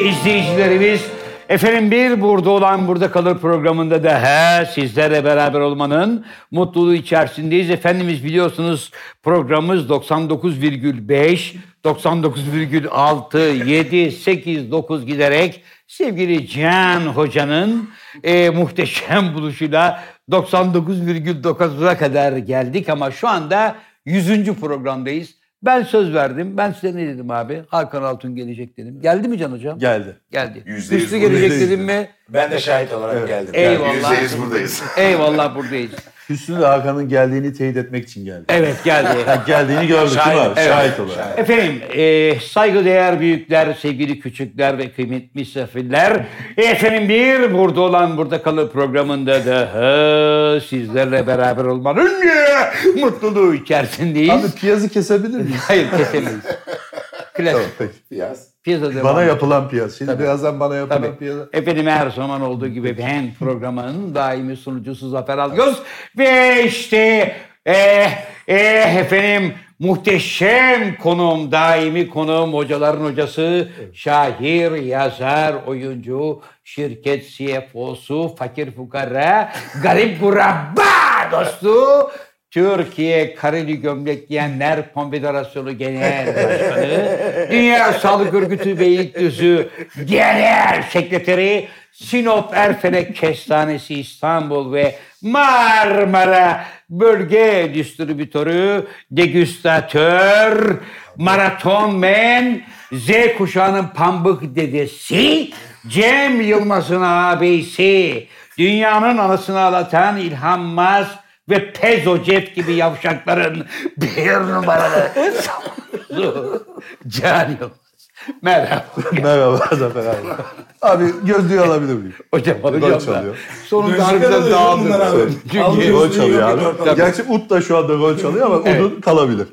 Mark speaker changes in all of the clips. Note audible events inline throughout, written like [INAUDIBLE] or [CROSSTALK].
Speaker 1: dinleyicilerimiz. Efendim bir burada olan burada kalır programında da he sizlere beraber olmanın mutluluğu içerisindeyiz. Efendimiz biliyorsunuz programımız 99,5, 99,6, 7, 8, 9 giderek sevgili Cihan Hoca'nın e, muhteşem buluşuyla 99,9'a kadar geldik ama şu anda 100. programdayız. Ben söz verdim. Ben size ne dedim abi? Hakan Altun gelecek dedim. Geldi mi Can Hocam?
Speaker 2: Geldi.
Speaker 1: Geldi.
Speaker 3: Yüzde yüz
Speaker 1: Hüsnü gelecek
Speaker 2: buradayız.
Speaker 1: dedim mi?
Speaker 3: Ben de şahit olarak geldim.
Speaker 1: Eyvallah.
Speaker 3: Yüzde yüz buradayız.
Speaker 1: Eyvallah buradayız.
Speaker 2: Hüsnü de Hakan'ın geldiğini teyit etmek için geldi.
Speaker 1: Evet geldi.
Speaker 2: Yani geldiğini gördük değil mi abi?
Speaker 1: evet.
Speaker 2: Şahit olarak.
Speaker 1: Efendim e, saygıdeğer büyükler, sevgili küçükler ve kıymetli misafirler. E, Efendim bir burada olan burada kalır programında da ha, sizlerle beraber olmanın e, mutluluğu içerisindeyiz.
Speaker 2: Abi piyazı
Speaker 1: [LAUGHS]
Speaker 2: kesebilir miyiz?
Speaker 1: Hayır kesemeyiz. Klasik
Speaker 2: Peki.
Speaker 3: Yaz.
Speaker 1: piyasa devam
Speaker 2: Bana
Speaker 1: ediyor.
Speaker 2: yapılan piyaz. Şimdi birazdan bana yapılan
Speaker 1: Tabii.
Speaker 2: piyaz.
Speaker 1: Efendim her zaman olduğu gibi ben programın daimi sunucusu Zafer Algöz ve işte eh, eh, efendim muhteşem konuğum, daimi konuğum, hocaların hocası, şair, yazar, oyuncu, şirket CFO'su, fakir fukara, garip guraba dostu, Türkiye Kareli Gömlek Giyenler Konfederasyonu Genel Başkanı, Dünya Sağlık Örgütü Beylikdüzü Genel Sekreteri, Sinop Erfelek Kestanesi İstanbul ve Marmara Bölge Distribütörü, Degüstatör, Maraton Men, Z kuşağının pambık dedesi, Cem Yılmaz'ın abisi, dünyanın anasını ağlatan İlhan Maz, ve Pezo Jeff gibi yavşakların bir numaralı savunucusu Can Yılmaz. Merhaba.
Speaker 2: Merhaba [LAUGHS] Zafer abi. Abi gözlüğü alabilir miyim?
Speaker 1: Hocam
Speaker 2: Gol
Speaker 1: alacağım da.
Speaker 2: çalıyor.
Speaker 1: Sonunda harbiden dağıldı.
Speaker 2: Çünkü
Speaker 1: Çünkü
Speaker 2: gol çalıyor abi. Gerçi Ut da şu anda gol çalıyor ama
Speaker 1: Evet.
Speaker 2: Ud'un kalabilir.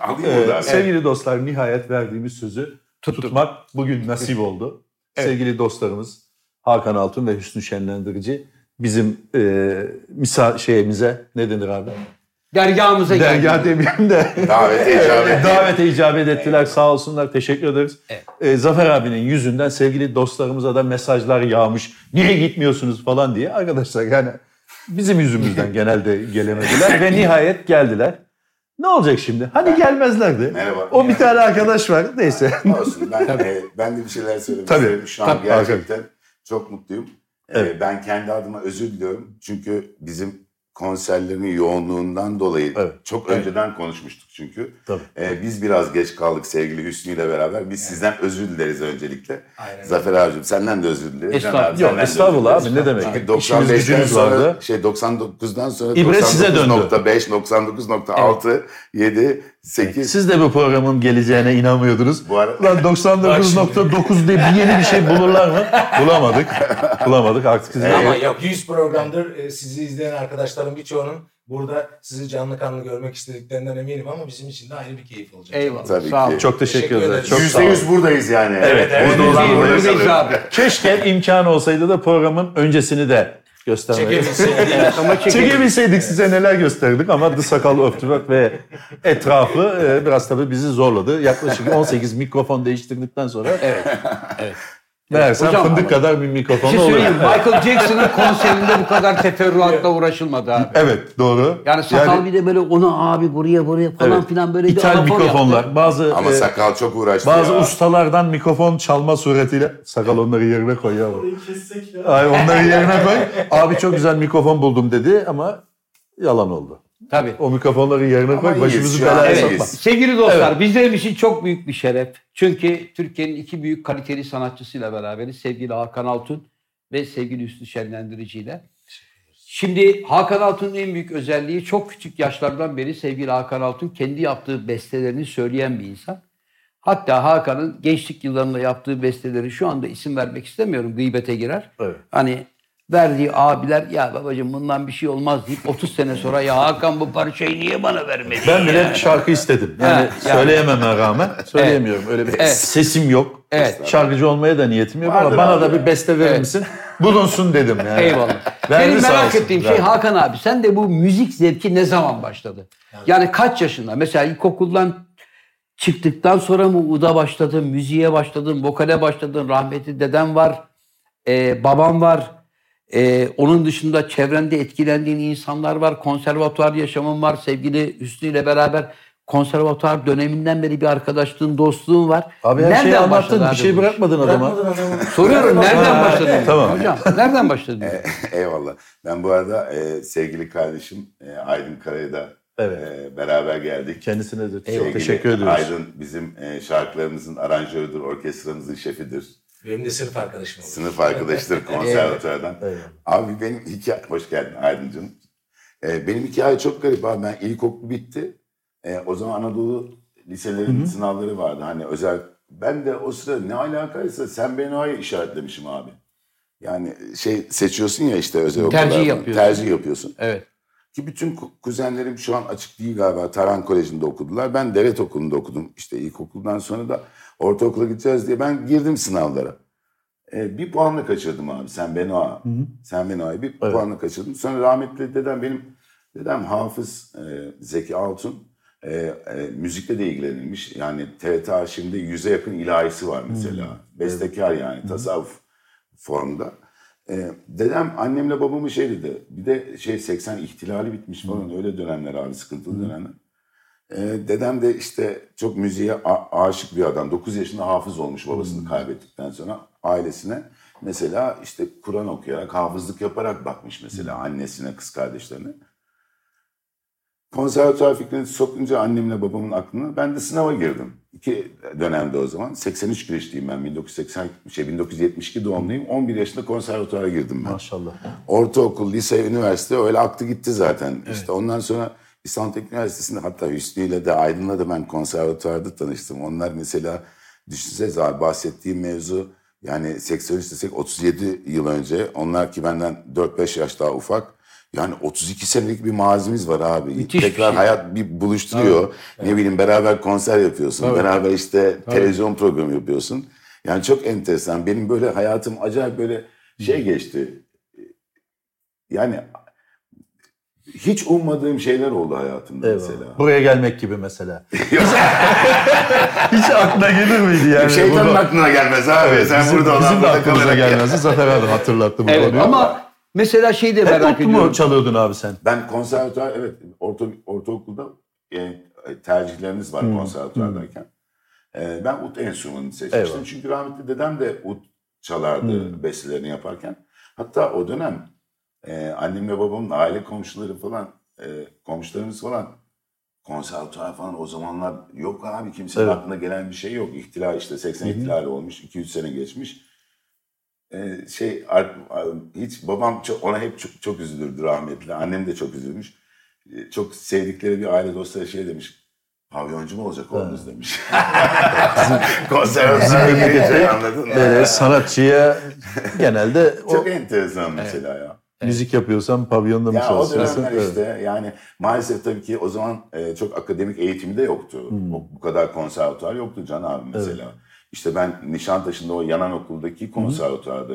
Speaker 3: Alayım
Speaker 2: Ee,
Speaker 3: burada abi.
Speaker 2: Sevgili dostlar nihayet verdiğimiz sözü tutmak bugün nasip oldu. Sevgili dostlarımız Hakan Altun ve Hüsnü Şenlendirici bizim e, misa şeyimize ne denir abi?
Speaker 1: dergahımıza
Speaker 2: Dergah
Speaker 1: geldi.
Speaker 2: demeyeyim de
Speaker 3: Davete icabet.
Speaker 2: davete icabet ettiler sağ olsunlar teşekkür ederiz.
Speaker 1: Evet.
Speaker 2: Ee, Zafer abinin yüzünden sevgili dostlarımıza da mesajlar yağmış. Niye gitmiyorsunuz falan diye arkadaşlar yani bizim yüzümüzden genelde gelemediler ve nihayet geldiler. Ne olacak şimdi? Hani gelmezlerdi.
Speaker 3: Merhaba.
Speaker 2: O bir tane arkadaş var. Neyse. [LAUGHS]
Speaker 3: Olsun. Ben, e, ben de bir şeyler söylemek
Speaker 2: Tabii.
Speaker 3: isterim. Şu an
Speaker 2: Tabii.
Speaker 3: gerçekten çok mutluyum. E,
Speaker 2: Evet.
Speaker 3: ben kendi adıma özür diliyorum. Çünkü bizim konserlerin yoğunluğundan dolayı
Speaker 2: Evet.
Speaker 3: çok
Speaker 2: Evet.
Speaker 3: önceden konuşmuştuk çünkü.
Speaker 2: Tabii.
Speaker 3: E, biz biraz geç kaldık sevgili Hüsnü ile beraber. Biz sizden özür dileriz öncelikle. Zafer abicim senden de özür dileriz.
Speaker 1: Estağfurullah.
Speaker 3: Can abi,
Speaker 2: Yok
Speaker 3: senden de
Speaker 2: estağfurullah
Speaker 3: özür
Speaker 2: abi ne
Speaker 3: dileriz.
Speaker 2: demek.
Speaker 3: Çünkü
Speaker 2: İşimiz
Speaker 3: 95'ten
Speaker 2: gücümüz
Speaker 3: sonra
Speaker 2: vardı.
Speaker 3: şey 99'dan sonra
Speaker 2: İbre size döndü.
Speaker 3: 99.5, 99.6, 7, 8
Speaker 2: Siz de bu programın geleceğine inanmıyordunuz.
Speaker 3: Bu ara-
Speaker 2: Lan 99.9 diye bir yeni bir şey bulurlar mı? Bulamadık. Bulamadık artık siz
Speaker 4: Ama yok 100 programdır e, sizi izleyen arkadaşların birçoğunun burada sizi canlı kanlı görmek istediklerinden eminim ama bizim için de ayrı bir keyif olacak.
Speaker 1: Eyvallah.
Speaker 3: Tabii
Speaker 1: Sağ
Speaker 3: ki.
Speaker 1: olun.
Speaker 2: Çok teşekkür,
Speaker 4: Teşekkür
Speaker 2: ederim.
Speaker 4: ederiz.
Speaker 2: Çok sağ
Speaker 3: Yüzde
Speaker 2: olun.
Speaker 3: yüz buradayız yani.
Speaker 2: Evet, evet.
Speaker 3: Burada olan
Speaker 1: Buradayız,
Speaker 3: buradayız.
Speaker 1: buradayız abi.
Speaker 2: Keşke imkanı olsaydı da programın öncesini de göstermeyi.
Speaker 4: Çekebilseydik.
Speaker 1: Ama çekelim.
Speaker 2: Çekebilseydik size neler gösterdik ama The Sakal Öptürmek ve etrafı e, biraz tabii bizi zorladı. Yaklaşık 18 mikrofon değiştirdikten sonra
Speaker 1: Evet.
Speaker 2: meğersem
Speaker 1: Hocam
Speaker 2: fındık
Speaker 1: ama-
Speaker 2: kadar bir
Speaker 1: Bir
Speaker 2: mikrofon
Speaker 1: şey
Speaker 2: oluyor.
Speaker 1: söyleyeyim. Michael Jackson'ın konserinde bu kadar teferruatla uğraşılmadı abi.
Speaker 2: Evet doğru.
Speaker 1: Yani sakal
Speaker 2: Yani-
Speaker 1: bir de böyle onu abi buraya buraya falan
Speaker 2: Evet.
Speaker 1: filan böyle bir
Speaker 2: İthal
Speaker 1: alafor yaptı.
Speaker 2: mikrofonlar. Bazı
Speaker 3: Ama
Speaker 2: e,
Speaker 3: sakal çok uğraştı
Speaker 2: bazı
Speaker 3: ya.
Speaker 2: ustalardan mikrofon çalma suretiyle sakal onları yerine koy ya. Ay onları yerine koy. Abi çok güzel mikrofon buldum dedi ama yalan oldu.
Speaker 1: Tabii.
Speaker 2: O mikrofonları yerine koy
Speaker 3: iyiyiz
Speaker 2: başımızı
Speaker 3: şu an,
Speaker 2: belaya
Speaker 3: iyiyiz.
Speaker 2: sokma.
Speaker 1: Sevgili dostlar bizlerim için çok büyük bir şeref. Çünkü Türkiye'nin iki büyük kaliteli sanatçısıyla beraberiz. Sevgili Hakan Altun ve sevgili Hüsnü Şenlendirici ile. Şimdi Hakan Altun'un en büyük özelliği çok küçük yaşlardan beri sevgili Hakan Altun kendi yaptığı bestelerini söyleyen bir insan. Hatta Hakan'ın gençlik yıllarında yaptığı besteleri şu anda isim vermek istemiyorum gıybete girer.
Speaker 2: Evet.
Speaker 1: Hani verdiği abiler ya babacığım bundan bir şey olmaz deyip 30 sene sonra ya Hakan bu parçayı niye bana vermedi?
Speaker 2: Ben bile şarkı istedim. Yani
Speaker 1: Evet, yani.
Speaker 2: söyleyememe rağmen söyleyemiyorum. Öyle bir
Speaker 1: Evet.
Speaker 2: sesim yok.
Speaker 1: Evet.
Speaker 2: Şarkıcı olmaya da niyetim yok ama
Speaker 3: Vardır
Speaker 2: bana
Speaker 3: abi
Speaker 2: da bir beste verir
Speaker 1: Evet.
Speaker 2: misin? Bulunsun dedim yani.
Speaker 1: Eyvallah.
Speaker 2: Verdi
Speaker 1: Benim
Speaker 2: sağ
Speaker 1: merak
Speaker 2: olsun,
Speaker 1: ettiğim şey
Speaker 2: verdi.
Speaker 1: Hakan abi sen de bu müzik zevki ne zaman başladı? Yani kaç yaşında? Mesela ilkokuldan Çıktıktan sonra mı uda başladın, müziğe başladın, vokale başladın, rahmetli deden var, e, babam var. E, onun dışında çevrende etkilendiğin insanlar var, konservatuar yaşamın var, sevgili Hüsnü ile beraber konservatuar döneminden beri bir arkadaşlığın, dostluğun var.
Speaker 2: Abi her şeyi anlattın.
Speaker 1: başladı
Speaker 2: Bir şey
Speaker 1: abi bu iş?
Speaker 2: bırakmadın adama.
Speaker 4: Bırakmadın adamı.
Speaker 1: Soruyorum nereden
Speaker 2: Ha,
Speaker 1: başladın?
Speaker 2: tamam.
Speaker 1: Hocam nereden başladın?
Speaker 3: Eyvallah. Ben bu arada e, sevgili kardeşim e, Aydın Kara'ya da
Speaker 2: Evet.
Speaker 3: e, beraber geldik.
Speaker 2: Kendisine de çok
Speaker 3: Sevgili
Speaker 2: teşekkür ediyoruz.
Speaker 3: Aydın bizim e, şarkılarımızın aranjörüdür, orkestramızın şefidir.
Speaker 4: Benim de sınıf arkadaşım oldu.
Speaker 3: Sınıf arkadaşıdır konservatuardan.
Speaker 2: Eyvallah.
Speaker 3: Abi benim hikaye... Hoş geldin Aydıncığım. Ee, benim hikaye çok garip abi. Ben ilkokul bitti. Ee, o zaman Anadolu liselerin sınavları vardı. Hani özel... Ben de o sırada ne alakaysa sen beni oraya işaretlemişim abi. Yani şey seçiyorsun ya işte özel
Speaker 1: Tercih
Speaker 3: okullardan.
Speaker 1: yapıyorsun.
Speaker 3: Tercih yapıyorsun.
Speaker 1: Evet.
Speaker 3: Ki bütün ku- kuzenlerim şu an açık değil galiba. Tarhan Koleji'nde okudular. Ben devlet okulunda okudum. İşte ilkokuldan sonra da ortaokula gideceğiz diye ben girdim sınavlara. Ee, bir puanla kaçırdım abi. Sen Benoa.
Speaker 2: Hı hı.
Speaker 3: Sen Benoa'yı bir
Speaker 2: Evet.
Speaker 3: puanla kaçırdım. Sonra rahmetli dedem benim dedem Hafız e, Zeki Altun. E, e, müzikle de ilgilenilmiş. Yani TRT arşivinde yüze yakın ilahisi var mesela. Bestekar yani tasavvuf formda. Ee, dedem annemle babamı şey dedi. Bir de şey 80 ihtilali bitmiş falan öyle dönemler abi sıkıntılı dönemler. Ee, dedem de işte çok müziğe a- aşık bir adam. 9 yaşında hafız olmuş babasını kaybettikten sonra ailesine mesela işte Kur'an okuyarak, hafızlık yaparak bakmış mesela annesine, kız kardeşlerine. Konservatuar fikrini sokunca annemle babamın aklına ben de sınava girdim. İki dönemde o zaman. 83 girişliyim ben. 1980, şey, 1972 doğumluyum. 11 yaşında konservatuara girdim ben.
Speaker 2: Maşallah.
Speaker 3: Ortaokul, lise, üniversite öyle aktı gitti zaten. İşte ondan sonra İstanbul Teknik Üniversitesi'nde hatta Hüsnü ile de Aydın'la da ben konservatuvarda tanıştım. Onlar mesela düşünsenize abi bahsettiğim mevzu yani 83 desek 37 yıl önce. Onlar ki benden 4-5 yaş daha ufak. Yani 32 senelik bir mazimiz var abi.
Speaker 1: Müthiş bir
Speaker 3: Tekrar
Speaker 1: şey.
Speaker 3: hayat bir buluşturuyor. Ne bileyim beraber konser yapıyorsun. Beraber işte televizyon programı yapıyorsun. Yani çok enteresan. Benim böyle hayatım acayip böyle
Speaker 1: Hmm.
Speaker 3: şey geçti. Yani hiç ummadığım şeyler oldu hayatımda mesela.
Speaker 2: Eyvallah. Buraya gelmek gibi
Speaker 3: [LAUGHS]
Speaker 2: mesela. Hiç aklına gelir miydi yani?
Speaker 3: Şeytanın
Speaker 2: Baba-
Speaker 3: aklına gelmez abi.
Speaker 2: Evet,
Speaker 3: Sen
Speaker 2: bizim,
Speaker 3: burada olan
Speaker 2: bizim de
Speaker 3: burada
Speaker 2: aklımıza
Speaker 3: kalarak
Speaker 2: gelmezdi. Zafer abi hatırlattı bu
Speaker 1: Evet
Speaker 2: konuyu.
Speaker 1: ama mesela şeyi de
Speaker 2: Hep
Speaker 1: merak
Speaker 2: ut mu
Speaker 1: ediyorum.
Speaker 2: çalıyordun abi sen?
Speaker 3: Ben konservatuar evet orta, ortaokulda e, tercihlerimiz var konservatuardayken. E, ben ut enstrümanını seçmiştim.
Speaker 2: Eyvallah.
Speaker 3: Çünkü rahmetli dedem de ut çalardı bestelerini yaparken. Hatta o dönem e, annemle babamın aile komşuları falan e, komşularımız falan konservatuar falan o zamanlar yok abi kimsenin
Speaker 2: Evet.
Speaker 3: aklına gelen bir şey yok. İhtilal işte 80 ihtilali olmuş 2-3 sene geçmiş. Ee, şey ar- ar- hiç babam çok, ona hep çok, çok üzülürdü rahmetli. Annem de çok üzülmüş. Ee, Çok sevdikleri bir aile dostları şey demiş. Pavyoncu mu olacak
Speaker 2: [LAUGHS]
Speaker 3: oğlunuz demiş. Konservatuar
Speaker 2: Bizim
Speaker 3: şey
Speaker 2: memlekette
Speaker 3: anladın mı?
Speaker 2: Böyle sanatçıya genelde o
Speaker 3: Çok enteresan mesela ya.
Speaker 2: müzik yapıyorsan pavyonda mı
Speaker 3: Ya o
Speaker 2: çalışıyorsun?
Speaker 3: dönemler
Speaker 2: Evet.
Speaker 3: işte yani maalesef tabii ki o zaman e, çok akademik eğitimi de yoktu.
Speaker 2: Hmm.
Speaker 3: Bu, bu kadar konservatuar yoktu Can abi mesela. İşte ben Nişantaşı'nda o yanan okuldaki konservatuarda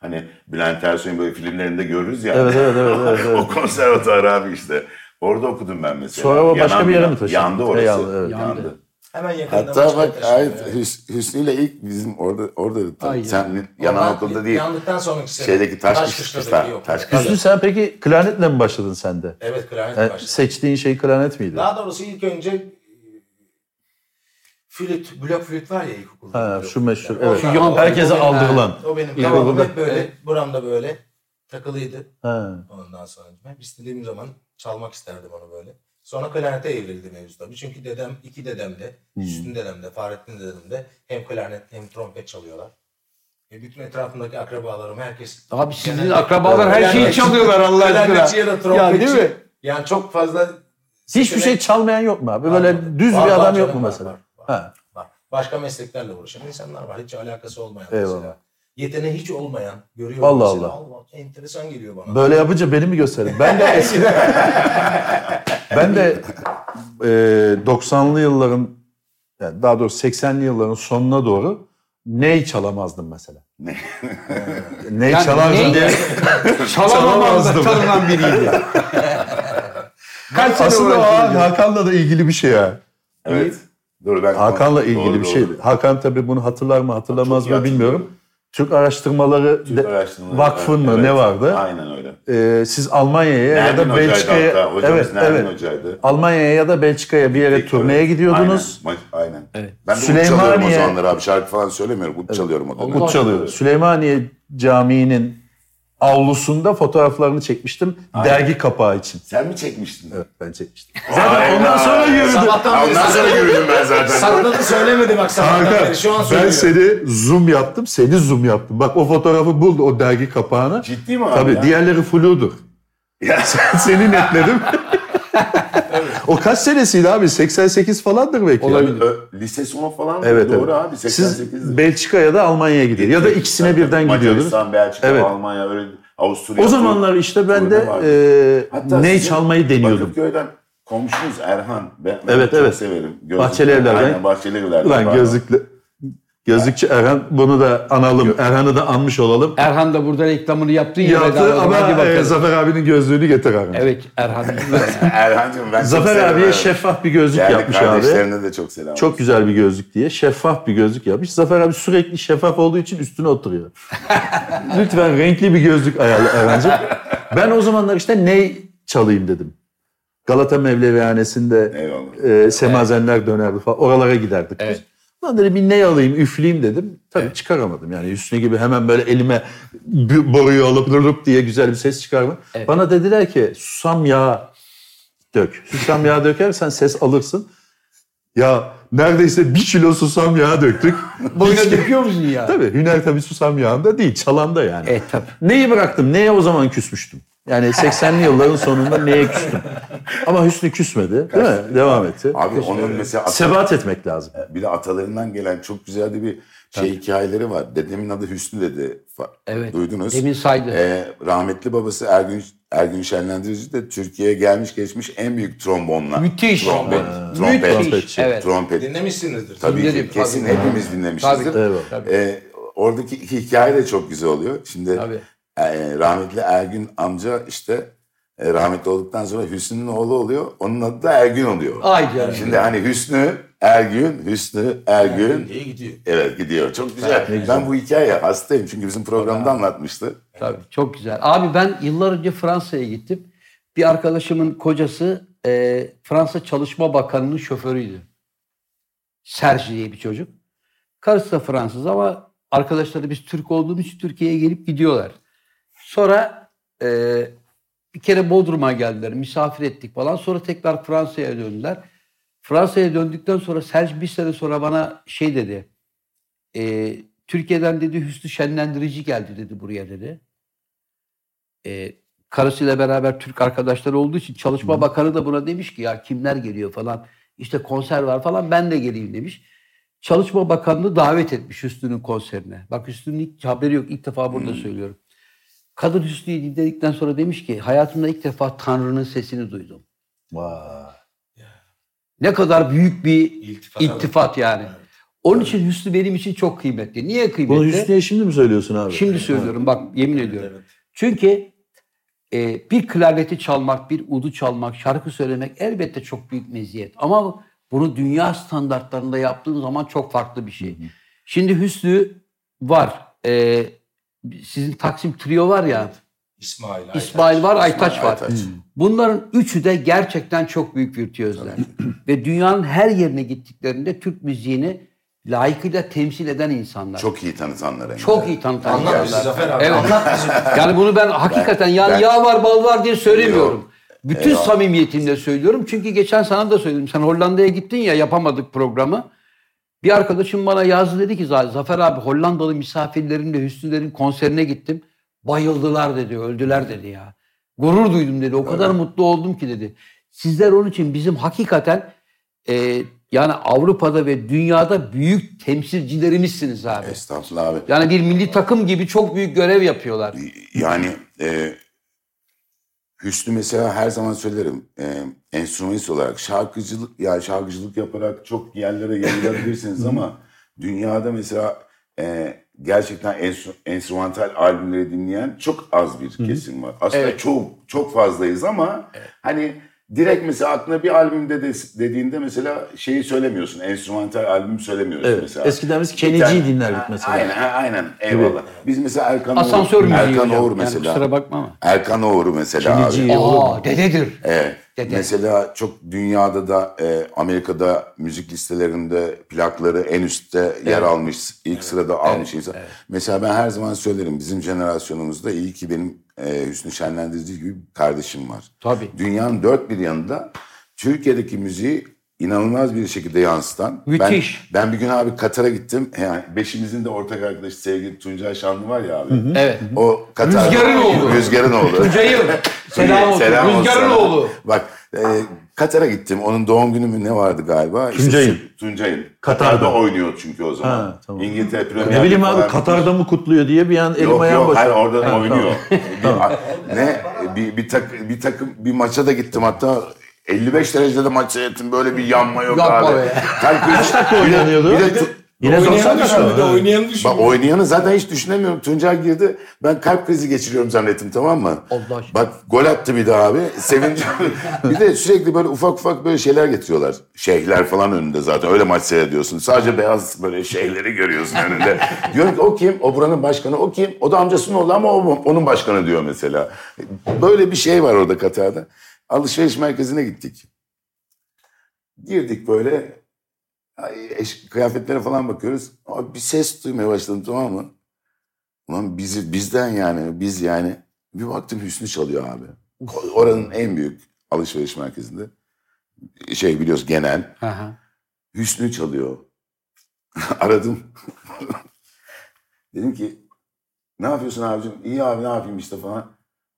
Speaker 3: hani Bülent Ersoy'un böyle filmlerinde görürüz ya.
Speaker 2: Evet, evet, evet,
Speaker 3: [LAUGHS]
Speaker 2: evet, evet.
Speaker 3: o konservatuar abi işte. Orada okudum ben mesela.
Speaker 2: Sonra o başka
Speaker 3: Yanan
Speaker 2: bir yere mi
Speaker 3: bina-
Speaker 2: taşındı?
Speaker 3: Yandı
Speaker 2: E,
Speaker 3: orası.
Speaker 2: yandı, evet.
Speaker 3: yandı.
Speaker 1: Yandı.
Speaker 4: Hemen yakında
Speaker 3: Hatta bak evet,
Speaker 4: evet.
Speaker 3: Hüs- Hüsnü ile ilk bizim orada orada da-
Speaker 1: Ay ya.
Speaker 3: sen yanan okulda değil.
Speaker 4: Yandıktan sonraki sene.
Speaker 3: Şeydeki taş, taş
Speaker 4: kışladaki yok.
Speaker 3: Taş kışla.
Speaker 2: Hüsnü sen peki klarnetle mi başladın sen de?
Speaker 4: Evet klarnet
Speaker 2: Yani
Speaker 4: başladı.
Speaker 2: seçtiğin şey klarnet miydi?
Speaker 4: Daha doğrusu ilk önce e, flüt, blok flüt var ya ilkokulda.
Speaker 2: Ha,
Speaker 4: blok
Speaker 2: şu
Speaker 4: flütler.
Speaker 2: meşhur.
Speaker 4: O-
Speaker 2: Evet.
Speaker 1: Şu yan-
Speaker 4: o-
Speaker 2: Herkese
Speaker 4: o benim-
Speaker 2: aldırılan.
Speaker 4: O benim
Speaker 1: İlkokulda.
Speaker 4: kafamda hep böyle,
Speaker 1: Evet.
Speaker 4: buramda böyle takılıydı.
Speaker 2: Ha.
Speaker 4: Ondan sonra ben istediğim zaman çalmak isterdim onu böyle. Sonra klarnete evrildi mevzu tabii. Çünkü dedem, iki dedem de,
Speaker 2: Hmm.
Speaker 4: Hüsnü dedem de, Fahrettin dedem de hem klarnet hem trompet çalıyorlar. E bütün etrafımdaki akrabalarım herkes...
Speaker 1: Abi sizin
Speaker 4: Genelde-
Speaker 1: akrabalar her şeyi
Speaker 4: Klarnetçi-
Speaker 1: çalıyorlar Allah
Speaker 4: Klarnetçi ya
Speaker 1: aşkına.
Speaker 4: da trompetçi.
Speaker 1: değil mi?
Speaker 4: Yani çok fazla...
Speaker 2: Hiçbir şey çalmayan yok mu abi? Böyle
Speaker 4: Var,
Speaker 2: düz
Speaker 4: var,
Speaker 2: bir adam
Speaker 4: var,
Speaker 2: yok mu
Speaker 4: var,
Speaker 2: mesela?
Speaker 4: var, var.
Speaker 2: Ha.
Speaker 4: var. Başka mesleklerle uğraşan insanlar var. Hiç alakası olmayan
Speaker 2: Eyvallah.
Speaker 4: mesela. Yeteneği hiç olmayan görüyorum
Speaker 2: Vallahi
Speaker 4: mesela.
Speaker 2: Allah.
Speaker 4: Enteresan geliyor bana.
Speaker 2: Böyle yapınca beni mi gösterin? Ben de [LAUGHS] eskiden... ben de e, 90'lı yılların yani daha doğrusu 80'li yılların sonuna doğru ney çalamazdım mesela.
Speaker 3: Ne?
Speaker 2: [LAUGHS] Ney
Speaker 1: Yani
Speaker 2: çalardım
Speaker 1: ney-
Speaker 2: diye.
Speaker 1: Çalamamazda
Speaker 2: Çalamazdım.
Speaker 1: çalınan biriydi. Kaç sene
Speaker 2: Aslında o
Speaker 1: uğraştınız?
Speaker 2: Hakan'la da ilgili bir şey ya.
Speaker 3: Evet. Doğru ben
Speaker 2: Hakan'la ilgili
Speaker 3: Doğru,
Speaker 2: bir şey
Speaker 3: doğru.
Speaker 2: şeydi. Hakan tabii bunu hatırlar mı hatırlamaz
Speaker 3: Çok iyi
Speaker 2: mı bilmiyorum.
Speaker 3: hatırlıyorum.
Speaker 2: Türk Araştırmaları
Speaker 3: Türk
Speaker 2: de-
Speaker 3: Araştırmaları-
Speaker 2: Vakfı'nın mı
Speaker 3: Evet,
Speaker 2: ne vardı?
Speaker 3: Aynen öyle.
Speaker 2: Ee, siz Almanya'ya ya
Speaker 3: Nermin
Speaker 2: da
Speaker 3: Hoca'ydı
Speaker 2: Belçika'ya
Speaker 3: hatta. Hocamız
Speaker 2: evet
Speaker 3: Nermin
Speaker 2: evet.
Speaker 3: Hoca'ydı.
Speaker 2: Almanya'ya ya da Belçika'ya bir yere
Speaker 3: Tek-
Speaker 2: turneye gidiyordunuz.
Speaker 3: Aynen. Ma- aynen.
Speaker 1: Evet.
Speaker 3: Ben de
Speaker 2: Süleymaniye-
Speaker 3: Süleymaniye. çalıyorum o zamanlar abi. Şarkı falan söylemiyorum. Ut çalıyorum o dönem.
Speaker 1: Allah
Speaker 2: Ut çalıyordu. Süleymaniye Camii'nin avlusunda fotoğraflarını çekmiştim dergi kapağı için.
Speaker 3: Sen mi çekmiştin?
Speaker 2: Evet ben
Speaker 3: [LAUGHS]
Speaker 2: çekmiştim. Zaten ondan sonra yürüdüm.
Speaker 4: Sabahtan beri
Speaker 3: Ondan sonra
Speaker 4: sakladı-
Speaker 3: yürüdüm ben zaten.
Speaker 4: sakladı söylemedi bak sabahtan
Speaker 2: Kanka
Speaker 4: beri. Şu an söylüyor.
Speaker 2: ben seni zoom yaptım, seni zoom yaptım. Bak o fotoğrafı buldu o dergi kapağını.
Speaker 3: Ciddi mi abi?
Speaker 2: Tabii
Speaker 3: ya?
Speaker 2: diğerleri fludur. [LAUGHS]
Speaker 3: Ya sen-
Speaker 2: Seni
Speaker 3: [LAUGHS]
Speaker 2: netledim. o kaç senesiydi abi? 88 falandır belki.
Speaker 1: Olabilir.
Speaker 3: Ö- Lise sonu falan mı?
Speaker 2: Evet,
Speaker 3: Doğru
Speaker 2: evet.
Speaker 3: abi. 88
Speaker 2: Siz Belçika'ya da Almanya'ya gidiyor. Ya da ikisine birden gidiyordunuz.
Speaker 3: Macaristan, Belçika,
Speaker 2: Evet.
Speaker 3: Almanya, öyle Avusturya.
Speaker 2: O zamanlar işte ben de
Speaker 3: Orada var.
Speaker 2: e, ney
Speaker 3: sizin
Speaker 2: çalmayı deniyordum.
Speaker 3: Bakırköy'den komşunuz Erhan. Ben, ben
Speaker 2: Evet,
Speaker 3: çok
Speaker 2: evet.
Speaker 3: severim.
Speaker 2: Bahçeli evlerden.
Speaker 3: Aynen Bahçeli evlerden.
Speaker 2: Ulan
Speaker 3: Pardon.
Speaker 2: gözlükle. Gözlükçü Erhan bunu da analım. Erhan'ı da anmış olalım.
Speaker 1: Erhan da burada reklamını yaptın ya.
Speaker 2: Yaptı
Speaker 1: bedava. Hadi
Speaker 2: ama
Speaker 1: bakalım.
Speaker 2: e, Zafer abinin gözlüğünü getir Erhan.
Speaker 1: Evet Erhan.
Speaker 3: [LAUGHS] Erhan'cığım ben
Speaker 2: Zafer
Speaker 3: çok severim.
Speaker 2: abiye şeffaf bir gözlük
Speaker 3: Değerli
Speaker 2: yapmış abi.
Speaker 3: kardeşlerine de çok selam.
Speaker 2: Çok güzel bir gözlük diye. Şeffaf bir gözlük yapmış. Zafer abi sürekli şeffaf olduğu için üstüne oturuyor. Lütfen renkli bir gözlük ayarla Erhan'cığım. Ben o zamanlar işte ney çalayım dedim. Galata Mevlevihanesi'nde
Speaker 3: Eyvallah.
Speaker 2: e, semazenler dönerdi falan. Oralara giderdik
Speaker 1: Evet.
Speaker 2: biz. Lan dedim bir ne alayım üfleyeyim dedim. Tabii çıkaramadım yani üstüne gibi hemen böyle elime bir boruyu alıp durup diye güzel bir ses çıkarma.
Speaker 1: Evet.
Speaker 2: Bana dediler ki susam yağı dök.
Speaker 1: [LAUGHS]
Speaker 2: Susam yağı dökersen ses alırsın. Ya neredeyse bir kilo susam yağı döktük.
Speaker 1: Boyuna döküyor musun ya?
Speaker 2: Tabii hüner tabii susam yağında değil çalanda yani.
Speaker 1: E tabii.
Speaker 2: Neyi bıraktım? Neye o zaman küsmüştüm? Yani 80'li yılların sonunda neye küstüm? Ama Hüsnü küsmedi. Değil mi? Devam etti.
Speaker 3: Abi onun mesela
Speaker 2: Sebat etmek lazım.
Speaker 3: bir de atalarından gelen çok güzel de bir şey hikayeleri var. Dedemin adı Hüsnü dedi. Fa-
Speaker 1: Evet.
Speaker 3: Duydunuz.
Speaker 1: Demin saydı.
Speaker 3: Ee, rahmetli babası Ergün Ergün Şenlendirici de Türkiye'ye gelmiş geçmiş en büyük trombonla.
Speaker 1: Müthiş.
Speaker 3: Trompet.
Speaker 1: Müthiş.
Speaker 3: Trompet.
Speaker 2: Trompetçi.
Speaker 1: Evet.
Speaker 3: Trompet.
Speaker 4: Dinlemişsinizdir.
Speaker 3: Tabii
Speaker 1: Dinledim,
Speaker 3: ki kesin
Speaker 1: tabii.
Speaker 3: hepimiz dinlemişizdir.
Speaker 1: Tabii.
Speaker 2: Eyvallah.
Speaker 1: Tabii.
Speaker 3: Ee, oradaki iki hikaye de çok güzel oluyor. Şimdi
Speaker 1: Tabii.
Speaker 3: e, rahmetli Ergün amca işte e, rahmetli olduktan sonra Hüsnü'nün oğlu oluyor. Onun adı da Ergün oluyor.
Speaker 1: Ay canım.
Speaker 3: Şimdi hani Hüsnü, Ergün, Hüsnü, Ergün.
Speaker 4: İyi gidiyor.
Speaker 3: Evet gidiyor. Çok güzel. Ben bu hikayeye hastayım çünkü bizim programda anlatmıştı.
Speaker 1: Tabii çok güzel. Abi ben yıllar önce Fransa'ya gittim. Bir arkadaşımın kocası e, Fransa Çalışma Bakanı'nın şoförüydü. Serge diye bir çocuk. Karısı da Fransız ama arkadaşları biz Türk olduğumuz için Türkiye'ye gelip gidiyorlar. Sonra e, bir kere Bodrum'a geldiler. Misafir ettik falan. Sonra tekrar Fransa'ya döndüler. Fransa'ya döndükten sonra Serge bir sene sonra bana şey dedi. E, Türkiye'den dedi Hüsnü Şenlendirici geldi dedi buraya dedi. E, karısıyla beraber Türk arkadaşları olduğu için Çalışma Bakanı da buna demiş ki ya kimler geliyor falan. İşte konser var falan ben de geleyim demiş. Çalışma Bakanlığı davet etmiş Hüsnü'nün konserine. Bak Hüsnü'nün hiç haberi yok. ilk defa burada söylüyorum. Kadın Hüsnü'yü dinledikten sonra demiş ki hayatımda ilk defa Tanrı'nın sesini duydum. Ne kadar büyük bir
Speaker 4: İltifat.
Speaker 1: iltifat yani.
Speaker 4: Evet.
Speaker 1: Onun için Hüsnü benim için çok kıymetli. Niye kıymetli?
Speaker 2: Bunu Hüsnü'ye şimdi mi söylüyorsun abi?
Speaker 1: Şimdi söylüyorum bak yemin ediyorum.
Speaker 4: Evet.
Speaker 1: Çünkü e, bir klarneti çalmak, bir udu çalmak, şarkı söylemek elbette çok büyük meziyet. Ama bunu dünya standartlarında yaptığın zaman çok farklı bir şey. Şimdi Hüsnü var. E, sizin Taksim Trio var ya.
Speaker 4: İsmail. Aytaç.
Speaker 1: İsmail var, Aytaç var.
Speaker 3: Aytaç.
Speaker 1: Bunların üçü de gerçekten çok büyük virtüözler. Ve dünyanın her yerine gittiklerinde Türk müziğini layıkıyla temsil eden insanlar.
Speaker 3: Çok iyi tanıtanlar. hem de.
Speaker 1: Çok iyi tanıtan
Speaker 4: Anlat bizi
Speaker 1: insanlar.
Speaker 4: Zafer abi.
Speaker 1: Evet.
Speaker 4: Anlat bizi.
Speaker 1: Yani bunu ben hakikaten yani
Speaker 3: ben-
Speaker 1: yağ var bal var diye söylemiyorum.
Speaker 3: Yok.
Speaker 1: Bütün samimiyetimle söylüyorum. Çünkü geçen sana da söyledim. Sen Hollanda'ya gittin ya yapamadık programı. Bir arkadaşım bana yazdı dedi ki Zafer abi Hollandalı misafirlerimle Hüsnülerin konserine gittim. Bayıldılar dedi, öldüler dedi ya. Gurur duydum dedi. O kadar mutlu oldum ki dedi. Sizler onun için bizim hakikaten e, yani Avrupa'da ve dünyada büyük temsilcilerimizsiniz abi.
Speaker 3: Estağfurullah abi.
Speaker 1: Yani bir milli takım gibi çok büyük görev yapıyorlar.
Speaker 3: Yani e, Hüsnü mesela her zaman söylerim. E, enstrümanist olarak şarkıcılık yani şarkıcılık yaparak çok yerlere yayılabilirsiniz ama dünyada mesela e, gerçekten enstru- enstrümantal albümleri dinleyen çok az bir kesim var. Aslında
Speaker 1: Evet.
Speaker 3: çok çok fazlayız ama hani direkt mesela aklına bir albümde de, dediğinde mesela şeyi söylemiyorsun. Enstrümantal albüm söylemiyorsun
Speaker 2: Evet.
Speaker 3: mesela.
Speaker 2: Eskiden biz
Speaker 3: Bir
Speaker 2: Kenici'yi
Speaker 3: tane-
Speaker 2: dinlerdik mesela.
Speaker 3: Aynen ha, aynen eyvallah. Biz mesela Erkan
Speaker 1: Asansör
Speaker 3: Oğur,
Speaker 1: müziği
Speaker 3: Erkan
Speaker 1: hocam.
Speaker 3: Oğur
Speaker 1: Yani
Speaker 3: mesela.
Speaker 1: kusura bakma ama.
Speaker 3: Erkan Oğur mesela
Speaker 2: Kenici'yi
Speaker 3: abi.
Speaker 2: Oğur
Speaker 1: Aa dededir.
Speaker 3: Evet.
Speaker 1: Dede.
Speaker 3: Mesela çok dünyada da e, Amerika'da müzik listelerinde plakları en üstte yer almış, ilk sırada almış insan. Mesela ben her zaman söylerim bizim jenerasyonumuzda iyi ki benim e, Hüsnü Şenlendirici gibi bir kardeşim var.
Speaker 1: Tabii.
Speaker 3: Dünyanın dört bir yanında Türkiye'deki müziği inanılmaz bir şekilde yansıtan.
Speaker 1: Müthiş.
Speaker 3: Ben, ben bir gün abi Katar'a gittim. Yani beşimizin de ortak arkadaşı sevgili Tuncay Şanlı var ya abi.
Speaker 1: Evet.
Speaker 3: O Katar.
Speaker 1: Rüzgar'ın oğlu.
Speaker 3: Rüzgar'ın
Speaker 1: [LAUGHS]
Speaker 3: oğlu.
Speaker 1: Tuncay'ım. Selam olsun.
Speaker 3: Selam olsun
Speaker 1: Rüzgar'ın
Speaker 3: sana.
Speaker 1: oğlu.
Speaker 3: Bak e, Katar'a gittim. Onun doğum günü mü ne vardı galiba? İşte
Speaker 2: Tuncay'ın.
Speaker 3: sü- Tuncay'ın.
Speaker 2: Katar'da.
Speaker 3: Katar'da. oynuyor çünkü o zaman.
Speaker 2: Ha, tamam.
Speaker 3: İngiltere Premier
Speaker 2: Ne bileyim
Speaker 3: Ligi
Speaker 2: abi
Speaker 3: falan.
Speaker 2: Katar'da mı kutluyor diye bir an elim
Speaker 3: Yok
Speaker 2: ayağım
Speaker 3: yok hayır
Speaker 2: başladı.
Speaker 3: orada
Speaker 2: Ha,
Speaker 3: oynuyor.
Speaker 2: [LAUGHS]
Speaker 3: Bir- ne E, bir, bir, tak, bir takım bir maça da gittim hatta 55 derecede maç seyrettim böyle bir yanma yok
Speaker 1: Yapma
Speaker 3: abi.
Speaker 1: be.
Speaker 3: Kalp
Speaker 1: [LAUGHS]
Speaker 3: krizi-
Speaker 2: dakika oynanıyordu?
Speaker 3: Bir de, tu-
Speaker 2: Yine
Speaker 3: Oynayan
Speaker 2: 90
Speaker 3: da
Speaker 2: düştü.
Speaker 3: kaldı,
Speaker 4: Bir de
Speaker 2: Ha.
Speaker 4: oynayanı düşün.
Speaker 3: Bak oynayanı zaten hiç düşünemiyorum. Tuncay girdi. Ben kalp krizi geçiriyorum zannettim tamam mı?
Speaker 1: Allah aşkına.
Speaker 3: Bak gol attı bir de abi. Sevinci. [LAUGHS] bir de sürekli böyle ufak ufak böyle şeyler getiriyorlar. Şeyhler falan önünde zaten. Öyle maç seyrediyorsun. Sadece beyaz böyle şeyleri görüyorsun
Speaker 1: [LAUGHS]
Speaker 3: önünde. Diyorum ki o kim? O buranın başkanı. O kim? O da amcasının oğlu ama o, onun başkanı diyor mesela. Böyle bir şey var orada Katar'da. Alışveriş merkezine gittik. Girdik böyle Ay, eş- kıyafetlere falan bakıyoruz. Abi bir ses duymaya başladım tamam mı? Ulan bizi, bizden yani biz yani. Bir baktım Hüsnü çalıyor abi. O- Oranın en büyük alışveriş merkezinde. Şey biliyoruz genel.
Speaker 1: Hı hı.
Speaker 3: Hüsnü çalıyor. [LAUGHS] Aradım. dedim ki ne yapıyorsun abicim? İyi abi ne yapayım işte falan.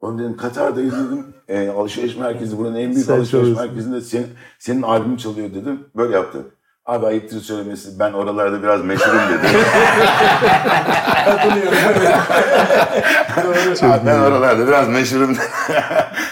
Speaker 3: Onu dedim Katar'dayız dedim. E, alışveriş merkezi buranın en büyük
Speaker 2: Sen
Speaker 3: alışveriş
Speaker 2: çalıyorsun.
Speaker 3: merkezinde senin, senin albüm çalıyor dedim. Böyle yaptı. Abi ayıptır söylemesi ben oralarda biraz meşhurum dedi.
Speaker 4: Katılıyorum.
Speaker 3: [LAUGHS] Abi, ben oralarda biraz meşhurum dedi.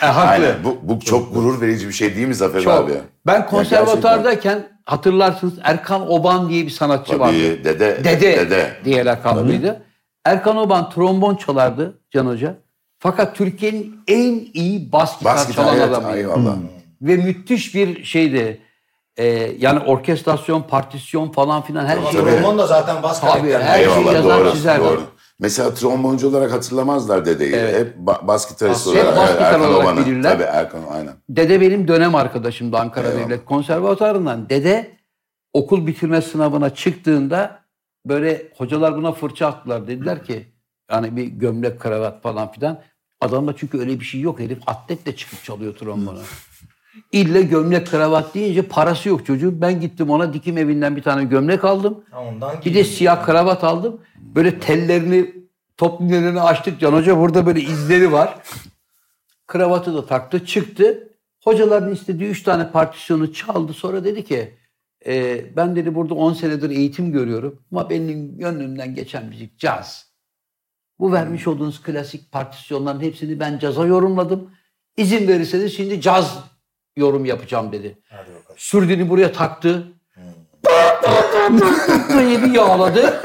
Speaker 1: E, haklı.
Speaker 3: Aynen. Bu, bu çok gurur verici bir şey değil mi Zafer
Speaker 1: Çok.
Speaker 3: abi?
Speaker 1: Ben konservatardayken hatırlarsınız Erkan Oban diye bir sanatçı vardı.
Speaker 3: Tabii, dede,
Speaker 1: Dede,
Speaker 3: dede.
Speaker 1: diye lakaplıydı. Erkan Oban trombon çalardı Can Hoca. Fakat Türkiye'nin en iyi bas gitar
Speaker 3: Bas gitar
Speaker 1: çalan
Speaker 3: evet,
Speaker 1: adamıydı.
Speaker 3: eyvallah.
Speaker 2: Hmm.
Speaker 1: Ve müthiş bir şeydi. Ee, yani orkestrasyon, partisyon falan filan her şey.
Speaker 3: tabii.
Speaker 4: Roman da zaten bas
Speaker 1: Tabii,
Speaker 4: karakterler.
Speaker 1: her
Speaker 3: Eyvallah
Speaker 1: şeyi yazar,
Speaker 3: doğru,
Speaker 1: çizer.
Speaker 3: doğru. Mesela tromboncu olarak hatırlamazlar dedeyi.
Speaker 1: Evet.
Speaker 3: Hep ba- bas gitarist
Speaker 1: Hep
Speaker 3: olarak.
Speaker 1: bas
Speaker 3: evet,
Speaker 1: gitar
Speaker 3: Erkan
Speaker 1: olarak
Speaker 3: Oban'ı.
Speaker 1: bilirler.
Speaker 3: Tabii Erkan aynen.
Speaker 1: Dede benim dönem arkadaşımdı Ankara Devlet Konservatuarı'ndan. Dede okul bitirme sınavına çıktığında böyle hocalar buna fırça attılar. Dediler ki yani bir gömlek kravat falan filan. Adamda çünkü öyle bir şey yok. Herif atletle çıkıp çalıyor trombonu. İlle gömlek kravat deyince parası yok çocuğun. Ben gittim ona dikim evinden bir tane gömlek aldım.
Speaker 4: Ondan
Speaker 1: Bir de
Speaker 4: gidiyor.
Speaker 1: siyah kravat aldım. Böyle tellerini toplum önüne açtık. Can Hoca burada böyle izleri var. Kravatı da taktı. Çıktı. Hocaların istediği üç tane partisyonu çaldı. Sonra dedi ki "E, ben dedi burada 10 senedir eğitim görüyorum ama benim gönlümden geçen müzik caz. Bu vermiş olduğunuz klasik partisyonların hepsini ben caza yorumladım. İzin verirseniz şimdi caz yorum yapacağım dedi.
Speaker 4: Hadi bakalım.
Speaker 1: Sürdüğünü buraya taktı. Böyle bir yağladı.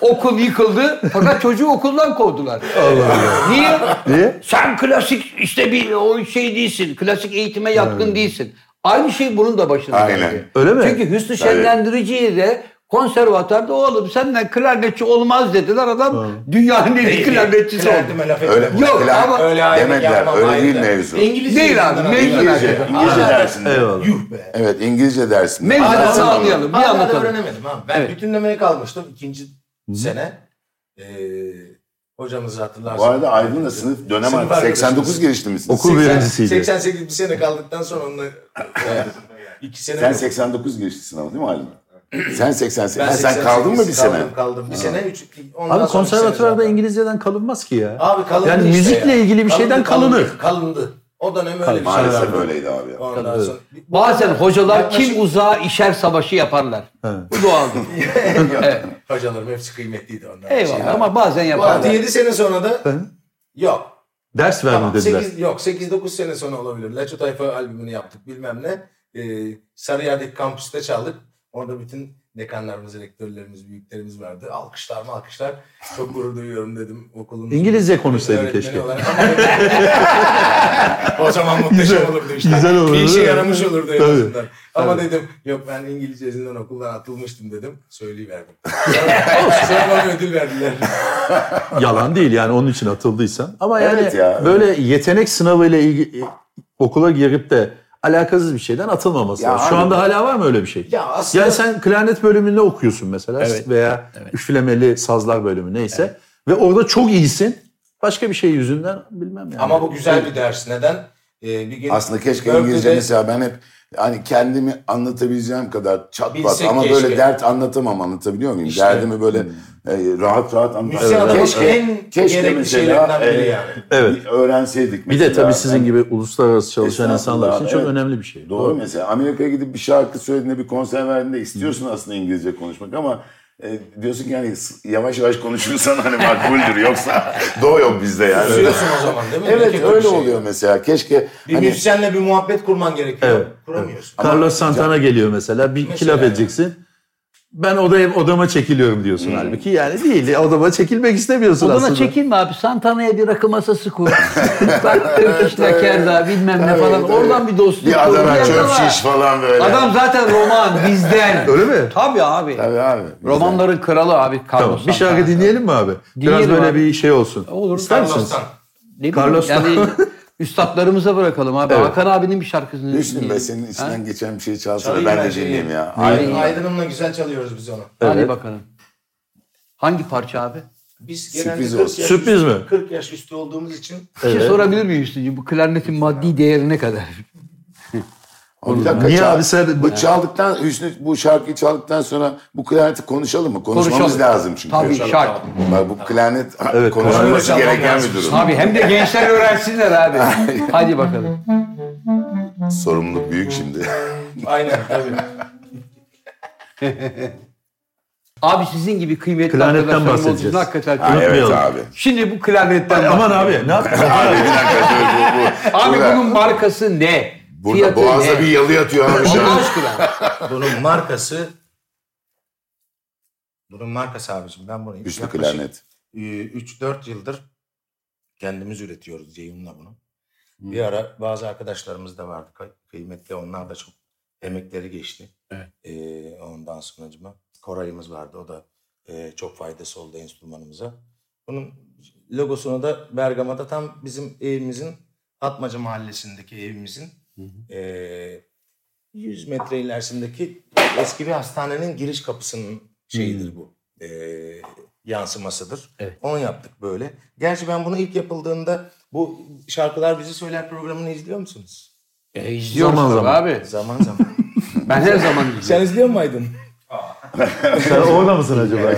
Speaker 1: Okul yıkıldı. Fakat çocuğu okuldan kovdular. Allah Allah. Niye?
Speaker 2: Niye?
Speaker 1: Sen klasik işte bir o şey değilsin. Klasik eğitime yatkın değilsin. Aynı şey bunun da başına
Speaker 3: Aynen.
Speaker 1: geldi.
Speaker 2: Öyle mi?
Speaker 1: Çünkü Hüsnü Şenlendirici'yi de konservatuarda oğlum senden klarnetçi olmaz dediler. Adam dünyanın en iyi klarnetçisi oldu.
Speaker 4: Klarnetime laf
Speaker 3: Öyle,
Speaker 4: etmiyorum.
Speaker 1: Yok
Speaker 3: Falan
Speaker 1: ama
Speaker 4: Öyle ayrı
Speaker 3: demediler.
Speaker 4: yapmam,
Speaker 3: Öyle
Speaker 4: ayrı
Speaker 3: değil
Speaker 4: da.
Speaker 3: mevzu.
Speaker 4: İngilizce
Speaker 1: Değil abi,
Speaker 4: yüzünden
Speaker 1: mevzu
Speaker 4: ayrı.
Speaker 3: İngilizce, İngilizce
Speaker 4: Aa,
Speaker 3: dersinde.
Speaker 2: Eyvallah.
Speaker 4: Yuh be.
Speaker 3: Evet İngilizce dersinde.
Speaker 1: Mevzu
Speaker 4: Hala
Speaker 1: Anlatsana
Speaker 4: da-
Speaker 1: anlayalım, bir
Speaker 4: hala da
Speaker 1: anlatalım.
Speaker 4: öğrenemedim abi. Ben
Speaker 1: Evet.
Speaker 4: bütünlemeye kalmıştım ikinci sene. Ee, hocamızı hatırlarsın.
Speaker 3: Bu arada Aydın da sınıf dönem artık.
Speaker 4: arkadaşımız.
Speaker 3: 89 girişli misin?
Speaker 2: Okul birincisiydi.
Speaker 4: 88 bir sene kaldıktan sonra onunla e, iki sene
Speaker 3: Sen
Speaker 4: yok.
Speaker 3: 89 girişlisin ama değil mi Aydın? sen 88.
Speaker 4: Ben
Speaker 3: Ha, sen
Speaker 4: 88
Speaker 3: kaldın mı bir sene?
Speaker 4: Kaldım kaldım. Bir sene. Üç,
Speaker 2: Abi
Speaker 4: ondan sonra bir sene
Speaker 2: konservatuvarda
Speaker 4: zaten.
Speaker 2: İngilizceden kalınmaz ki ya.
Speaker 4: Abi kalındı
Speaker 2: Yani
Speaker 4: işte
Speaker 2: müzikle
Speaker 4: ya.
Speaker 2: ilgili bir
Speaker 4: Kalındı,
Speaker 2: şeyden
Speaker 4: kalındı,
Speaker 2: kalınır.
Speaker 4: Kalındı. O dönem öyle bir şey.
Speaker 3: Maalesef
Speaker 2: Kaldım.
Speaker 3: öyleydi abi. ya.
Speaker 4: Ondan sonra-
Speaker 1: Bazen hocalar
Speaker 4: Yaklaşık-
Speaker 1: kim uzağa işer savaşı yaparlar. Bu doğaldır. [LAUGHS] evet.
Speaker 4: Hocalarım hepsi kıymetliydi onlar.
Speaker 1: Eyvallah ama bazen
Speaker 4: Bu arada
Speaker 1: yaparlar.
Speaker 4: 7 sene sonra da yok.
Speaker 2: Ders verme
Speaker 4: Tamam,
Speaker 2: dediler.
Speaker 4: 8, yok 8-9 sene sonra olabilir. Laço Tayfa albümünü yaptık bilmem ne. Ee, Sarıyer'deki kampüste çaldık. Orada bütün dekanlarımız, rektörlerimiz, büyüklerimiz vardı. Alkışlar mı alkışlar. Çok gurur duyuyorum dedim okulun.
Speaker 2: İngilizce konuşsaydın
Speaker 4: öğretmeni
Speaker 2: keşke.
Speaker 4: olarak. Ama- [LAUGHS] o zaman muhteşem olurdu işte.
Speaker 2: güzel olurdu,
Speaker 4: Bir işe
Speaker 2: değil mi?
Speaker 4: yaramış olurdu en
Speaker 2: Tabii,
Speaker 4: azından. Ama
Speaker 2: tabii.
Speaker 4: dedim yok ben İngilizce yüzünden okuldan atılmıştım dedim.
Speaker 2: [LAUGHS]
Speaker 4: Söyleyiverdim. Sonra, sonra bana ödül verdiler.
Speaker 2: Yalan değil yani onun için atıldıysan. Ama yani
Speaker 3: Evet ya, evet.
Speaker 2: böyle yetenek sınavıyla ilgili okula girip de alakasız bir şeyden atılmaması
Speaker 3: Ya
Speaker 2: lazım. Şu
Speaker 3: abi-
Speaker 2: anda hala var mı öyle bir şey?
Speaker 4: Ya aslında
Speaker 2: Yani sen klarnet bölümünde okuyorsun mesela
Speaker 1: Evet.
Speaker 2: veya
Speaker 1: Evet.
Speaker 2: üflemeli sazlar bölümü neyse ve orada çok iyisin. Başka bir şey yüzünden bilmem yani.
Speaker 4: ama bu güzel bir ders. Neden? Ee, bir gün
Speaker 3: Aslında keşke
Speaker 4: Berkeley'de-
Speaker 3: İngilizce mesela ben hep hani kendimi anlatabileceğim kadar çat pat
Speaker 4: Bilsek
Speaker 3: ama
Speaker 4: keşke.
Speaker 3: böyle dert anlatamam anlatabiliyor muyum?
Speaker 4: İşte.
Speaker 3: Derdimi böyle e, rahat rahat
Speaker 4: Müzisyen
Speaker 3: anlatamam.
Speaker 4: adamın
Speaker 3: Keşke,
Speaker 4: en
Speaker 3: keşke
Speaker 4: gerekli
Speaker 3: mesela,
Speaker 4: şeylerinden biri
Speaker 3: e,
Speaker 4: yani.
Speaker 2: Evet.
Speaker 3: bir öğrenseydik
Speaker 2: Bir
Speaker 3: mesela.
Speaker 2: de tabii sizin
Speaker 3: Yani
Speaker 2: gibi uluslararası çalışan
Speaker 3: Estağfurullah
Speaker 2: insanlar için
Speaker 3: abi,
Speaker 2: çok
Speaker 3: evet.
Speaker 2: önemli bir şey.
Speaker 3: Doğru mesela Amerika'ya gidip bir şarkı söylediğinde bir konser verdiğinde istiyorsun aslında İngilizce konuşmak ama e, diyorsun ki yani s- yavaş yavaş konuşursan hani makbuldür
Speaker 4: [LAUGHS]
Speaker 3: yoksa doğu yok bizde yani.
Speaker 4: Üzüyorsun o zaman değil Şey mi?
Speaker 3: evet
Speaker 4: Peki,
Speaker 3: öyle
Speaker 4: şey.
Speaker 3: oluyor mesela keşke
Speaker 4: Bir
Speaker 3: hani
Speaker 4: müzisyenle bir muhabbet kurman gerekiyor.
Speaker 2: Evet,
Speaker 4: Kuramıyorsun.
Speaker 2: Carlos Santana geliyor mesela. Bir iki
Speaker 4: Mesela
Speaker 2: laf
Speaker 4: yani.
Speaker 2: edeceksin. Ben odaya, odama çekiliyorum diyorsun halbuki. Yani değil. Odama çekilmek istemiyorsun
Speaker 1: Odana
Speaker 2: aslında.
Speaker 1: çekilme abi. Santana'ya bir rakı masası kur. [LAUGHS] Bak Turkish Lakerda bilmem ne
Speaker 3: Tabii,
Speaker 1: falan.
Speaker 3: tabii.
Speaker 1: Oradan bir dostluk.
Speaker 3: bir
Speaker 1: kur.
Speaker 3: Adana
Speaker 1: Biraz
Speaker 3: çöp
Speaker 1: ama
Speaker 3: şiş falan böyle.
Speaker 1: Adam zaten roman bizden.
Speaker 2: [LAUGHS] Öyle mi?
Speaker 1: Tabii abi.
Speaker 3: Tabii abi.
Speaker 1: Romanların kralı abi Carlos
Speaker 2: Tamam. Bir
Speaker 1: Santana.
Speaker 2: şarkı dinleyelim mi abi? Biraz
Speaker 1: Dinleyelim
Speaker 2: böyle
Speaker 1: abi.
Speaker 2: bir şey olsun.
Speaker 1: Olur.
Speaker 2: İster misiniz?
Speaker 4: Carlos'tan.
Speaker 1: Ne bileyim,
Speaker 2: Carlos
Speaker 1: yani [LAUGHS] üstadlarımıza bırakalım abi.
Speaker 2: Evet.
Speaker 1: Hakan abinin bir şarkısını
Speaker 3: Düşünün be
Speaker 1: dinleyelim.
Speaker 3: senin
Speaker 1: Ha?
Speaker 3: içinden geçen bir şey çalsana
Speaker 4: Çalayım
Speaker 3: ben de
Speaker 4: bence iyi.
Speaker 3: dinleyeyim ya.
Speaker 4: Aydın,
Speaker 3: Aynen.
Speaker 4: Aydın'ımla güzel çalıyoruz biz onu.
Speaker 2: Evet.
Speaker 1: Hadi bakalım. Hangi parça abi?
Speaker 4: Biz
Speaker 3: Sürpriz
Speaker 4: genelde 40
Speaker 3: olsun.
Speaker 4: yaş-
Speaker 2: Sürpriz mi?
Speaker 4: 40 yaş üstü olduğumuz için
Speaker 1: Bir şey sorabilir miyim Hüsnü'cüğüm? Bu klarnetin maddi değeri ne kadar?
Speaker 3: Abi bir dakika,
Speaker 2: Niye
Speaker 3: çal-
Speaker 2: abi sen-
Speaker 3: Bu çaldıktan, Hüsnü bu şarkıyı çaldıktan sonra bu klarneti konuşalım mı? Konuşmamız
Speaker 1: Konuşalım.
Speaker 3: lazım çünkü.
Speaker 1: Tabii şart.
Speaker 3: Bak bu klarnet
Speaker 2: Evet,
Speaker 4: klarnet
Speaker 3: konuşulması
Speaker 4: çalmak
Speaker 3: gereken
Speaker 4: lazım.
Speaker 3: bir durum.
Speaker 1: Abi hem de gençler öğrensinler
Speaker 3: [LAUGHS]
Speaker 1: abi. Hadi bakalım.
Speaker 3: Sorumluluk büyük [LAUGHS] şimdi.
Speaker 4: aynen tabii.
Speaker 1: Abi sizin gibi kıymetli
Speaker 2: Klarnetten
Speaker 1: arkadaşlarım olduğu için
Speaker 2: bahsedeceğiz.
Speaker 1: Hakikaten
Speaker 3: Ha, evet
Speaker 2: Unutmayalım.
Speaker 3: abi.
Speaker 1: Şimdi bu klarnetten
Speaker 2: Aman
Speaker 1: bahsedeceğim.
Speaker 2: abi ne yapıyorsun?
Speaker 3: abi bir dakika dur bu. bu.
Speaker 1: Abi
Speaker 3: Burada-
Speaker 1: bunun markası ne?
Speaker 3: burada
Speaker 1: Fiyatı
Speaker 3: boğazda
Speaker 1: ne?
Speaker 3: bir yalı yatıyor abi şu
Speaker 1: Allah
Speaker 3: an.
Speaker 1: aşkına.
Speaker 4: Bunun markası bunun markası abicim ben bunu
Speaker 3: Hüsnü klarnet.
Speaker 4: 3-4 Ee, yıldır kendimiz üretiyoruz yayınla bunu. Bir ara bazı arkadaşlarımız da vardı kı- kıymetli onlar da çok emekleri geçti.
Speaker 1: Evet.
Speaker 4: Ee, ondan sonracıma Koray'ımız vardı o da e, çok faydası oldu enstrümanımıza. Bunun logosunu da Bergama'da tam bizim evimizin Atmaca mahallesindeki evimizin e, 100 metre ilerisindeki eski bir hastanenin giriş kapısının şeyidir bu. e, yansımasıdır.
Speaker 1: Evet.
Speaker 4: Onu yaptık böyle. Gerçi ben bunu ilk yapıldığında bu şarkılar bizi söyler programını izliyor musunuz?
Speaker 1: E, izliyoruz
Speaker 2: Zaman
Speaker 1: tabii
Speaker 2: zaman.
Speaker 1: abi.
Speaker 4: Zaman zaman.
Speaker 1: Ben her
Speaker 3: [LAUGHS]
Speaker 1: zaman izliyorum.
Speaker 4: Sen izliyor muydun? [LAUGHS]
Speaker 2: Sen orada mısın acaba?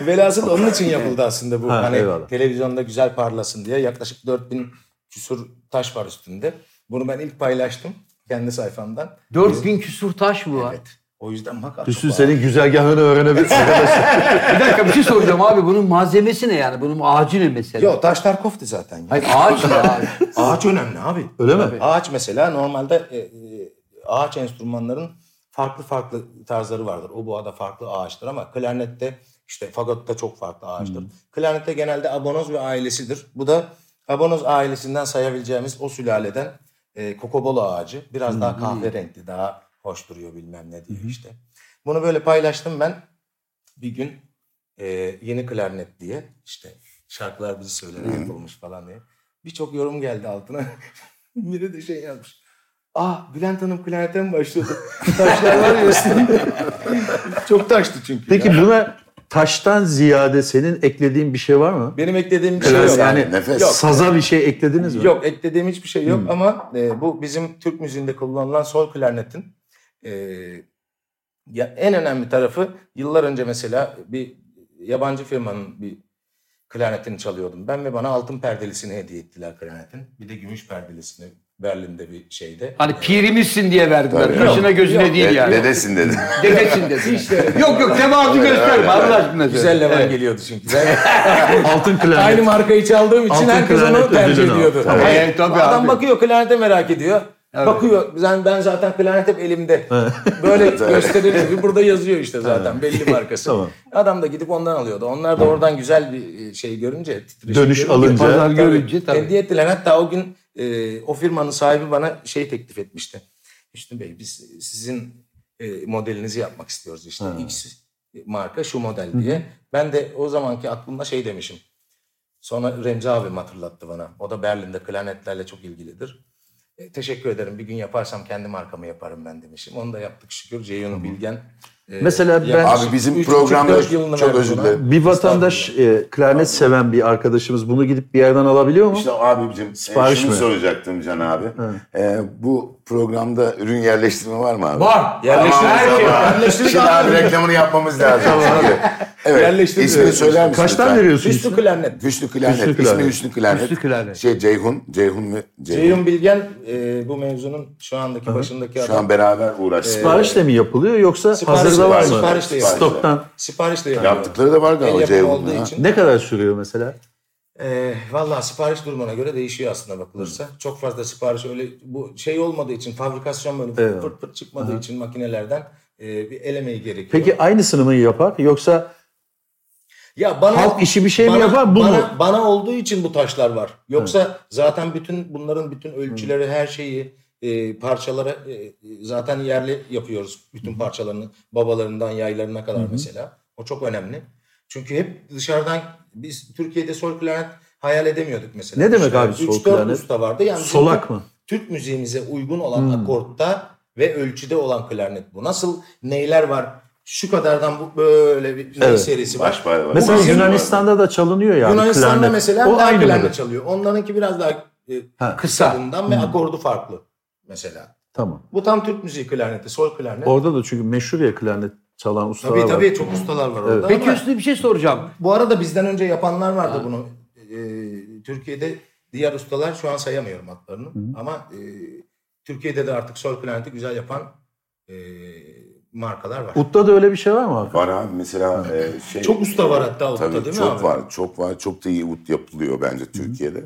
Speaker 4: Velhasıl onun için yapıldı aslında bu.
Speaker 2: Ha,
Speaker 4: hani
Speaker 2: eyvallah.
Speaker 4: televizyonda güzel parlasın diye yaklaşık 4000 küsur taş var üstünde. Bunu ben ilk paylaştım kendi sayfamdan.
Speaker 1: 4000 küsur taş mı var?
Speaker 4: Evet. O yüzden bak
Speaker 2: Hüsnü senin güzergahını öğrenebilirsin.
Speaker 1: Bir dakika bir şey soracağım abi. Bunun malzemesi ne yani? Bunun ağacı ne mesela?
Speaker 4: Yok taşlar koftu zaten. ya.
Speaker 1: Hayır ağaç ne abi?
Speaker 4: Ağaç önemli abi.
Speaker 2: Öyle mi?
Speaker 4: Ağaç mesela normalde e, e, ağaç enstrümanların farklı farklı tarzları vardır. Oboa'da farklı ağaçtır ama klarnette işte fagotta çok farklı ağaçtır. Klarnette genelde abonoz ve ailesidir. Bu da abonoz ailesinden sayabileceğimiz o sülaleden e, kokobolo ağacı. Biraz daha kahverengi, daha hoş duruyor bilmem ne diye işte. Bunu böyle paylaştım ben bir gün e, yeni klarnet diye işte şarkılar bizi söyleyen yapılmış falan diye. Birçok yorum geldi altına. [LAUGHS] Biri de şey yazmış. Ah Bülent Hanım klarnete mi başladı? [LAUGHS] Taşlar var ya üstünde. [LAUGHS] Çok taştı çünkü. ya.
Speaker 2: Peki buna taştan ziyade senin eklediğin bir şey var mı?
Speaker 4: Benim eklediğim bir şey
Speaker 2: Biraz
Speaker 4: yok.
Speaker 2: yani
Speaker 3: nefes.
Speaker 2: saza bir şey eklediniz mi?
Speaker 4: Yok eklediğim hiçbir şey yok ama e, bu bizim Türk müziğinde kullanılan sol klarnetin e, ya en önemli tarafı yıllar önce mesela bir yabancı firmanın bir klarnetini çalıyordum. Ben ve bana altın perdelisini hediye ettiler klarnetin. Bir de gümüş perdelisini Berlin'de bir şeyde.
Speaker 1: Hani pirimizsin diye verdiler.
Speaker 3: Tabii.
Speaker 1: Kaşına
Speaker 4: Yok,
Speaker 1: gözüne
Speaker 4: yok.
Speaker 1: değil
Speaker 3: De-
Speaker 1: yani.
Speaker 3: Dedesin dedi.
Speaker 1: Dedesin dedi. yok yok devamını gösterme Allah aşkına. söyle.
Speaker 4: Güzel levan
Speaker 1: Evet.
Speaker 4: geliyordu çünkü. Ben
Speaker 2: Altın klarnet.
Speaker 4: aynı markayı çaldığım için
Speaker 2: Altın
Speaker 4: herkes onu
Speaker 2: klarnet
Speaker 4: tercih
Speaker 2: ödülünü al.
Speaker 4: ediyordu.
Speaker 2: Tabii.
Speaker 4: Hayır,
Speaker 1: Evet, tabii
Speaker 4: adam
Speaker 1: abi.
Speaker 4: bakıyor klarnete merak ediyor.
Speaker 1: Evet.
Speaker 4: Bakıyor. Ben, ben zaten klarnet hep elimde. Böyle gösterir gibi burada yazıyor işte zaten belli
Speaker 2: [LAUGHS]
Speaker 4: markası.
Speaker 2: Tamam.
Speaker 4: Adam da gidip ondan alıyordu. Onlar da oradan güzel bir şey görünce titreşim
Speaker 2: Dönüş
Speaker 4: görünce-
Speaker 2: alınca.
Speaker 1: Pazar
Speaker 4: Tabii,
Speaker 1: görünce tabii.
Speaker 4: Hediye ettiler. Hatta o gün e, o firmanın sahibi bana şey teklif etmişti. Hüsnü Bey biz sizin e, modelinizi yapmak istiyoruz işte. X marka şu model diye. Ben de o zamanki aklımda şey demişim. Sonra Remzi abim hatırlattı bana. O da Berlin'de klarnetlerle çok ilgilidir. E, teşekkür ederim. Bir gün yaparsam kendi markamı yaparım ben demişim. Onu da yaptık şükür. Ceyhun'u bilgen. e,
Speaker 2: Mesela ben-
Speaker 4: yaklaşık
Speaker 3: Abi bizim
Speaker 4: üç buçuk,
Speaker 3: programda
Speaker 4: dört yılını
Speaker 3: çok
Speaker 4: verdi
Speaker 3: özür
Speaker 4: buna.
Speaker 3: dilerim.
Speaker 2: Bir vatandaş e, klarnet seven bir arkadaşımız bunu gidip bir yerden alabiliyor mu?
Speaker 3: İşte abicim
Speaker 2: Sipariş
Speaker 3: e, şunu
Speaker 2: mi?
Speaker 3: soracaktım Can abi. E, bu programda ürün yerleştirme var mı abi?
Speaker 1: Var.
Speaker 4: Yerleştirme
Speaker 3: Tamam,
Speaker 4: her şey
Speaker 3: tamam.
Speaker 4: var. Yerleştirme
Speaker 3: Şimdi
Speaker 4: abi.
Speaker 3: abi reklamını yapmamız lazım. Çünkü. Evet.
Speaker 4: Yerleştirme.
Speaker 3: İsmini söyler misin?
Speaker 2: Kaçtan
Speaker 3: lütfen?
Speaker 2: veriyorsunuz?
Speaker 4: Hüsnü klarnet.
Speaker 3: Hüsnü Klarnet.
Speaker 2: Hüsnü
Speaker 3: Hüsnü
Speaker 2: Klarnet.
Speaker 3: İsmi Hüsnü Klarnet.
Speaker 1: Hüsnü Klarnet.
Speaker 3: Şey Ceyhun. Ceyhun mu?
Speaker 4: Ceyhun Bilgen e, bu mevzunun şu andaki başındaki
Speaker 3: Şu
Speaker 4: adam. Ee,
Speaker 3: an beraber uğraştık.
Speaker 2: Siparişle mi yapılıyor yoksa hazırda var mı?
Speaker 4: Siparişle yapıyor.
Speaker 2: Stoktan.
Speaker 4: Siparişle yapıyor.
Speaker 3: Yaptıkları da var
Speaker 4: El
Speaker 3: galiba
Speaker 4: yapımı
Speaker 3: Ceyhun'un.
Speaker 4: olduğu
Speaker 3: ha.
Speaker 4: için.
Speaker 2: Ne kadar sürüyor mesela?
Speaker 4: E, Valla sipariş durumuna göre değişiyor aslında bakılırsa. Çok fazla sipariş öyle bu şey olmadığı için fabrikasyon böyle
Speaker 2: Evet.
Speaker 4: fırt fırt fırt çıkmadığı için makinelerden e, bir elemeyi gerekiyor.
Speaker 2: Peki aynısını mı yapar yoksa
Speaker 4: ya bana,
Speaker 2: halk işi bir şey mi yapar bu
Speaker 4: bana,
Speaker 2: mu?
Speaker 4: Bana olduğu için bu taşlar var. Yoksa zaten bütün bunların bütün ölçüleri her şeyi e, parçalara e, zaten yerli yapıyoruz. Bütün parçalarını babalarından yaylarına kadar mesela. O çok önemli. Çünkü hep dışarıdan biz Türkiye'de sol klarnet hayal edemiyorduk mesela.
Speaker 2: Ne demek
Speaker 4: Dışarı
Speaker 2: abi sol
Speaker 4: üç, dört
Speaker 2: klarnet?
Speaker 4: usta vardı. Yani bizim
Speaker 2: Solak mı? Hmm.
Speaker 4: Türk müziğimize uygun olan akortta ve ölçüde olan klarnet bu. Nasıl neyler var? Şu kadardan bu böyle bir ney
Speaker 2: Evet.
Speaker 4: serisi var.
Speaker 3: Baş bay var.
Speaker 2: Mesela
Speaker 3: Baş bay var.
Speaker 2: Yunanistan'da da çalınıyor yani
Speaker 4: Yunanistan'da
Speaker 2: klarnet.
Speaker 4: mesela
Speaker 2: o
Speaker 4: daha
Speaker 2: aynı
Speaker 4: klarnet
Speaker 2: mıdır?
Speaker 4: çalıyor. Onlarınki biraz daha e,
Speaker 2: Ha.
Speaker 1: Kısa.
Speaker 4: bundan
Speaker 2: Hmm.
Speaker 4: ve akordu farklı mesela.
Speaker 2: Tamam.
Speaker 4: Bu tam Türk müziği klarneti, sol klarnet.
Speaker 2: Orada da çünkü meşhur ya klarnet çalan ustalar
Speaker 4: tabii
Speaker 2: var.
Speaker 4: tabii çok ustalar var orada
Speaker 1: Peki
Speaker 4: ama
Speaker 1: üstüne bir şey soracağım.
Speaker 4: bu arada bizden önce yapanlar vardı bunu. E, Türkiye'de diğer ustalar şu an sayamıyorum adlarını ama e, Türkiye'de de artık sol klarneti güzel yapan e, markalar var.
Speaker 2: Utta da öyle bir şey var mı?
Speaker 3: Var abi mesela e, şey.
Speaker 4: Çok usta var hatta utta
Speaker 3: Tabii
Speaker 4: değil mi
Speaker 3: çok
Speaker 4: abi?
Speaker 3: var, çok var. Çok da iyi ut yapılıyor bence Türkiye'de.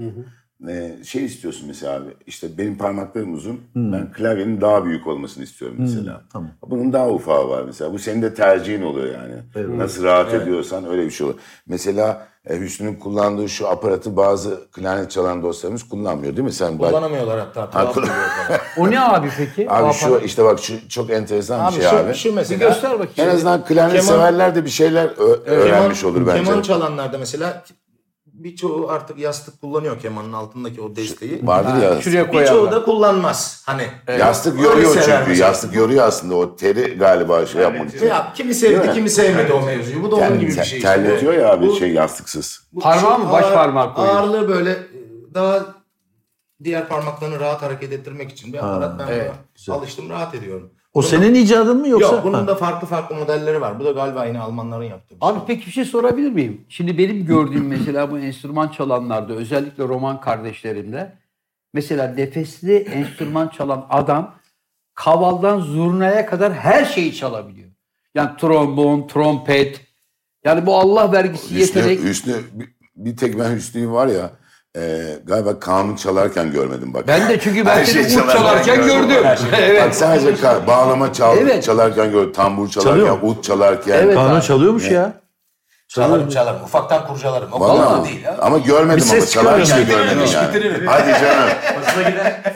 Speaker 3: Ee, şey istiyorsun mesela abi, işte benim parmaklarım uzun, ben klavyenin daha büyük olmasını istiyorum mesela.
Speaker 2: Tamam.
Speaker 3: Bunun daha ufağı var mesela. Bu senin de tercihin oluyor yani. Nasıl rahat ediyorsan öyle bir şey oluyor. Mesela e, Hüsnü'nün kullandığı şu aparatı bazı klarnet çalan dostlarımız kullanmıyor değil mi? Sen bak,
Speaker 4: Kullanamıyorlar hatta. tuhaf
Speaker 3: kullan-
Speaker 4: geliyor bana.
Speaker 1: O ne abi peki? O
Speaker 3: abi şu
Speaker 1: aparat-
Speaker 3: işte bak şu çok enteresan
Speaker 4: Abi
Speaker 3: bir şey
Speaker 4: şu,
Speaker 3: abi.
Speaker 4: şu
Speaker 1: bir
Speaker 4: mesela.
Speaker 1: göster bakayım.
Speaker 3: en azından klarnet
Speaker 4: Keman-
Speaker 3: severler de bir şeyler ö- öğrenmiş
Speaker 4: Keman-
Speaker 3: olur bence.
Speaker 4: Keman çalanlarda mesela birçoğu artık yastık kullanıyor kemanın altındaki o desteği.
Speaker 3: Vardır ya.
Speaker 1: Şuraya
Speaker 4: Birçoğu
Speaker 1: koyalım.
Speaker 4: da kullanmaz. Hani
Speaker 3: Yastık
Speaker 4: Öyle
Speaker 3: yoruyor
Speaker 4: sever
Speaker 3: çünkü.
Speaker 4: mesela.
Speaker 3: Yastık yoruyor aslında. O teri galiba şey yapmak için.
Speaker 4: Ya kimi
Speaker 3: Değil
Speaker 4: sevdi
Speaker 3: mi?
Speaker 4: kimi sevmedi o mevzuyu. Bu da onun
Speaker 3: Yani
Speaker 4: gibi bir
Speaker 3: ter-
Speaker 4: şey. işte.
Speaker 3: terletiyor ya abi
Speaker 4: Bu-
Speaker 3: şey yastıksız.
Speaker 4: bu-
Speaker 1: Parmağı
Speaker 4: şu
Speaker 1: mı? Baş
Speaker 4: ağır-
Speaker 1: parmağı koyuyor.
Speaker 4: Ağırlığı böyle e, daha diğer parmaklarını rahat hareket ettirmek için bir aparat. Ben buna alıştım rahat ediyorum.
Speaker 2: O senin icadın mı yoksa?
Speaker 4: Yok bunun
Speaker 2: Ha.
Speaker 4: da farklı farklı modelleri var. Bu da galiba yine Almanların yaptığı. bir şey.
Speaker 1: Abi peki bir şey sorabilir miyim? Şimdi benim gördüğüm [LAUGHS] mesela bu enstrüman çalanlarda özellikle roman kardeşlerimde mesela nefesli enstrüman çalan adam kavaldan zurnaya kadar her şeyi çalabiliyor. Yani trombon, trompet. Yani bu Allah vergisi
Speaker 3: Hüsnü,
Speaker 1: yetenek.
Speaker 3: Hüsnü, bir- bir tek ben Hüsnü'yü var ya e, galiba kanun çalarken görmedim bak.
Speaker 1: Ben de çünkü ben
Speaker 3: [LAUGHS] Her
Speaker 1: seni
Speaker 3: şey
Speaker 1: ut çalarken gördüm.
Speaker 3: Her şey. Bak
Speaker 1: [LAUGHS] evet.
Speaker 3: sadece ka- bağlama çal-
Speaker 1: Evet.
Speaker 3: çalarken gördüm. Tambur çalarken,
Speaker 2: Çalıyor mu?
Speaker 3: ut çalarken.
Speaker 1: Evet.
Speaker 2: Kanun
Speaker 1: abi.
Speaker 2: çalıyormuş ya.
Speaker 4: Çalarım çalarım. Ufaktan kurcalarım. O kadar da
Speaker 3: Vallahi
Speaker 4: değil ya.
Speaker 3: ama görmedim
Speaker 2: Bir
Speaker 3: ama
Speaker 2: ses çıkarıyor.
Speaker 3: çalarken görmedim
Speaker 4: Bitiririm,
Speaker 3: yani.
Speaker 4: bitiririm.
Speaker 3: Hadi canım.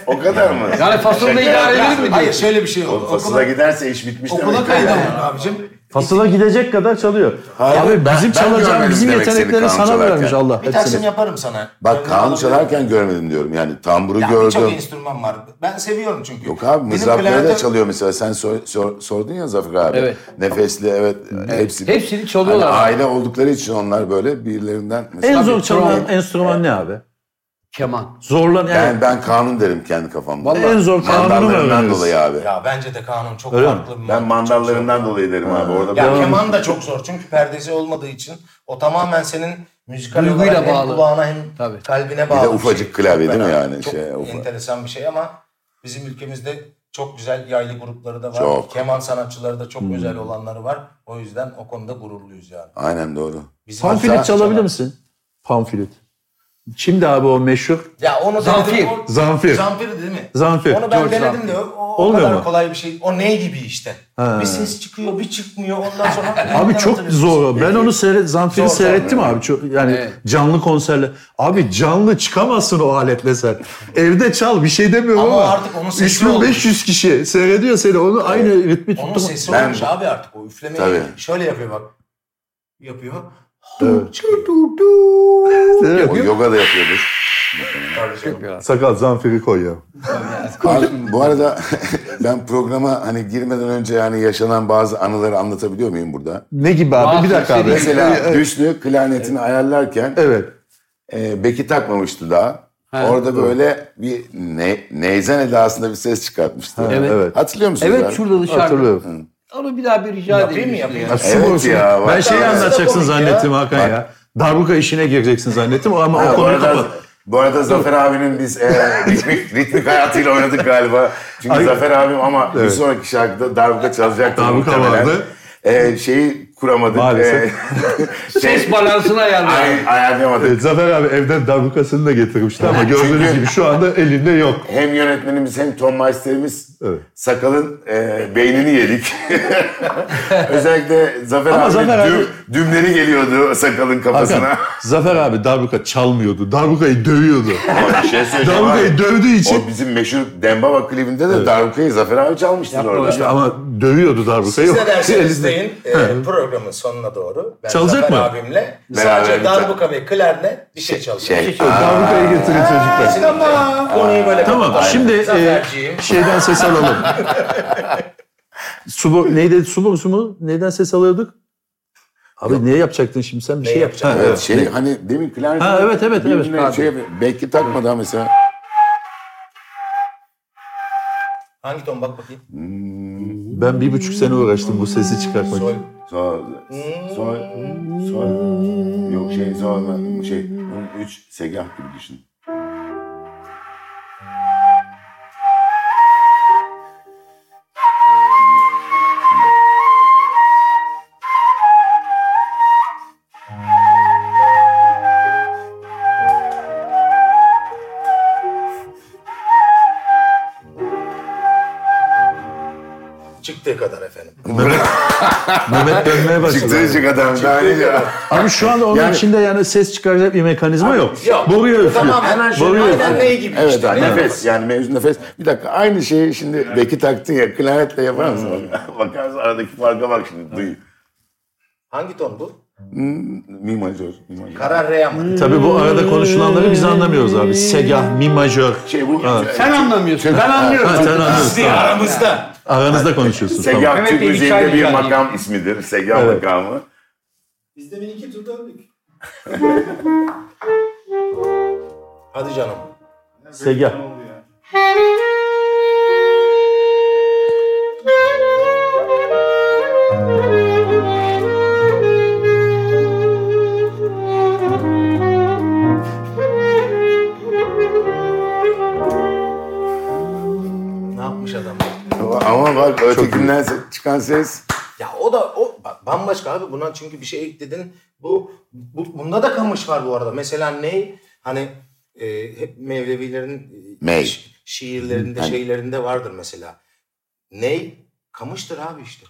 Speaker 3: o kadar mı?
Speaker 1: Yani fasulye idare edilir mi diyor.
Speaker 4: Hayır şöyle bir şey oldu.
Speaker 3: Fasıla giderse iş bitmiş demek.
Speaker 4: Okula kaydolun abicim.
Speaker 2: Fasıla gidecek kadar çalıyor.
Speaker 3: Hayır,
Speaker 2: Abi
Speaker 3: ben-
Speaker 2: bizim
Speaker 3: ben
Speaker 2: çalacağımız
Speaker 3: görmedim
Speaker 2: bizim
Speaker 3: demek seni
Speaker 2: yetenekleri
Speaker 3: kanun
Speaker 2: sana
Speaker 3: çalarken.
Speaker 2: vermiş Allah.
Speaker 4: Bir
Speaker 2: hepsini.
Speaker 4: taksim yaparım sana.
Speaker 3: Bak kanun
Speaker 4: Canım
Speaker 3: çalarken görmedim diyorum. Yani tamburu
Speaker 4: Ya Birçok
Speaker 3: gördüm.
Speaker 4: enstrüman var. Ben seviyorum çünkü.
Speaker 3: Yok abi
Speaker 4: Benim
Speaker 3: mızrakları da
Speaker 4: klarnetim-
Speaker 3: çalıyor mesela. Sen sor- sor- sordun ya Zafer abi.
Speaker 1: Evet.
Speaker 3: Nefesli evet. Hepsi.
Speaker 1: Hepsini çalıyorlar.
Speaker 3: Hani aile oldukları için onlar böyle birilerinden.
Speaker 2: En
Speaker 3: Mesela
Speaker 2: zor çalınan
Speaker 1: trombon.
Speaker 2: enstrüman ne abi?
Speaker 1: Keman.
Speaker 2: Zorlan yani.
Speaker 3: ben, ben kanun derim kendi kafamda.
Speaker 1: Vallahi
Speaker 2: en zor kanunu mu
Speaker 3: mandallarından
Speaker 2: öğreniyoruz?
Speaker 3: dolayı abi.
Speaker 4: Ya bence de kanun çok
Speaker 2: Öyle mi?
Speaker 4: farklı. bir
Speaker 3: Ben
Speaker 4: mantık,
Speaker 3: mandallarından dolayı derim abi. Orada
Speaker 4: çok zor. Ya
Speaker 3: böyle-
Speaker 4: keman da çok zor çünkü perdesi olmadığı için o tamamen senin müzikal
Speaker 1: Duyguyla
Speaker 4: olarak hem
Speaker 1: bağlı.
Speaker 4: kulağına hem
Speaker 1: Tabii.
Speaker 4: kalbine
Speaker 3: bir
Speaker 4: bağlı.
Speaker 3: de
Speaker 4: şey.
Speaker 3: ufacık klavye değil mi yani?
Speaker 4: Çok
Speaker 3: Şey, ufa-
Speaker 4: enteresan bir şey ama bizim ülkemizde çok güzel yaylı grupları da var.
Speaker 3: Çok. Hmm.
Speaker 4: Keman sanatçıları da çok özel olanları var. O yüzden o konuda gururluyuz yani.
Speaker 3: Aynen doğru.
Speaker 4: Bizim
Speaker 2: Panflüt
Speaker 4: Hatta-
Speaker 2: çalabilir misin? Panflüt. Kimdi abi o meşhur?
Speaker 4: Ya onu
Speaker 1: Zamfir.
Speaker 4: denedim, o-
Speaker 2: Zamfir.
Speaker 4: Zamfir değil mi?
Speaker 2: Zamfir,
Speaker 4: Onu ben
Speaker 2: George
Speaker 4: denedim
Speaker 2: Zamfir.
Speaker 4: de o, o
Speaker 2: Olmuyor
Speaker 4: kadar
Speaker 2: mu?
Speaker 4: kolay bir şey. O ney gibi işte.
Speaker 2: Ha.
Speaker 4: Bir ses çıkıyor, bir çıkmıyor. Ondan sonra
Speaker 2: Abi çok zor. o. Ben onu seyret, Zamfir'i
Speaker 4: Zor,
Speaker 2: seyrettim
Speaker 3: zor.
Speaker 2: abi. Çok, yani
Speaker 1: Evet.
Speaker 2: canlı konserle. Abi canlı çıkamazsın o aletle sen. Evde çal bir şey demiyorum ama.
Speaker 4: Ama artık onun sesi
Speaker 2: 3500 kişi seyrediyor seni. Onu aynı ritmi
Speaker 4: Onun
Speaker 2: tuttum.
Speaker 4: sesi
Speaker 3: Ben-
Speaker 4: olmuş abi artık o üflemeyi.
Speaker 3: Tabii.
Speaker 4: Şöyle yapıyor bak. Yapıyor.
Speaker 2: Evet.
Speaker 3: O
Speaker 2: Evet.
Speaker 3: yoga da
Speaker 4: [LAUGHS]
Speaker 3: yapıyordur.
Speaker 2: Sakal Zamfir'i koy ya.
Speaker 3: Abi, bu arada [LAUGHS] ben programa hani girmeden önce yani yaşanan bazı anıları anlatabiliyor muyum burada?
Speaker 2: Ne gibi abi?
Speaker 1: Bazı
Speaker 2: Bir dakika abi.
Speaker 1: seri-
Speaker 3: Mesela Hüsnü klarnetini ayarlarken
Speaker 2: Evet.
Speaker 3: e, beki takmamıştı daha.
Speaker 1: He.
Speaker 3: Orada böyle bir ne, neyzen edasında bir ses çıkartmıştı.
Speaker 1: Evet.
Speaker 2: Evet.
Speaker 3: Hatırlıyor musunuz?
Speaker 1: Evet
Speaker 3: abi?
Speaker 1: şurada dışarıda.
Speaker 2: Hatırlıyorum.
Speaker 1: Onu bir daha bir rica edeyim.
Speaker 4: Yapayım mı,
Speaker 1: işte
Speaker 4: yapayım
Speaker 1: ya.
Speaker 4: mı?
Speaker 2: Sim
Speaker 3: Evet
Speaker 2: olsun.
Speaker 3: ya,
Speaker 2: ben
Speaker 3: bak-
Speaker 2: şeyi
Speaker 4: Arası da
Speaker 2: anlatacaksın
Speaker 4: komik ya.
Speaker 2: zannettim Hakan ya. Darbuka işine gireceksin zannettim ama
Speaker 3: Ha,
Speaker 2: o
Speaker 3: bu,
Speaker 2: konuyu
Speaker 3: arada,
Speaker 2: kapat.
Speaker 3: bu arada Zafer abinin biz e,
Speaker 2: [LAUGHS]
Speaker 3: ritmik, ritmik hayatıyla oynadık galiba. Çünkü
Speaker 2: Ay-
Speaker 3: Zafer abim ama bir
Speaker 2: Evet.
Speaker 3: sonraki şarkıda darbuka çalacaktı.
Speaker 2: Darbuka
Speaker 3: muhtemelen.
Speaker 2: vardı.
Speaker 3: E, şeyi kuramadık.
Speaker 2: Maalesef.
Speaker 3: E, [LAUGHS] şey-
Speaker 1: Ses balansını ayarlayalım.
Speaker 3: Ay- ayarlayamadık.
Speaker 2: Evet, Zafer abi evden darbukasını da getirmişti ama gördüğünüz
Speaker 3: Çünkü-
Speaker 2: gibi şu anda elinde yok.
Speaker 3: Hem yönetmenimiz hem Tom Meister'imiz
Speaker 2: Evet.
Speaker 3: sakalın e,
Speaker 2: [LAUGHS]
Speaker 3: beynini yedik. Özellikle Zafer
Speaker 2: Ama
Speaker 3: abinin
Speaker 2: Zafer abi-
Speaker 3: düm- dümleri geliyordu sakalın
Speaker 2: Hakan,
Speaker 3: kafasına.
Speaker 2: Zafer abi darbuka çalmıyordu. Darbukayı [LAUGHS] dövüyordu.
Speaker 3: Ama [LAUGHS] bir şey söyleyeceğim
Speaker 2: darbukayı
Speaker 3: abi.
Speaker 2: dövdüğü için
Speaker 3: O bizim meşhur Dembaba klibinde de darbukayı Zafer abi çalmıştır orada.
Speaker 2: İşte ama dövüyordu darbukayı.
Speaker 4: Siz ne derseniz
Speaker 2: Elinde-
Speaker 4: deyin e, programın sonuna doğru ben
Speaker 2: Şey, Çalacak
Speaker 4: Zafer
Speaker 2: mı?
Speaker 4: abimle
Speaker 3: Beraber
Speaker 4: sadece
Speaker 3: bir
Speaker 4: darbuka ve klarnet bir şey
Speaker 3: Şey,
Speaker 4: çalacağız.
Speaker 2: Evet, Darbukayı getirin çocuklar.
Speaker 4: Ama konuyu böyle
Speaker 2: Tamam
Speaker 4: kapatalım.
Speaker 2: şimdi e,
Speaker 4: Zaferciğim.
Speaker 2: şeyden ses alalım. Subo, neydi? Suborusu mu? Neyden ses alıyorduk? Abi niye yapacaktın şimdi sen bir şey yapacaksın.
Speaker 3: evet, şey hani demin klarnet.
Speaker 2: Ha, evet, evet, evet.
Speaker 3: birbirine Şey, belki takmadan mesela.
Speaker 4: Hangi ton bak bakayım.
Speaker 2: Ben bir buçuk sene uğraştım bu sesi çıkartmak
Speaker 4: Sol.
Speaker 2: için.
Speaker 3: Sol, sol, sol. Yok şey sol, şey. Üç segah gibi düşün.
Speaker 4: Çıktığı kadar efendim.
Speaker 2: Mehmet dönmeye başladı. abi.
Speaker 3: Çıktırıcı kadar daha iyi ya.
Speaker 2: Abi şu anda onun
Speaker 3: Yani-
Speaker 2: içinde yani ses çıkaracak bir mekanizma yok.
Speaker 4: Yok.
Speaker 2: Boruya üflüyor.
Speaker 4: Tamam hemen şöyle.
Speaker 2: Boruya
Speaker 4: Aynen
Speaker 2: üflüyor.
Speaker 4: ney gibi
Speaker 3: Evet
Speaker 4: işte.
Speaker 3: abi,
Speaker 4: ne
Speaker 3: nefes yani mevzu nefes. Bir dakika aynı şeyi şimdi beki taktın ya klarnetle yapar mısın? [LAUGHS] Bakarsın Hmm. aradaki farka bak şimdi duy.
Speaker 4: Hangi ton bu?
Speaker 3: Mi majör. mi majör.
Speaker 4: Karar re ama.
Speaker 2: Tabii bu arada konuşulanları biz anlamıyoruz abi. Segah, mi majör.
Speaker 3: Şey bu
Speaker 1: Sen anlamıyorsun. Ben
Speaker 2: Ha, sen
Speaker 1: anlıyorum.
Speaker 2: anlıyorsun.
Speaker 4: aramızda.
Speaker 2: Aranızda konuşuyorsun.
Speaker 3: Segah
Speaker 2: Tamam.
Speaker 1: Mehmet
Speaker 3: Türk
Speaker 1: Bey,
Speaker 3: müziğinde
Speaker 1: hikaye
Speaker 3: bir
Speaker 1: yani.
Speaker 3: makam ismidir. Segah
Speaker 2: Evet.
Speaker 3: makamı.
Speaker 4: Biz de bir iki tur döndük. Hadi canım.
Speaker 2: Segah.
Speaker 4: Ne yapmış adam?
Speaker 3: Ama bak ötekinden se- çıkan ses.
Speaker 4: Ya o da o bak, bambaşka abi buna çünkü bir şey ekledin. Bu, bu bunda da kamış var bu arada. Mesela ne? Hani e, hep Mevlevilerin e,
Speaker 3: Mey.
Speaker 4: şi- şiirlerinde, şeylerinde vardır mesela. Ney? Kamıştır abi işte.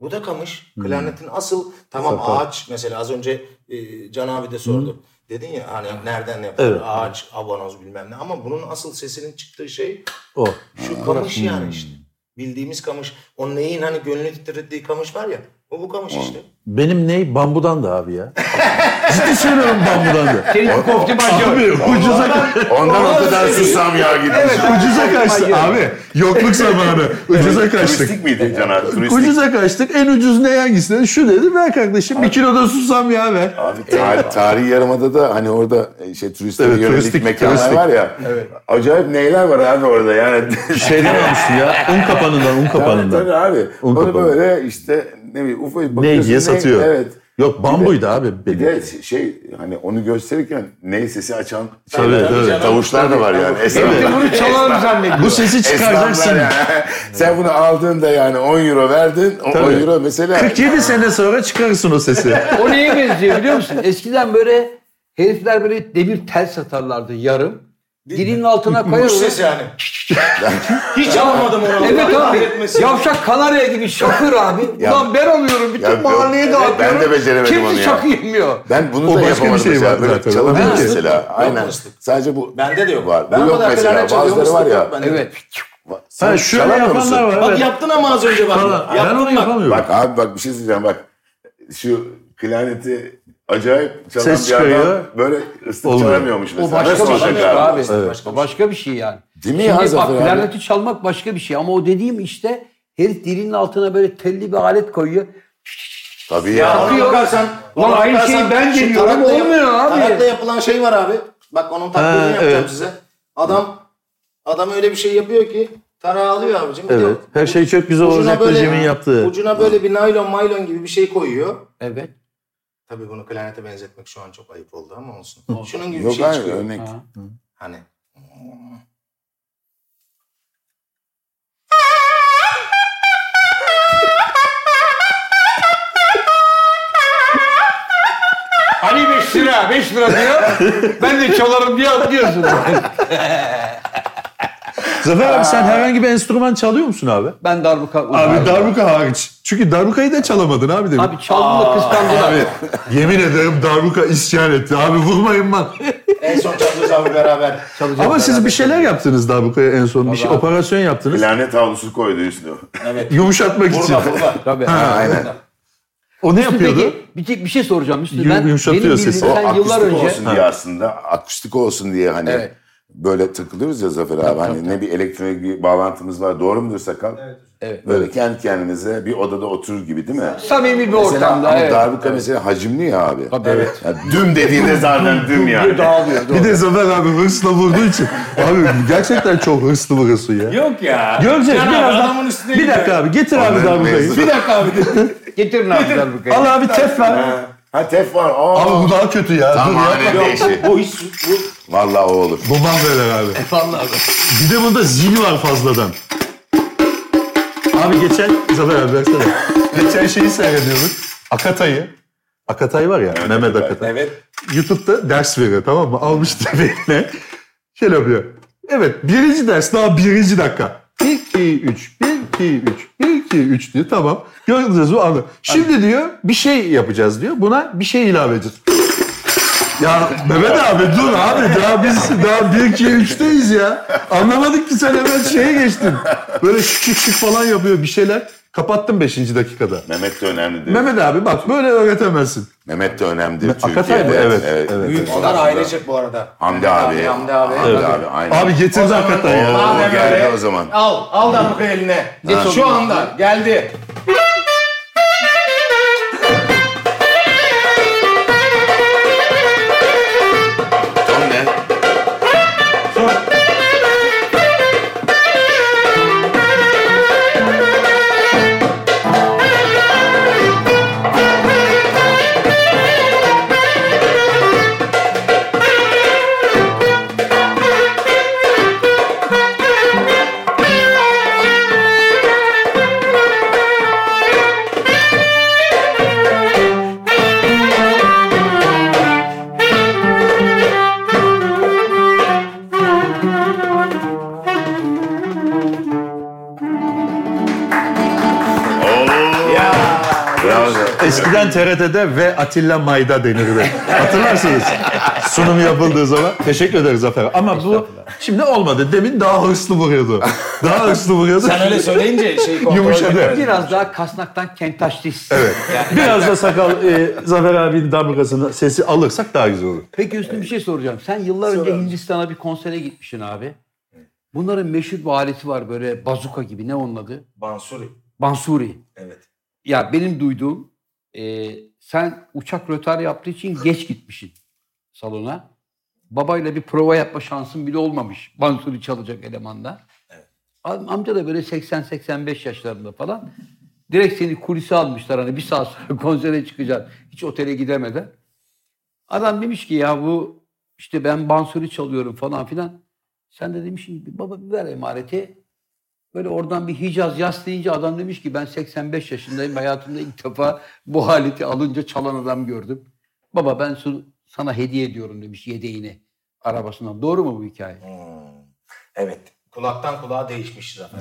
Speaker 4: Bu da kamış. Klarnetin asıl tamam
Speaker 2: Sakal.
Speaker 4: ağaç mesela az önce e, Can abi de sordu. Dedin ya hani nereden yapılır
Speaker 2: Evet.
Speaker 4: ağaç, abonoz bilmem ne ama bunun asıl sesinin çıktığı şey
Speaker 2: O.
Speaker 4: şu kamış yani işte. Bildiğimiz kamış. O neyin hani gönlünü titrettiği kamış var ya. O bu kamış işte.
Speaker 2: Benim ney? Bambudan da abi ya. Ciddi söylüyorum bambudan da.
Speaker 1: Senin kofti
Speaker 2: [LAUGHS]
Speaker 1: majör.
Speaker 2: Abi ucuza, ka-
Speaker 3: Ondan o kadar
Speaker 1: şey.
Speaker 3: susam ya gitmiş.
Speaker 2: ucuza kaçtı abi. Yokluk zamanı. Ucuza kaçtık.
Speaker 3: Turistik miydi Can abi? Turistik.
Speaker 2: Ucuza kaçtık. En ucuz ne hangisi? Şu dedi. Ver kardeşim bir kilo da susam ya ver.
Speaker 3: Abi tarih, E, tarihi yarımada da hani orada e, şey turistlere
Speaker 2: Evet,
Speaker 3: yönelik
Speaker 2: turistik,
Speaker 3: mekanlar
Speaker 2: turistik.
Speaker 3: var ya. Acayip neyler var abi orada yani. [LAUGHS]
Speaker 2: Şeyden almıştım şey ya. Un kapanından, un
Speaker 3: Tabii
Speaker 2: kapanından.
Speaker 3: tabii abi.
Speaker 2: Un
Speaker 3: Onu
Speaker 2: kapağı.
Speaker 3: böyle işte ne bileyim ufacık
Speaker 2: Ney
Speaker 3: bakıyorsun.
Speaker 2: diye satıyor.
Speaker 3: Evet.
Speaker 2: Yok bambuydu abi benim.
Speaker 3: Bir de şey hani onu gösterirken ney sesi açan
Speaker 2: Tabii,
Speaker 3: şeyler-
Speaker 2: tabii canım.
Speaker 3: tavuşlar da var yani. Esnaf,
Speaker 1: Şimdi bunu çalalım zannediyor.
Speaker 2: Bu sesi çıkaracaksın.
Speaker 3: esnaflar yani. [LAUGHS] Sen bunu aldığında yani 10 euro verdin. O 10
Speaker 2: Tabii.
Speaker 3: euro mesela
Speaker 2: 47 sene sonra çıkarırsın o sesi.
Speaker 1: O neye benziyor biliyor musun? Eskiden böyle Herifler böyle demir tel satarlardı yarım.
Speaker 4: Değil
Speaker 1: Dilinin altına koyarlar.
Speaker 4: Kuş ses yani. Hiç alamadım onu.
Speaker 1: Evet
Speaker 4: Allah
Speaker 1: abi.
Speaker 4: kahretmesin.
Speaker 1: Yavşak kanarya gibi şakır abi.
Speaker 3: Ya-
Speaker 1: Ulan ben alıyorum. Bütün
Speaker 3: Ya yok,
Speaker 1: mahalleye
Speaker 3: evet,
Speaker 1: dağıtıyorum.
Speaker 3: ben de beceremedim
Speaker 1: Kimse
Speaker 3: onu ya.
Speaker 1: şakı yemiyor.
Speaker 3: Ben bunu
Speaker 2: O
Speaker 3: da
Speaker 2: başka bir
Speaker 3: yapamadım
Speaker 2: şey
Speaker 3: mesela.
Speaker 2: var
Speaker 3: Böyle
Speaker 2: zaten,
Speaker 3: çalamıyorum
Speaker 1: o değil.
Speaker 3: mesela. Aynen.
Speaker 4: mıslık.
Speaker 3: Sadece bu.
Speaker 4: Bende de yok.
Speaker 3: Var. Bu
Speaker 4: Ben
Speaker 3: yok
Speaker 4: kadar
Speaker 3: mesela.
Speaker 4: klarnet çalıyorum,
Speaker 3: Bazıları var
Speaker 4: mıslık
Speaker 3: ya.
Speaker 4: yok bende.
Speaker 1: Evet.
Speaker 3: Sen
Speaker 2: Ha, şöyle
Speaker 3: çalamıyor
Speaker 2: yapanlar
Speaker 3: musun?
Speaker 2: var.
Speaker 4: Bak
Speaker 2: evet.
Speaker 4: yaptın ama az önce bak.
Speaker 2: Falan. Ben
Speaker 4: Yaptın
Speaker 2: onu
Speaker 4: bak.
Speaker 2: yapamıyorum.
Speaker 3: Bak abi bak bir şey söyleyeceğim bak. Şu klarneti acayip çalan
Speaker 2: Ses
Speaker 3: bir adam
Speaker 2: çıkarıyor.
Speaker 3: böyle ıslık
Speaker 2: Olmuyor.
Speaker 3: çalamıyormuş mesela.
Speaker 1: O başka
Speaker 3: Nasıl
Speaker 1: bir
Speaker 3: olacak
Speaker 1: şey
Speaker 4: başka
Speaker 1: abi.
Speaker 4: başka bir
Speaker 1: O
Speaker 4: şey.
Speaker 1: başka bir şey yani.
Speaker 3: Değil
Speaker 1: Şimdi
Speaker 3: mi ya
Speaker 1: bak
Speaker 3: Zafer abi?
Speaker 1: klarneti çalmak başka bir şey ama o dediğim işte herif dilinin altına böyle telli bir alet koyuyor.
Speaker 3: Tabii ya.
Speaker 4: Ona bakarsan,
Speaker 1: Lan
Speaker 4: ona
Speaker 1: aynı
Speaker 4: bakarsan
Speaker 1: şeyi ben
Speaker 4: şu
Speaker 1: deniyorum,
Speaker 4: tarakla yap-
Speaker 1: olmuyor abi.
Speaker 4: Tarakla yapılan şey var abi. Bak onun taklidini
Speaker 2: Ha,
Speaker 4: yapacağım
Speaker 2: evet.
Speaker 4: size. Adam adam öyle bir şey yapıyor ki tarağı alıyor abicim. gidiyor.
Speaker 2: Evet. Her şey çok güzel
Speaker 4: Ucuna
Speaker 2: olacak
Speaker 4: böyle-
Speaker 2: Cem'in yaptığı.
Speaker 4: Ucuna böyle bir naylon maylon gibi bir şey koyuyor.
Speaker 1: Evet.
Speaker 4: Tabii bunu klarnete benzetmek şu an çok ayıp oldu ama olsun. Şunun gibi bir
Speaker 3: Yok
Speaker 4: şey
Speaker 3: abi
Speaker 4: çıkıyor.
Speaker 3: örnek.
Speaker 1: Ha.
Speaker 4: Hani
Speaker 1: Hani 5 lira 5 lira diyor. ben de çalarım diye atlıyorsun.
Speaker 2: Zafer abi sen herhangi bir enstrüman çalıyor musun abi?
Speaker 1: ben darbuka
Speaker 2: Abi darbuka hariç. Çünkü darbukayı da çalamadın abi demin.
Speaker 1: Abi çaldım da kıskandılar.
Speaker 2: Abi yemin ederim darbuka isyan etti. Abi vurmayın lan.
Speaker 4: en son çalacağız abi beraber.
Speaker 1: Çalacak
Speaker 2: Ama siz
Speaker 1: beraber.
Speaker 2: bir şeyler yaptınız darbukaya en son. Bir şey,
Speaker 1: Vallahi.
Speaker 2: operasyon yaptınız.
Speaker 3: Klarnet havlusu koydu üstüne.
Speaker 4: Evet.
Speaker 2: Yumuşatmak için.
Speaker 4: Burada burada.
Speaker 1: Tabii.
Speaker 3: Aynen.
Speaker 2: O ne yapıyordu?
Speaker 1: Peki bir, tek- bir şey soracağım Müslüm.
Speaker 2: Yum-
Speaker 1: Ben,
Speaker 2: yumuşatıyor
Speaker 1: benim
Speaker 2: sesi.
Speaker 1: bildiğim
Speaker 3: O
Speaker 1: sen [LAUGHS] yıllar
Speaker 3: akustik
Speaker 1: önce.
Speaker 3: olsun diye aslında. Akustik olsun diye hani.
Speaker 1: Evet.
Speaker 3: Böyle takılıyoruz ya Zafer abi. Hani ne bir elektronik bir bağlantımız var. Doğru mudur sakal?
Speaker 1: Evet.
Speaker 3: Böyle kendi kendimize bir odada oturur gibi değil mi?
Speaker 1: Samimi bir
Speaker 3: Mesela hani
Speaker 1: ortamda.
Speaker 3: ama
Speaker 1: evet.
Speaker 3: darbuka mesela hacimli ya abi.
Speaker 1: Tabii, evet.
Speaker 3: Yani düm dediğinde zaten düm yani.
Speaker 1: Dağılıyor.
Speaker 2: Bir
Speaker 1: doğru.
Speaker 2: de Zafer abi hırsla vurduğu için. abi gerçekten çok hırslı vurursun ya.
Speaker 4: Yok ya.
Speaker 2: Göreceğiz
Speaker 4: Can abi,
Speaker 2: birazdan.
Speaker 4: adamın üstüne
Speaker 2: Bir dakika
Speaker 4: gidiyor.
Speaker 2: abi getir abi
Speaker 3: Onların
Speaker 2: darbukayı.
Speaker 3: mevzu-
Speaker 2: Bir dakika abi.
Speaker 1: Getirin abi darbukayı.
Speaker 2: Al abi tef ver.
Speaker 3: Ha, ha tef var. Aa,
Speaker 2: Abi bu daha kötü ya.
Speaker 3: Tam
Speaker 2: Dur ya.
Speaker 3: mahalle değişi.
Speaker 4: Bu hiç bu
Speaker 3: Vallahi o olur.
Speaker 2: Bundan böyle abi.
Speaker 1: Vallahi.
Speaker 2: Bir de bunda zil var fazladan. Abi geçen, Zafer abi versene. Geçen şeyi seyrediyorduk. Akatay'ı. Akatay var ya, Mehmet Akatay.
Speaker 4: evet.
Speaker 2: YouTube'da ders veriyor tamam mı? Almış [LAUGHS] tebeğine. Şey yapıyor. Evet, birinci ders daha birinci dakika. 1, 2, 3, 1, 2, 3, 1, 2, 3 diyor. Tamam. Göreceğiz bu anı. Şimdi diyor bir şey yapacağız diyor. Buna bir şey ilave edeceğiz. Ya Mehmet abi dur abi daha biz daha 1 2 3'teyiz ya. Anlamadık ki sen hemen şeye geçtin. Böyle şık şık şık falan yapıyor bir şeyler. Kapattım 5. dakikada.
Speaker 3: Mehmet de önemli diyor. Mehmet,
Speaker 2: Mehmet abi bak böyle öğretemezsin.
Speaker 3: de önemli diyor.
Speaker 2: Akatay
Speaker 3: Türkiye'de.
Speaker 2: mı? Evet, evet.
Speaker 4: Büyük
Speaker 3: Ondan
Speaker 4: bunlar
Speaker 3: sonra
Speaker 4: ailecek bu arada.
Speaker 3: Hamdi abi.
Speaker 4: Hamdi abi.
Speaker 3: Hamdi abi. Aynen.
Speaker 2: Abi getir hakikaten ya.
Speaker 3: O
Speaker 4: Madem
Speaker 3: geldi
Speaker 4: öyle,
Speaker 3: o zaman.
Speaker 4: Al, al dambuka eline. Şu anda geldi.
Speaker 3: Son ne? Oo. Ya. Bravo.
Speaker 2: Şey- Eskiden TRT'de ve Atilla Mayda denirdi. Hatırlarsınız. Sunum yapıldığı zaman. Teşekkür ederiz Zafer. Ama bu şimdi olmadı. Demin daha hırslı vuruyordu. Daha hırslı vuruyordu.
Speaker 4: Sen öyle söyleyince şey kontrol
Speaker 2: Yumuşadı.
Speaker 4: edemedim.
Speaker 1: Biraz daha kasnaktan kentaş diz. Evet.
Speaker 2: Biraz da sakal e, Zafer abinin damgasını sesi alırsak daha güzel olur.
Speaker 1: Peki Üstün bir şey soracağım. Sen yıllar önce Hindistan'a bir konsere gitmişsin abi. Bunların meşhur bir aleti var böyle bazuka gibi ne onun adı?
Speaker 4: [LAUGHS] Bansuri.
Speaker 1: Bansuri.
Speaker 4: Evet.
Speaker 1: Ya benim duyduğum e, sen uçak rötar yaptığı için geç gitmişsin salona. Babayla bir prova yapma şansın bile olmamış. Bansuri çalacak elemanda. Am- Amca da böyle 80-85 yaşlarında falan. Direkt seni kulise almışlar hani bir saat sonra [LAUGHS] konsere çıkacaksın. Hiç otele gidemeden. Adam demiş ki ya bu işte ben bansuri çalıyorum falan filan. Sen de demişsin ki baba bir ver emareti. Böyle oradan bir Hicaz yaslayınca adam demiş ki ben 85 yaşındayım hayatımda ilk defa bu aleti alınca çalan adam gördüm. Baba ben su- sana hediye ediyorum demiş yedeğini arabasından. Doğru mu bu hikaye?
Speaker 4: Hmm. Evet. Kulaktan kulağa değişmiş zaten.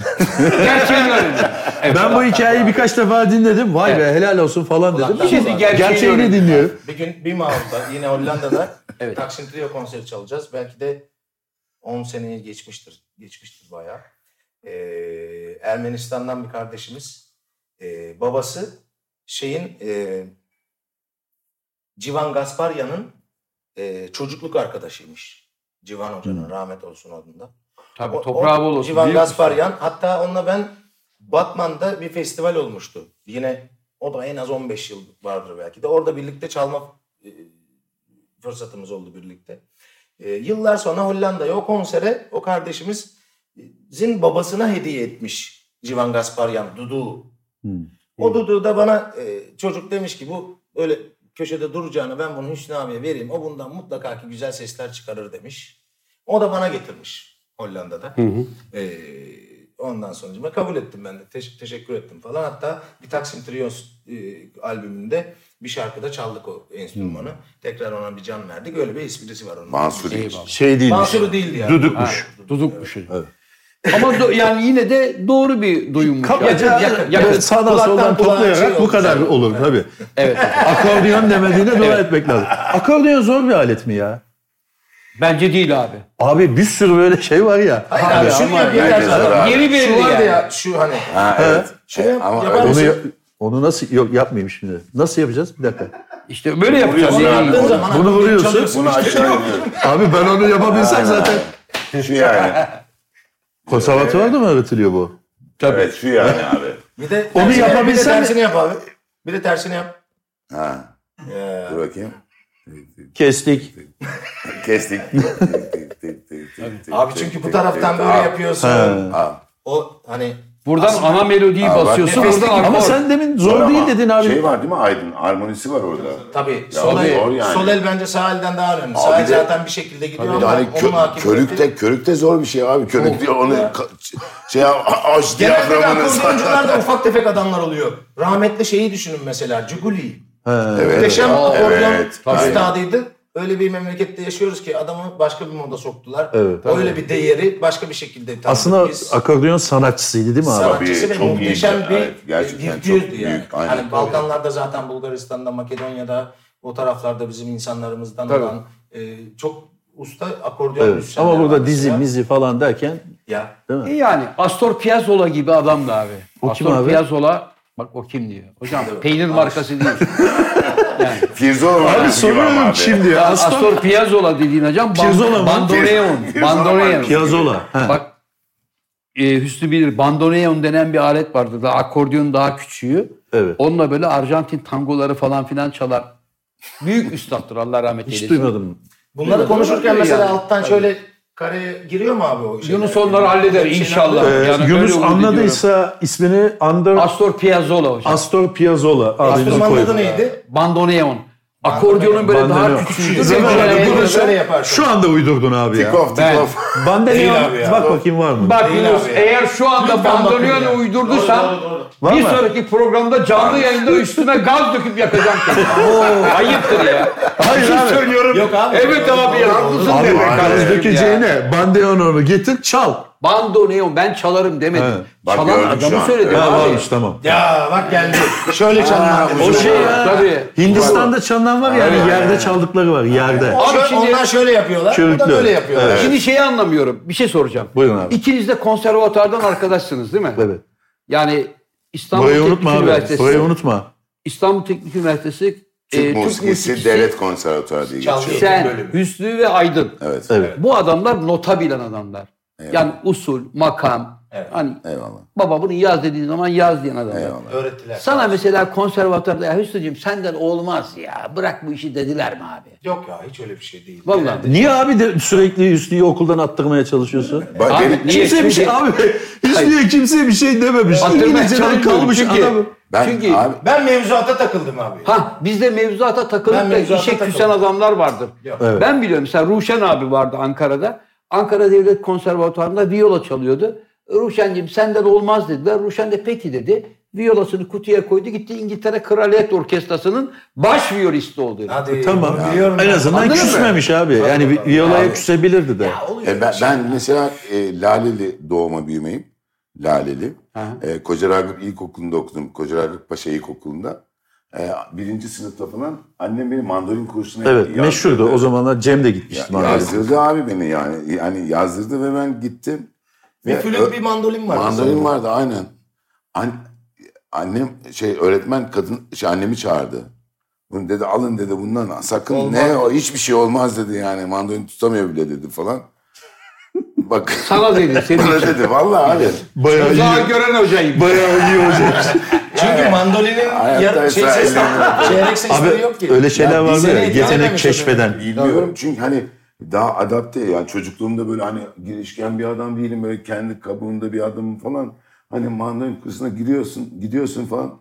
Speaker 1: Gerçeğini öğrendim.
Speaker 2: Ben bu hikayeyi birkaç defa dinledim. Vay
Speaker 1: Evet.
Speaker 2: be helal olsun falan
Speaker 4: Ulan
Speaker 2: dedim.
Speaker 4: ben
Speaker 2: Şimdi
Speaker 1: bunu- gerçeğini
Speaker 2: gerçeğini
Speaker 1: öğrendim.
Speaker 2: dinliyorum.
Speaker 4: bir gün bir Mağlup'ta yine Hollanda'da
Speaker 1: Evet.
Speaker 4: Taksim Trio konseri çalacağız. Belki de 10 seneyi geçmiştir. Geçmiştir bayağı. Ee, Ermenistan'dan bir kardeşimiz. ee, babası şeyin ee, Civan Gasparyan'ın ee, çocukluk arkadaşıymış. Civan Hoca'nın rahmet olsun adında.
Speaker 1: Tabii
Speaker 4: O-
Speaker 1: toprağı
Speaker 4: o
Speaker 1: bol olsun.
Speaker 4: Civan
Speaker 1: biliyor musun?
Speaker 4: Gasparyan. Hatta onunla ben Batman'da bir festival olmuştu. Yine o da en az 15 yıl vardır belki de. Orada birlikte çalma e, fırsatımız oldu birlikte. E, yıllar sonra Hollanda'ya o konsere o kardeşimiz e, Zin babasına hediye etmiş Civan Gasparyan Dudu. O Dudu da bana e, çocuk demiş ki bu öyle köşede duracağına ben bunu Hüsnü abiye vereyim. O bundan mutlaka ki güzel sesler çıkarır demiş. O da bana getirmiş Hollanda'da. Ee, ondan sonucuma kabul ettim ben de. Teş- teşekkür ettim falan. Hatta bir Taksim Trios e, albümünde bir şarkıda çaldık o enstrümanı. Tekrar ona bir can verdik. Öyle bir esprisi var onun.
Speaker 3: Mansuri.
Speaker 1: Eyvallah.
Speaker 2: Şey değilmiş.
Speaker 4: Mansuru değildi yani.
Speaker 2: Düdükmüş.
Speaker 1: şey. Dudukmuş. Ama do- yani yine de doğru bir duyummuş.
Speaker 2: Kabaca
Speaker 1: yani. Yakın, yakın.
Speaker 2: böyle sağdan
Speaker 4: Kulaktan
Speaker 2: soldan
Speaker 4: kulağa şey
Speaker 2: toplayarak bu
Speaker 4: olmuş
Speaker 2: kadar
Speaker 4: yani.
Speaker 2: olur tabii.
Speaker 1: Evet.
Speaker 2: Akordeon demediğine dua etmek lazım. Akordeon zor bir alet mi ya?
Speaker 1: Bence değil abi.
Speaker 2: Abi bir sürü böyle şey var ya.
Speaker 4: Hayır abi, şunu
Speaker 2: ama
Speaker 4: yap ya.
Speaker 3: herkes
Speaker 4: Adam-
Speaker 3: var abi.
Speaker 1: Yeni
Speaker 4: Şu
Speaker 1: verildi
Speaker 4: vardı
Speaker 1: yani.
Speaker 4: ya şu hani.
Speaker 3: Ha, evet.
Speaker 4: Şey
Speaker 3: E,
Speaker 4: yap-
Speaker 3: ama
Speaker 4: yapar
Speaker 3: öyle-
Speaker 2: Onu, ya- onu nasıl yok yapmayayım şimdi. Nasıl yapacağız? Bir dakika.
Speaker 1: İşte böyle yapacağız.
Speaker 3: Onu
Speaker 1: Yani.
Speaker 3: yaptığın
Speaker 1: Onu-
Speaker 4: zaman
Speaker 2: Bunu
Speaker 4: aklını
Speaker 2: vuruyorsun.
Speaker 4: çalıyorsun.
Speaker 3: Bunu aşağı iniyorum.
Speaker 2: Abi ben onu yapabilsem zaten. [LAUGHS]
Speaker 3: Şu yani.
Speaker 2: Konservatuvarda mı öğretiliyor bu?
Speaker 3: Evet şu yani abi.
Speaker 4: Bir de
Speaker 2: Onu
Speaker 4: tersini-
Speaker 2: yapabilsen
Speaker 4: Bir
Speaker 2: de-
Speaker 4: de tersini yap abi. Bir de tersini yap.
Speaker 3: Ha.
Speaker 4: Ya.
Speaker 3: Dur bakayım.
Speaker 2: Kestik.
Speaker 3: Kestik.
Speaker 4: Abi çünkü bu taraftan böyle yapıyorsun. O hani
Speaker 1: Buradan ana melodiyi
Speaker 3: Aa, bak.
Speaker 1: basıyorsun.
Speaker 3: Nefes-
Speaker 1: Buradan
Speaker 2: Ama
Speaker 1: akor.
Speaker 2: sen demin zor değil dedin abi.
Speaker 3: Şey var değil mi Aydın? Harmonisi var orada.
Speaker 4: tabii
Speaker 3: Ya
Speaker 4: sol,
Speaker 3: abi,
Speaker 4: el,
Speaker 3: zor yani.
Speaker 4: sol el bence sağ elden daha önemli.
Speaker 3: Abi
Speaker 4: sağ el
Speaker 3: de-
Speaker 4: zaten bir şekilde gidiyor ama
Speaker 3: Yani
Speaker 4: onun
Speaker 3: kö,
Speaker 4: hakimiyeti-
Speaker 3: körükte, körükte zor bir şey abi. Körük diyor onu ka- şey aç
Speaker 4: Genelde de
Speaker 3: diyaframını [LAUGHS]
Speaker 4: akordeoncular da ufak tefek adamlar oluyor. Rahmetli şeyi düşünün mesela Cuguli. Muhteşem
Speaker 3: evet,
Speaker 4: akordeon
Speaker 3: evet,
Speaker 4: üstadıydı. Öyle bir memlekette yaşıyoruz ki adamı başka bir moda soktular.
Speaker 2: Evet,
Speaker 4: Öyle bir değeri başka bir şekilde tanıdık
Speaker 2: Aslında
Speaker 4: biz.
Speaker 2: akordeon sanatçısıydı değil mi abi?
Speaker 3: Sanat-
Speaker 4: sanatçısı
Speaker 3: Tabii,
Speaker 4: ve
Speaker 3: çok
Speaker 4: muhteşem
Speaker 3: iyiydi.
Speaker 4: bir
Speaker 3: Evet, gerçekten
Speaker 4: bir
Speaker 3: çok
Speaker 4: yüzdü
Speaker 3: büyük,
Speaker 4: yani.
Speaker 3: aynen.
Speaker 4: Hani Balkanlarda zaten Bulgaristan'da, Makedonya'da o taraflarda bizim insanlarımızdan
Speaker 1: Tabii.
Speaker 4: olan e, çok usta akordeon
Speaker 2: Evet.
Speaker 4: müzisyenler
Speaker 2: Ama
Speaker 4: var
Speaker 2: burada
Speaker 4: mesela.
Speaker 2: dizi mizi falan derken
Speaker 4: Ya
Speaker 1: E yani Astor Piazzolla gibi adamdı abi.
Speaker 2: O kim
Speaker 1: Astor
Speaker 2: abi?
Speaker 1: Piazzolla bak o kim diyor. Hocam
Speaker 4: Evet.
Speaker 1: peynir markası değil.
Speaker 3: Pirzola var.
Speaker 2: Abi soruyorum şimdi [LAUGHS] ya.
Speaker 1: Astor, Piazzolla dediğin hocam
Speaker 2: Piazzolla mı?
Speaker 1: ban- bandoneon.
Speaker 3: Piazzolla
Speaker 1: Bandoneon.
Speaker 3: markası.
Speaker 2: Piazzola. Ha.
Speaker 1: Bak e, Hüsnü bilir bandoneon denen bir alet vardı. Daha akordeon daha küçüğü.
Speaker 2: Evet.
Speaker 1: Onunla böyle Arjantin tangoları falan filan çalar. Büyük üstattır Allah rahmet eylesin.
Speaker 2: Hiç duymadım.
Speaker 4: bunları konuşurken
Speaker 1: Olabilir
Speaker 4: mesela
Speaker 1: yani.
Speaker 4: alttan şöyle kareye giriyor mu abi o şeyler?
Speaker 1: Yunus onları halleder
Speaker 4: Şeyler-
Speaker 1: inşallah.
Speaker 2: Ee,
Speaker 1: Yani öyle
Speaker 2: Yunus
Speaker 1: umut
Speaker 2: anladıysa ismini Under
Speaker 1: Astor Piazzolla hocam.
Speaker 2: Astor Piazzolla adını
Speaker 4: Enstrümanın adı
Speaker 2: koydu.
Speaker 4: neydi?
Speaker 1: Bandoneon. Akordeonun böyle
Speaker 2: Bandoneon.
Speaker 1: daha küçüğüydü.
Speaker 2: Zaman
Speaker 1: Böyle-
Speaker 2: abi,
Speaker 4: Bandoneon.
Speaker 2: bunu
Speaker 4: Şöyle
Speaker 2: sen
Speaker 4: yapar.
Speaker 2: şu anda uydurdun abi ya.
Speaker 3: Tik off tik
Speaker 1: Ben-
Speaker 3: off.
Speaker 4: Değil
Speaker 2: Bandoneon
Speaker 4: abi ya.
Speaker 2: bak bakayım var mı?
Speaker 1: Bak
Speaker 4: Değil
Speaker 1: Yunus
Speaker 4: abi ya.
Speaker 1: eğer şu anda
Speaker 4: Lütfen bakın ya.
Speaker 1: bandolyoyla uydurduysan
Speaker 4: Doğru, doğru, doğru.
Speaker 2: Var
Speaker 1: bir
Speaker 2: mı?
Speaker 1: sonraki programda canlı yayında üstüne gaz döküp yakacağım
Speaker 2: [LAUGHS]
Speaker 1: seni. Oo, Ayıptır ya.
Speaker 2: Hayır abi.
Speaker 1: söylüyorum.
Speaker 4: Yok abi.
Speaker 1: Evet
Speaker 4: Doğru,
Speaker 1: abi
Speaker 4: doğru,
Speaker 1: ya,
Speaker 4: doğru.
Speaker 1: haklısın
Speaker 2: Abi
Speaker 1: demek
Speaker 2: gaz
Speaker 1: kardeşim ya.
Speaker 2: dökeceğine bandoneonu getir çal.
Speaker 1: Bandoneon ben çalarım demedim.
Speaker 2: He.
Speaker 3: Bak
Speaker 1: Çalan
Speaker 3: gördüm şu
Speaker 1: adamı
Speaker 3: an.
Speaker 1: söyledim
Speaker 2: Ha
Speaker 1: abi.
Speaker 2: varmış tamam.
Speaker 4: Ya bak geldi. Şöyle çalma.
Speaker 2: O şey ya.
Speaker 1: Tabii.
Speaker 2: Hindistan'da çalınan var yani yerde çaldıkları var yerde.
Speaker 1: Abi
Speaker 4: Şöyle-
Speaker 1: şimdi-
Speaker 4: onlar şöyle yapıyorlar. Bu da
Speaker 2: Körüklü.
Speaker 4: böyle yapıyorlar.
Speaker 2: Evet.
Speaker 1: Şimdi şeyi anlamıyorum. Bir şey soracağım.
Speaker 2: Buyurun abi.
Speaker 1: İkiniz de konservatuardan arkadaşsınız değil mi?
Speaker 2: Evet.
Speaker 1: Yani İstanbul
Speaker 2: Burayı
Speaker 1: Teknik
Speaker 2: unutma abi.
Speaker 1: Üniversitesi.
Speaker 2: Burayı unutma.
Speaker 1: İstanbul Teknik Üniversitesi
Speaker 3: Türk
Speaker 1: e,
Speaker 3: musikisi devlet konservatuarı diye
Speaker 4: Çaldı.
Speaker 3: geçiyor.
Speaker 1: Sen,
Speaker 4: bölümü.
Speaker 1: Hüsnü ve Aydın.
Speaker 3: Evet.
Speaker 2: Evet.
Speaker 1: Bu adamlar nota bilen adamlar. Yani usul, makam.
Speaker 4: Evet.
Speaker 1: Hani
Speaker 3: Eyvallah.
Speaker 1: baba bunu yaz dediğin zaman yaz diyen adamlar.
Speaker 3: Eyvallah.
Speaker 4: Öğrettiler.
Speaker 1: Sana mesela konservatuvarda ya Hüsnü'cüğüm senden olmaz ya. Bırak bu işi dediler mi abi?
Speaker 4: Yok ya hiç öyle bir şey değil.
Speaker 1: Vallahi.
Speaker 2: Niye abi de sürekli Hüsnü'yü okuldan attırmaya çalışıyorsun?
Speaker 3: Bak,
Speaker 1: Abi,
Speaker 3: benim-
Speaker 1: niye?
Speaker 2: Kimse bir şey abi. Hüsnü'ye kimse bir şey dememiş.
Speaker 1: Hatırlamaya
Speaker 2: İngilizceden
Speaker 1: çalışmıyorum
Speaker 2: kalmış
Speaker 1: çünkü.
Speaker 2: adam.
Speaker 3: ben
Speaker 1: Çünkü-
Speaker 3: abi
Speaker 4: Ben mevzuata takıldım abi.
Speaker 1: Ha biz de mevzuata
Speaker 4: Ben
Speaker 1: takılıp da
Speaker 4: mevzuata
Speaker 1: işe
Speaker 4: takıldım.
Speaker 1: küsen adamlar vardır.
Speaker 4: Yok.
Speaker 2: Evet.
Speaker 1: Ben biliyorum mesela Ruşen abi vardı Ankara'da. Ankara Devlet Konservatuvarı'nda viyola çalıyordu. Ruşen'cim senden olmaz dediler. Ruşen de peki dedi. viyolasını kutuya koydu gitti İngiltere Kraliyet Orkestrası'nın baş viyolisti oldu. herif.
Speaker 4: Hadi.
Speaker 2: Tamam.
Speaker 4: Biliyorum
Speaker 2: en
Speaker 4: ben.
Speaker 2: azından
Speaker 1: Anladın mı?
Speaker 2: küsmemiş abi. Yani vi- violaya küsebilirdi de.
Speaker 4: Ya, oluyor
Speaker 3: E ben,
Speaker 4: bir şey.
Speaker 3: ben mesela e, Laleli doğma büyümeyim. Laleli.
Speaker 1: Ha.
Speaker 3: E, Koca Ragıp İlkokulu'nda okudum. Koca Ragıp Paşa İlkokulu'nda. E, birinci sınıfta falan annem beni mandolin kursuna
Speaker 2: Evet
Speaker 3: yazdırdı.
Speaker 2: meşhurdu. O zamanlar Cem de gitmişti.
Speaker 3: Ya-
Speaker 2: maalesef.
Speaker 3: Yazdırdı abi beni yani. Yani yazdırdı ve ben gittim.
Speaker 4: Bir
Speaker 3: Ve
Speaker 4: flüt
Speaker 3: ö-
Speaker 4: bir mandolin var.
Speaker 3: Mandolin vardı aynen. An- annem şey öğretmen kadın şey annemi çağırdı. Bunu dedi alın dedi bundan sakın
Speaker 4: Olmaz.
Speaker 3: ne o hiçbir şey olmaz dedi yani mandolin tutamıyor bile dedi falan. Bak [LAUGHS]
Speaker 1: Sana dedi senin
Speaker 3: bana
Speaker 1: için.
Speaker 3: dedi vallahi abi.
Speaker 2: Bayağı
Speaker 1: Uzağa
Speaker 2: iyi.
Speaker 1: gören hocayım.
Speaker 2: Bayağı
Speaker 1: [LAUGHS]
Speaker 2: iyi hocam.
Speaker 4: Çünkü mandolinin
Speaker 3: Hayatta
Speaker 4: yarı şey
Speaker 3: esa
Speaker 4: ses
Speaker 3: ellemedi.
Speaker 4: çeyrek sesleri
Speaker 2: Abi
Speaker 4: yok ki.
Speaker 2: öyle şeyler var mı?
Speaker 4: bizlere hitap
Speaker 2: Yetenek
Speaker 4: edememiş
Speaker 2: keşfeden.
Speaker 3: Bilmiyorum çünkü hani daha adapte yani çocukluğumda böyle hani girişken bir adam değilim böyle kendi kabuğunda bir adamım falan. Hani mandolin kursuna giriyorsun gidiyorsun falan.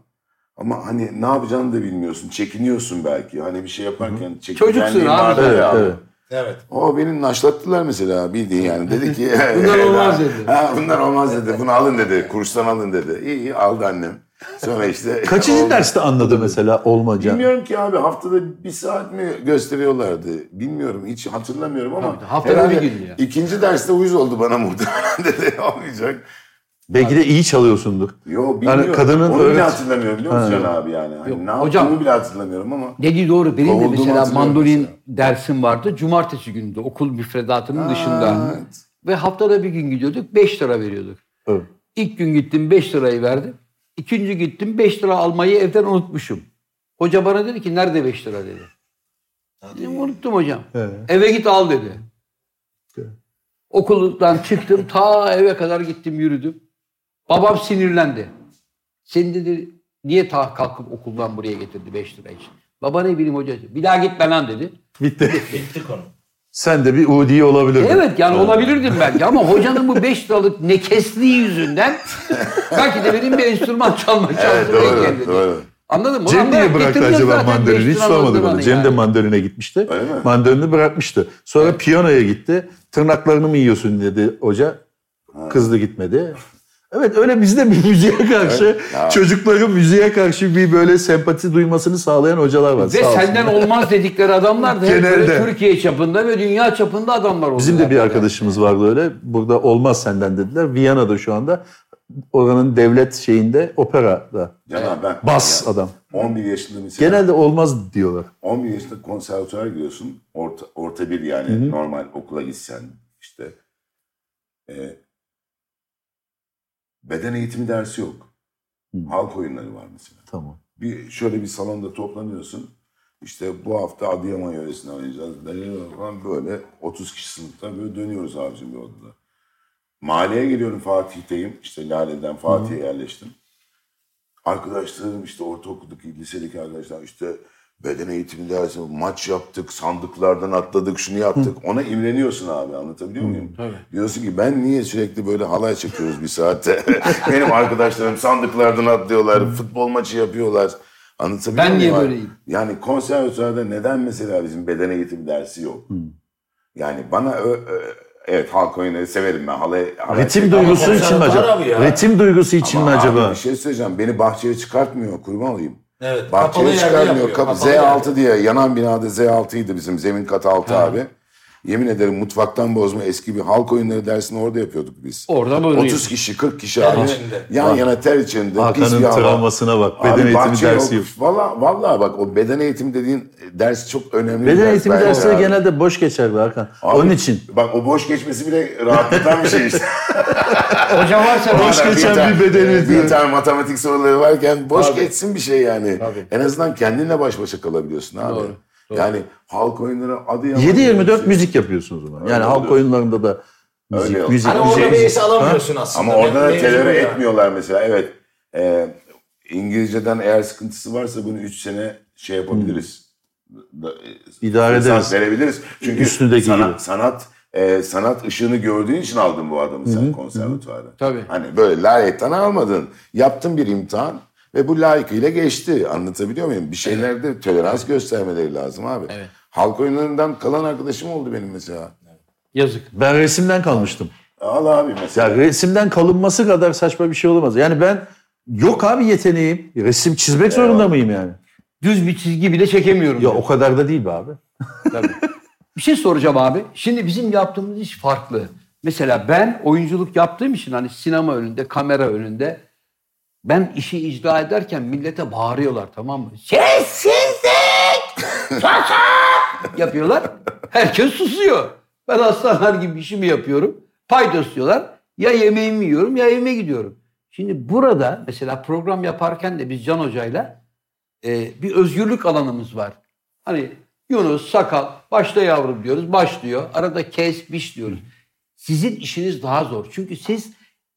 Speaker 3: Ama hani ne yapacağını da bilmiyorsun. Çekiniyorsun belki. Hani bir şey yaparken
Speaker 1: Çocuksun
Speaker 3: çekingenliğin
Speaker 1: abi.
Speaker 3: vardır
Speaker 2: Evet,
Speaker 3: ya.
Speaker 2: evet.
Speaker 4: Evet.
Speaker 3: O benim naşlattılar mesela bildiğin yani. Dedi
Speaker 1: [LAUGHS]
Speaker 3: ki
Speaker 1: Bunlar olmaz dedi.
Speaker 3: Ha, bunlar olmaz dedi. Bunu alın dedi. Kurstan alın dedi. İyi iyi aldı annem. Sonra işte
Speaker 2: Kaçıncı
Speaker 3: [LAUGHS] Oldu.
Speaker 2: derste anladı mesela olmaca?
Speaker 3: Bilmiyorum ki abi haftada bir saat mi gösteriyorlardı bilmiyorum hiç hatırlamıyorum ama
Speaker 1: Tabii, haftada
Speaker 3: herhalde
Speaker 1: bir gün ya.
Speaker 3: ikinci derste uyuz oldu bana [LAUGHS] muhtemelen dedi olmayacak.
Speaker 2: Belki de iyi çalıyorsundur.
Speaker 3: Yo bilmiyorum.
Speaker 2: kadının
Speaker 3: Onu bile
Speaker 2: öğret-
Speaker 3: hatırlamıyorum biliyor musun Can abi yani. Hani
Speaker 1: Yok,
Speaker 3: ne
Speaker 1: hocam-
Speaker 3: yaptığımı bile hatırlamıyorum ama.
Speaker 1: Dediği doğru. Benim de
Speaker 3: Kovulduğumu
Speaker 1: mesela
Speaker 3: hatırlıyorum
Speaker 1: mandolin
Speaker 3: mesela.
Speaker 1: dersim vardı. Cumartesi günüydü okul müfredatının
Speaker 3: Aa,
Speaker 1: dışında.
Speaker 3: evet.
Speaker 1: Ve haftada bir gün gidiyorduk 5 lira veriyorduk.
Speaker 2: Evet.
Speaker 1: İlk gün gittim 5 lirayı verdim. İkinci gittim 5 lira almayı evden unutmuşum. Hoca bana dedi ki nerede 5 lira dedi. Dedim, unuttum hocam.
Speaker 2: Evet.
Speaker 1: Eve git al dedi.
Speaker 2: Evet.
Speaker 1: Okuldan çıktım ta eve kadar gittim yürüdüm. Babam sinirlendi. Seni dedi niye ta kalkıp okuldan buraya getirdi 5 lira için. Baba ne bileyim hoca. Bir daha gitme lan dedi.
Speaker 2: Bitti.
Speaker 4: Bitti konu.
Speaker 2: Sen de bir Udi olabilirdin.
Speaker 1: Evet yani olabilirdim belki ama hocanın bu 5 liralık nekesliği yüzünden belki de benim bir enstrüman çalma
Speaker 3: Evet
Speaker 1: şansım
Speaker 3: doğru doğru.
Speaker 1: Anladın mı? Ulan
Speaker 2: Cem niye
Speaker 1: bırak,
Speaker 2: bıraktı
Speaker 1: getireceğiz
Speaker 2: acaba
Speaker 1: zaten beş
Speaker 2: mandolini? Hiç
Speaker 1: lira
Speaker 2: sormadı bana.
Speaker 1: mandolini
Speaker 2: Cem de
Speaker 1: yani.
Speaker 2: mandolini gitmişti.
Speaker 3: Öyle mi?
Speaker 2: Mandolini bırakmıştı. Sonra piyanoya gitti. Tırnaklarını mı yiyorsun dedi hoca. Kızdı gitmedi. Evet öyle bizde bir müziğe karşı çocukların müziğe karşı bir böyle sempati duymasını sağlayan hocalar var.
Speaker 1: Ve
Speaker 2: sağ olsun.
Speaker 1: senden olmaz dedikleri adamlar da hep böyle
Speaker 2: Genelde.
Speaker 1: Türkiye çapında ve dünya çapında adamlar oldu.
Speaker 2: Bizim de bir
Speaker 1: zaten.
Speaker 2: arkadaşımız vardı öyle. Burada olmaz senden dediler. Viyana'da şu anda oranın devlet şeyinde operada
Speaker 3: Can abi ben
Speaker 2: bas
Speaker 3: ya,
Speaker 2: adam.
Speaker 3: 11 yaşında mesela.
Speaker 2: Genelde olmaz diyorlar.
Speaker 3: 11 yaşında konservatuara giriyorsun. Orta, orta bir yani normal okula gitsen işte. e, beden eğitimi dersi yok. Halk oyunları var mesela.
Speaker 2: Tamam.
Speaker 3: Bir, şöyle bir salonda toplanıyorsun. İşte bu hafta Adıyaman yöresine oynayacağız. Falan böyle 30 kişi sınıfta böyle dönüyoruz abicim bir odada. Mahalleye geliyorum Fatih'teyim. İşte Lale'den Fatih'e yerleştim. Arkadaşlarım işte ortaokuldaki, lisedeki arkadaşlar işte beden eğitimi dersi, maç yaptık, sandıklardan atladık, şunu yaptık. Ona imreniyorsun abi anlatabiliyor muyum? Diyorsun ki ben niye sürekli böyle halay çekiyoruz bir saatte? [LAUGHS] Benim arkadaşlarım sandıklardan atlıyorlar, futbol maçı yapıyorlar. Anlatabiliyor
Speaker 1: Ben
Speaker 3: muyum?
Speaker 1: niye
Speaker 3: abi?
Speaker 1: böyleyim?
Speaker 3: Yani konservatuvarda neden mesela bizim beden eğitimi dersi yok? Yani bana ö- ö- evet halk oyunları severim ben. Halay, halay
Speaker 2: Ritim
Speaker 3: çekmeyi-
Speaker 2: duygusu için mi
Speaker 4: konservatuvar
Speaker 2: acaba?
Speaker 4: abi ya.
Speaker 2: Ritim duygusu için
Speaker 3: Ama
Speaker 2: mi
Speaker 3: abi
Speaker 2: acaba?
Speaker 3: Bir şey söyleyeceğim. Beni bahçeye çıkartmıyor. Kurban olayım.
Speaker 4: Evet. kapalı
Speaker 3: Bahçeye
Speaker 4: yerde
Speaker 3: çıkarmıyor.
Speaker 4: yapıyor,
Speaker 3: Kapı,
Speaker 4: kapalı yerde.
Speaker 3: Z6 diye yanan binada Z6'ydı bizim. Zemin katı 6 abi. Yemin ederim mutfaktan bozma eski bir halk oyunları dersini orada yapıyorduk biz.
Speaker 1: Orada mı
Speaker 3: 30 kişi 40 kişi
Speaker 4: Ter
Speaker 3: abi.
Speaker 4: içinde.
Speaker 3: Yan yana ter içinde. pis
Speaker 2: Hakan'ın
Speaker 3: bir hava.
Speaker 2: travmasına bak.
Speaker 3: Abi
Speaker 2: Beden eğitimi
Speaker 3: bahçe
Speaker 2: dersi yok.
Speaker 3: Valla, valla bak o beden eğitimi dediğin ders çok önemli. bir
Speaker 2: Beden
Speaker 3: ders
Speaker 2: eğitimi
Speaker 3: bence
Speaker 2: dersleri
Speaker 3: abi.
Speaker 2: genelde boş geçerdi Hakan.
Speaker 3: Abi,
Speaker 2: Onun için.
Speaker 3: Bak o boş geçmesi bile rahatlatan bir şey işte.
Speaker 1: Hoca varsa
Speaker 2: [LAUGHS] Boş
Speaker 3: Madem
Speaker 2: geçen bir
Speaker 3: tane-
Speaker 2: beden eğitimi.
Speaker 3: Bir tane matematik soruları varken boş
Speaker 1: Tabii.
Speaker 3: geçsin bir şey yani.
Speaker 1: Tabii.
Speaker 3: En azından kendinle baş başa kalabiliyorsun abi.
Speaker 1: Doğru, doğru.
Speaker 3: Yani halk oyunları adı
Speaker 2: 7-24 müzik yapıyorsunuz o zaman. Yani
Speaker 3: Öyle
Speaker 2: halk
Speaker 3: oluyor.
Speaker 2: oyunlarında da müzik,
Speaker 3: Öyle oluyor.
Speaker 2: müzik,
Speaker 4: Hani orada
Speaker 2: müzik.
Speaker 4: bir es alamıyorsun aslında.
Speaker 3: Ama orada da
Speaker 4: Mevzu
Speaker 3: telere
Speaker 4: ya.
Speaker 3: etmiyorlar mesela. Evet. e, İngilizceden eğer sıkıntısı varsa bunu 3 sene şey yapabiliriz. Da- e,
Speaker 2: İdare
Speaker 3: fırsat
Speaker 2: ederiz.
Speaker 3: verebiliriz. Çünkü
Speaker 2: Üstündeki
Speaker 3: sanat,
Speaker 2: gibi.
Speaker 3: sanat e, sanat ışığını gördüğün için aldın bu adamı sen konservatuvarda.
Speaker 1: Tabii.
Speaker 3: Hani böyle layıktan almadın. Yaptın bir imtihan ve bu layıkıyla geçti. Anlatabiliyor muyum? Bir şeylerde tolerans göstermeleri lazım abi.
Speaker 1: Evet.
Speaker 3: Halk oyunlarından kalan arkadaşım oldu benim mesela.
Speaker 1: Yazık.
Speaker 2: Ben resimden kalmıştım.
Speaker 3: Al abi mesela.
Speaker 2: Ya resimden kalınması kadar saçma bir şey olamaz. Yani ben Yok abi yeteneğim. Resim çizmek zorunda mıyım yani?
Speaker 1: Düz bir çizgi bile çekemiyorum.
Speaker 2: Ya
Speaker 1: diyor.
Speaker 2: o kadar da değil be abi.
Speaker 1: Tabii. bir şey soracağım abi. Şimdi bizim yaptığımız iş farklı. Mesela ben oyunculuk yaptığım için hani sinema önünde, kamera önünde ben işi icra ederken millete bağırıyorlar tamam mı? Sessizlik! Susun! Yapıyorlar. Herkes susuyor. Ben aslanlar gibi işimi yapıyorum. Paydos diyorlar. Ya yemeğimi yiyorum ya yemeğe gidiyorum. Şimdi burada mesela program yaparken de biz Can Hoca'yla e, bir özgürlük alanımız var. Hani Yunus, sakal, başla yavrum diyoruz, başlıyor. Arada kes, biş diyoruz. Sizin işiniz daha zor. Çünkü siz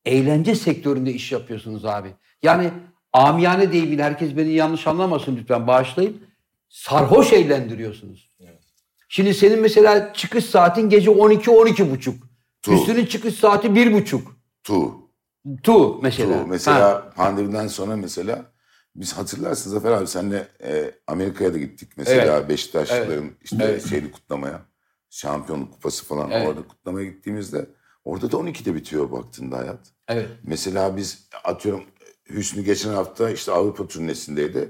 Speaker 1: eğlence sektöründe iş yapıyorsunuz abi. Yani amiyane deyimiyle herkes beni yanlış anlamasın lütfen bağışlayın. Sarhoş eğlendiriyorsunuz.
Speaker 4: Evet.
Speaker 1: Şimdi senin mesela çıkış saatin gece 12-12.30.
Speaker 3: Tu.
Speaker 1: Üstünün çıkış saati 1.30.
Speaker 3: Tu.
Speaker 1: Tu mesela.
Speaker 3: Tu. Mesela
Speaker 1: Ha,
Speaker 3: pandemiden sonra mesela biz hatırlarsın Zafer abi senle e, Amerika'ya da gittik mesela Beşiktaşlıların işte şeyini kutlamaya. Şampiyonluk kupası falan
Speaker 1: Evet.
Speaker 3: orada kutlamaya gittiğimizde orada da 12'de bitiyor baktığında hayat.
Speaker 1: evet.
Speaker 3: Mesela biz atıyorum Hüsnü geçen hafta işte Avrupa turnesindeydi.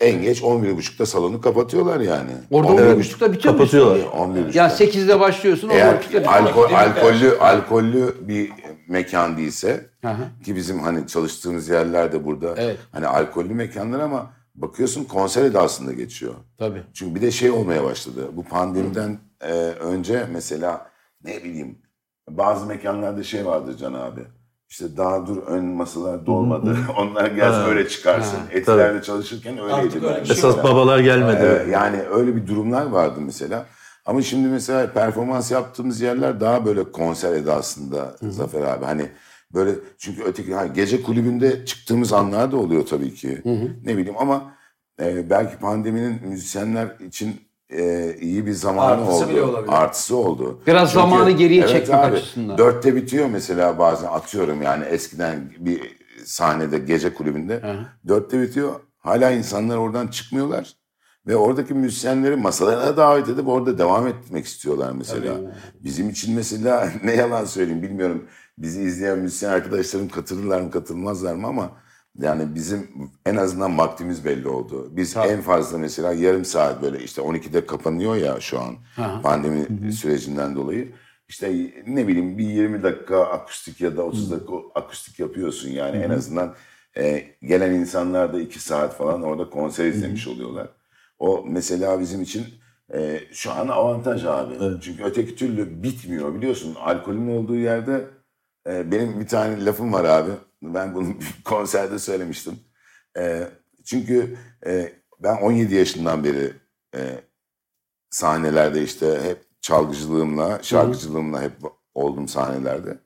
Speaker 3: En geç 11.30'da salonu kapatıyorlar yani.
Speaker 1: Orada 11.30'da bitiyor mu?
Speaker 2: Kapatıyorlar.
Speaker 3: şey 11.30'da.
Speaker 1: Yani 8'de başlıyorsun.
Speaker 3: Eğer
Speaker 1: 11.30'da bitiyor.
Speaker 3: alkol, alkollü, alkollü bir mekan değilse
Speaker 1: Hı hı.
Speaker 3: ki bizim hani çalıştığımız yerler de burada
Speaker 1: Evet.
Speaker 3: hani alkollü mekanlar ama bakıyorsun konser edasında geçiyor.
Speaker 1: Tabii.
Speaker 3: Çünkü bir de şey olmaya başladı. Bu pandemiden e, önce mesela ne bileyim bazı mekanlarda şey vardır Can abi. İşte daha dur ön masalar dolmadı. [LAUGHS] Onlar gelsin
Speaker 2: Ha.
Speaker 3: öyle çıkarsın.
Speaker 1: Ha.
Speaker 3: Etilerde çalışırken öyleydi.
Speaker 4: Artık öyle
Speaker 3: bence.
Speaker 4: bir şey
Speaker 2: Esas babalar gelmedi.
Speaker 3: Evet, Ee, yani öyle bir durumlar vardı mesela. Ama şimdi mesela performans yaptığımız yerler daha böyle konser edasında Zafer abi. Hani böyle çünkü öteki ha, gece kulübünde çıktığımız anlar da oluyor tabii ki. Ne bileyim ama e, belki pandeminin müzisyenler için e, iyi bir zamanı
Speaker 4: Artısı
Speaker 3: oldu.
Speaker 4: bile olabilir.
Speaker 3: Artısı oldu.
Speaker 1: Biraz zamanı geriye çekmek açısından.
Speaker 3: Dörtte bitiyor mesela bazen atıyorum yani eskiden bir sahnede gece kulübünde.
Speaker 1: hı.
Speaker 3: Dörtte bitiyor. Hala insanlar oradan çıkmıyorlar. Ve oradaki müzisyenleri masalarına davet edip orada devam etmek istiyorlar mesela. Bizim için mesela [LAUGHS] ne yalan söyleyeyim bilmiyorum. Bizi izleyen müzisyen arkadaşlarım katılırlar mı katılmazlar mı ama yani bizim en azından vaktimiz belli oldu. Biz en fazla mesela yarım saat böyle işte 12'de kapanıyor ya şu an pandemi sürecinden dolayı. İşte ne bileyim bir 20 dakika akustik ya da 30 dakika akustik yapıyorsun yani en azından e, gelen insanlar da 2 saat falan orada konser izlemiş oluyorlar. O mesela bizim için e, şu an avantaj abi. Çünkü öteki türlü bitmiyor biliyorsun. Alkolün olduğu yerde e, benim bir tane lafım var abi. Ben bunu [LAUGHS] bir konserde söylemiştim. E, çünkü e, ben 17 yaşından beri e, sahnelerde işte hep çalgıcılığımla, şarkıcılığımla hep oldum sahnelerde.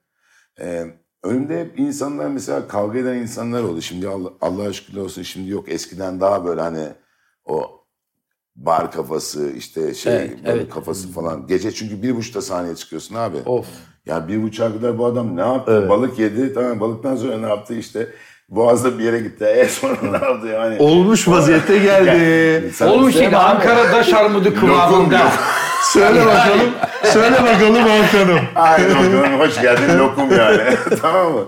Speaker 3: Ee, önümde hep insanlar mesela kavga eden insanlar oldu. Şimdi Allah, Allah'a şükürler olsun şimdi yok. Eskiden daha böyle hani o bar kafası işte şey
Speaker 1: Evet,
Speaker 3: böyle
Speaker 1: evet.
Speaker 3: kafası falan. Gece çünkü bir buçukta sahneye çıkıyorsun abi.
Speaker 1: Of.
Speaker 3: Yani bir buçuğa kadar bu adam ne yaptı?
Speaker 2: Evet.
Speaker 3: Balık yedi. Tamam balıktan sonra ne yaptı işte? Boğaz'da bir yere gitti. [LAUGHS] E sonra ne yaptı yani?
Speaker 2: Olmuş vaziyette geldi.
Speaker 3: Sen-
Speaker 1: Olmuş yine Ankara'da şarmudu kıvamında.
Speaker 2: Söyle bakalım. Söyle bakalım Hakan'ım.
Speaker 3: Aynen lokum, hoş geldin lokum
Speaker 2: [LAUGHS]
Speaker 3: yani. [LAUGHS] tamam mı?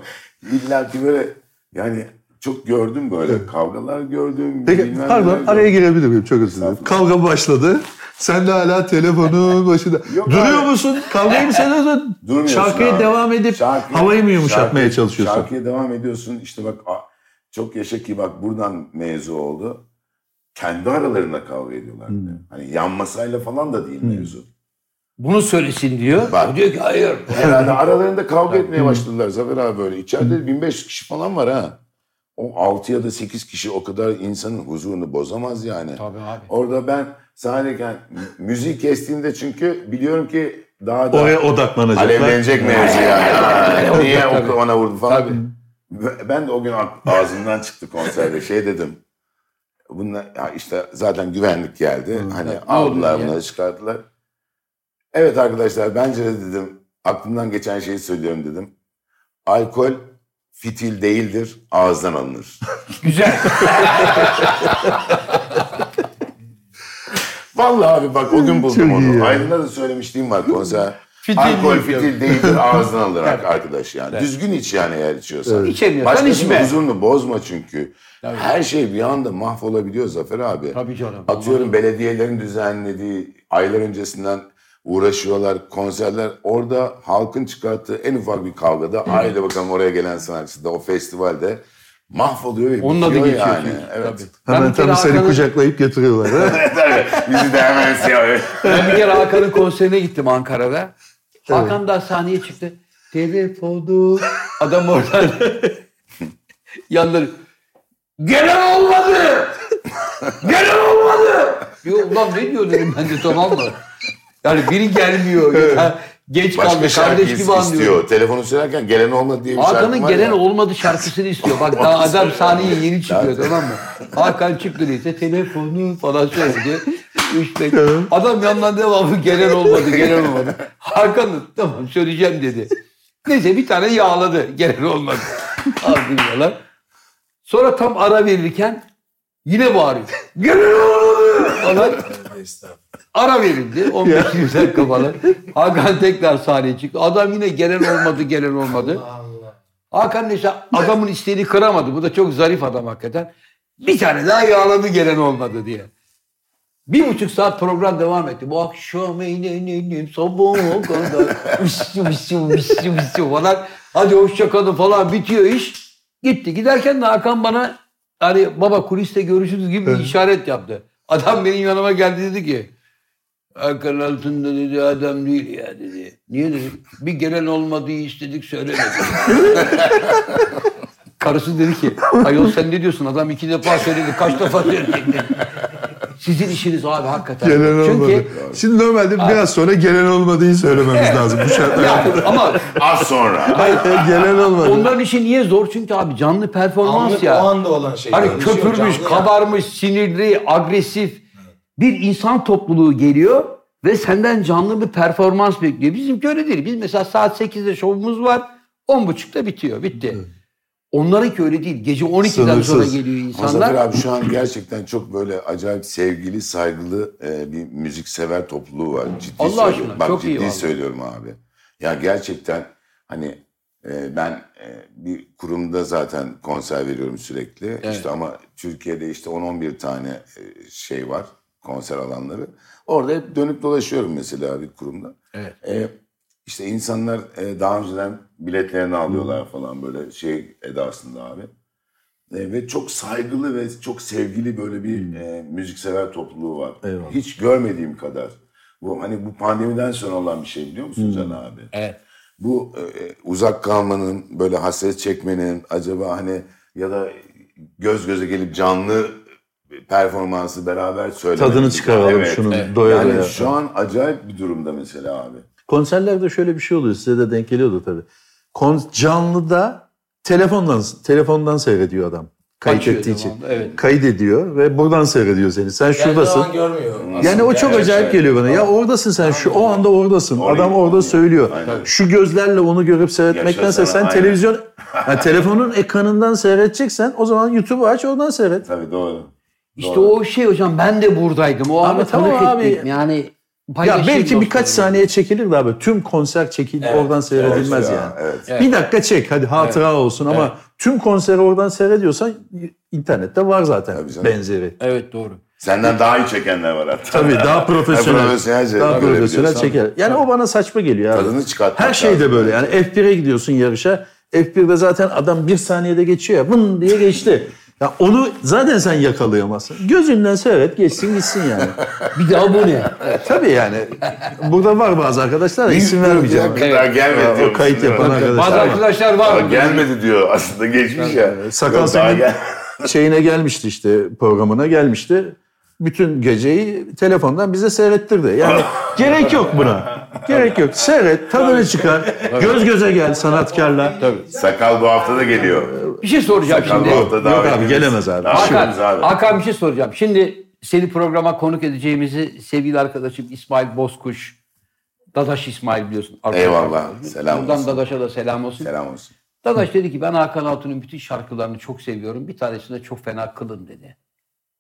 Speaker 3: İlla ki böyle yani çok gördüm böyle kavgalar gördüm.
Speaker 2: Peki
Speaker 3: bilmem neler
Speaker 2: pardon
Speaker 3: gördüm.
Speaker 2: araya girebilir miyim? Çok özür dilerim. Kavga başladı. Sen de hala telefonun başında.
Speaker 3: Yok
Speaker 2: Duruyor
Speaker 3: abi.
Speaker 2: musun? Kavgayı mı sen
Speaker 3: Durmuyorsun
Speaker 2: Şarkıya
Speaker 3: abi.
Speaker 2: devam edip
Speaker 3: Şarkı-
Speaker 2: havayı mı yumuşatmaya
Speaker 3: şarkı-
Speaker 2: çalışıyorsun?
Speaker 3: Şarkıya devam ediyorsun. İşte bak a- çok yaşa ki bak buradan mevzu oldu. Kendi aralarında kavga ediyorlar.
Speaker 2: Hmm.
Speaker 3: Hani yan masayla falan da değil mevzu.
Speaker 1: Bunu söylesin diyor.
Speaker 3: Bak.
Speaker 1: O diyor ki hayır.
Speaker 3: Herhalde hani aralarında kavga etmeye başladılar Zafer abi böyle. İçeride 1500 kişi falan var ha. O 6 ya da 8 kişi o kadar insanın huzurunu bozamaz yani.
Speaker 1: Tabii abi.
Speaker 3: Orada ben sahnedeyken müziği kestiğimde çünkü biliyorum ki daha da
Speaker 2: Oraya odaklanacaklar.
Speaker 3: alevlenecek mevzu yani. Aa, Niye o- ona vurdu falan.
Speaker 1: Tabii.
Speaker 3: Ve Ben de o gün a- ağzımdan çıktı konserde şey dedim. Bunlar ya işte zaten güvenlik geldi. Hani aldılar
Speaker 1: oldu ya?
Speaker 3: bunları çıkarttılar. Evet arkadaşlar bence de dedim aklımdan geçen şeyi söylüyorum dedim. Alkol fitil değildir ağızdan alınır.
Speaker 1: [LAUGHS] Güzel.
Speaker 3: Vallahi abi bak o gün buldum
Speaker 2: Çok iyi
Speaker 3: onu.
Speaker 2: ya.
Speaker 3: Aydın'a da söylemişliğim var konser.
Speaker 2: Fitil
Speaker 3: Alkol
Speaker 2: yok.
Speaker 3: fitil
Speaker 1: [LAUGHS]
Speaker 3: değildir ağzına alınarak arkadaş yani. Düzgün iç yani eğer içiyorsan.
Speaker 2: Evet.
Speaker 1: İçemiyorsan
Speaker 3: Başkasının
Speaker 1: içme.
Speaker 3: huzurunu bozma çünkü. Her şey bir anda mahvolabiliyor Zafer abi.
Speaker 1: Tabii canım.
Speaker 3: Atıyorum belediyelerin düzenlediği aylar öncesinden uğraşıyorlar konserler. Orada halkın çıkarttığı en ufak bir kavgada aile bakalım oraya gelen sanatçı da o festivalde mahvoluyor ve
Speaker 1: Onun adı
Speaker 3: bitiyor
Speaker 1: geçiyor
Speaker 3: yani.
Speaker 1: çünkü.
Speaker 3: Evet. [LAUGHS]
Speaker 2: Hemen
Speaker 1: bir kere
Speaker 2: tabii seni
Speaker 1: Hakan'ın-
Speaker 2: kucaklayıp götürüyorlar. ha?
Speaker 3: Bizi de hemen siyah.
Speaker 1: Ben [LAUGHS] bir kere Hakan'ın konserine gittim Ankara'da. Hakan da sahneye çıktı. Telefonu. Adam oradan [LAUGHS] yanları. Gelen olmadı. [LAUGHS] Gelen olmadı. Yo, ulan ne diyor dedim ben de tamam mı? Yani biri gelmiyor. Ya da geç
Speaker 3: Başka
Speaker 1: kaldı.
Speaker 3: şarkı
Speaker 1: Kardeş gibi
Speaker 3: is-
Speaker 1: anlıyorum.
Speaker 3: istiyor. Telefonu söylerken gelen olmadı diye bir şarkı
Speaker 1: Hakan'ın
Speaker 3: var
Speaker 1: gelen
Speaker 3: ya.
Speaker 1: olmadı şarkısını istiyor. Bak daha adam sahneye yeni çıkıyor
Speaker 3: Zaten.
Speaker 1: tamam mı? Hakan çıktı neyse telefonu falan söyledi. Üç beş. Adam yandan devamı gelen olmadı gelen
Speaker 3: [LAUGHS]
Speaker 1: olmadı. Hakan tamam söyleyeceğim dedi. Neyse bir tane yağladı gelen olmadı. Aldım yalan. Sonra tam ara verirken yine bağırıyor. Gelen olmadı falan.
Speaker 4: Estağfurullah.
Speaker 1: Ara verildi. 15 20 dakika falan. Hakan tekrar sahneye çıktı. Adam yine gelen olmadı gelen olmadı.
Speaker 4: Allah.
Speaker 1: Hakan Neşe adamın isteğini kıramadı. Bu da çok zarif adam hakikaten. Bir tane daha yağladı gelen olmadı diye. Bir buçuk saat program devam etti. Bu akşam eğlenelim sabaha kadar. Üstü üstü üstü üstü falan. Hadi hoşça kalın falan bitiyor iş. Gitti. Giderken de Hakan bana hani baba kuliste görüşürüz gibi bir işaret yaptı. Adam benim yanıma geldi dedi ki Hakan altında dedi adam değil ya dedi. Niye dedi? Bir gelen olmadığı istedik söylemedi. [LAUGHS] Karısı dedi ki ayol sen ne diyorsun adam iki defa söyledi kaç defa söyleyecek dedi. Sizin işiniz abi hakikaten.
Speaker 2: Gelen
Speaker 1: Çünkü
Speaker 2: olmadı. Şimdi normalde biraz sonra gelen olmadığı söylememiz lazım bu şartlarda.
Speaker 1: Ya, ama
Speaker 3: Az sonra.
Speaker 2: gelen olmadı.
Speaker 1: onların işi niye zor? Çünkü abi canlı performans
Speaker 4: Anlık
Speaker 1: ya.
Speaker 4: o anda olan şey.
Speaker 1: Hani
Speaker 4: Yani şey yok,
Speaker 1: köpürmüş,
Speaker 4: canlı ya.
Speaker 1: kabarmış, sinirli, agresif bir insan topluluğu geliyor ve senden canlı bir performans bekliyor. Bizimki öyle değil. Biz mesela saat 8'de şovumuz var. 10.30'da bitiyor. Bitti. Onlarınki öyle değil. Gece 12'den sonra
Speaker 2: Sınırsız.
Speaker 1: geliyor
Speaker 3: Ama Zafer
Speaker 1: insanlar.
Speaker 3: abi şu an gerçekten çok böyle acayip sevgili, saygılı e, bir müziksever topluluğu var. Ciddi
Speaker 1: Allah
Speaker 3: söylüyorum.
Speaker 1: aşkına,
Speaker 3: Bak
Speaker 1: çok iyi
Speaker 3: ciddi
Speaker 1: vallahi.
Speaker 3: söylüyorum abi. Ya gerçekten hani e, ben e, bir kurumda zaten konser veriyorum sürekli. İşte ama Türkiye'de işte 10-11 tane e, şey var konser alanları. Orada hep dönüp dolaşıyorum mesela bir kurumda.
Speaker 1: Evet.
Speaker 3: E, işte insanlar e, daha önceden biletlerini alıyorlar falan böyle şey edasında abi. E, ve çok saygılı ve çok sevgili böyle bir e, müziksever topluluğu var.
Speaker 2: Hmm. Eyvallah.
Speaker 3: Hiç görmediğim kadar. Bu hani bu pandemiden sonra olan bir şey biliyor
Speaker 2: Hmm.
Speaker 3: musun Can abi?
Speaker 1: Evet.
Speaker 3: Bu e, uzak kalmanın, böyle hasret çekmenin acaba hani ya da göz göze gelip canlı performansı beraber söylemenin.
Speaker 2: Tadını çıkaralım
Speaker 3: Evet.
Speaker 2: şunun
Speaker 1: evet.
Speaker 2: doya
Speaker 3: Yani
Speaker 2: doya.
Speaker 3: şu an acayip bir durumda mesela abi.
Speaker 2: Konserlerde şöyle bir şey oluyor. Size de denk geliyordu tabii. Kon canlıda telefondan telefondan seyrediyor adam. Kayıt
Speaker 1: Açıyor
Speaker 2: ettiği için.
Speaker 1: devamlı, evet.
Speaker 2: Kayıt ediyor ve buradan seyrediyor seni. Sen şuradasın.
Speaker 4: Yani, görmüyor.
Speaker 2: Yani o çok
Speaker 3: Evet,
Speaker 2: acayip
Speaker 3: evet.
Speaker 2: geliyor bana. Ya oradasın sen şu o anda oradasın.
Speaker 3: Orayı-
Speaker 2: Adam orada
Speaker 3: Aynen.
Speaker 2: söylüyor.
Speaker 3: Aynen.
Speaker 2: Şu gözlerle onu görüp seyretmektense
Speaker 3: Yaşasana,
Speaker 2: sen
Speaker 3: aynen.
Speaker 2: televizyon yani telefonun ekranından seyredeceksen o zaman YouTube'u aç oradan seyret.
Speaker 3: Tabii doğru.
Speaker 1: İşte
Speaker 3: Doğru.
Speaker 1: o şey hocam ben de buradaydım. O
Speaker 2: Abi
Speaker 1: anı
Speaker 2: tamam
Speaker 1: tanık
Speaker 2: abi.
Speaker 1: ettim. Yani
Speaker 2: Ya
Speaker 1: paylaşayım
Speaker 2: belki birkaç
Speaker 1: dostlarımla.
Speaker 2: saniye çekilir de abi tüm konser çekildi
Speaker 4: Evet,
Speaker 2: oradan seyredilmez
Speaker 3: Doğru ya,
Speaker 2: yani.
Speaker 3: Evet.
Speaker 1: Evet.
Speaker 2: Bir dakika çek hadi hatıra olsun ama
Speaker 1: Evet.
Speaker 2: tüm konseri oradan seyrediyorsan internette var zaten
Speaker 3: Tabii canım.
Speaker 2: benzeri.
Speaker 1: Evet doğru.
Speaker 3: Senden daha iyi çekenler var hatta.
Speaker 2: Tabii daha profesyonel.
Speaker 3: Ha, profesyonelce
Speaker 2: daha
Speaker 3: böyle
Speaker 2: profesyonel
Speaker 3: biliyorsan.
Speaker 2: çeker. Yani o bana saçma geliyor abi.
Speaker 3: Tadını çıkartmak
Speaker 2: Her şey de
Speaker 3: lazım.
Speaker 2: böyle yani F1'e gidiyorsun yarışa. F1'de zaten adam bir saniyede geçiyor ya bın diye geçti. Ya onu zaten sen yakalayamazsın. Gözünden seyret geçsin gitsin
Speaker 3: [LAUGHS]
Speaker 2: yani.
Speaker 1: Bir daha bu ne?
Speaker 2: Tabii yani. Burada var bazı arkadaşlar da isim vermeyeceğim.
Speaker 3: Bir kadar gelmedi
Speaker 2: Ya, o
Speaker 3: diyor musun,
Speaker 2: kayıt
Speaker 3: değil mi?
Speaker 2: yapan arkadaş.
Speaker 1: Bazı arkadaşlar
Speaker 3: Daha
Speaker 1: var. mı?
Speaker 3: gelmedi diyor aslında geçmiş ya.
Speaker 2: Sakal
Speaker 3: Yok, daha
Speaker 2: senin-
Speaker 3: gel- [LAUGHS]
Speaker 2: şeyine gelmişti işte programına gelmişti. Bütün geceyi telefondan bize seyrettirdi. [LAUGHS] Yani gerek yok buna. Gerek yok. Seyret, tadını çıkar. Göz göze gel sanatkarla. Tabii.
Speaker 3: Sakal bu hafta da geliyor.
Speaker 1: Bir şey soracağım
Speaker 3: Sakal
Speaker 1: şimdi.
Speaker 3: bu hafta
Speaker 2: Yok abi,
Speaker 3: ediliriz.
Speaker 2: gelemez abi.
Speaker 3: Davet
Speaker 1: Hakan,
Speaker 3: ediliriz abi.
Speaker 1: Hakan bir şey soracağım. Şimdi seni programa konuk edeceğimizi sevgili arkadaşım İsmail Bozkuş, Dadaş İsmail biliyorsun. arkadaşlar.
Speaker 3: Eyvallah, selam
Speaker 1: Buradan
Speaker 3: olsun.
Speaker 1: Dadaş'a da selam olsun.
Speaker 3: Selam olsun.
Speaker 1: Dadaş dedi ki ben Hakan Altun'un bütün şarkılarını çok seviyorum. Bir tanesini de çok fena kılın dedi.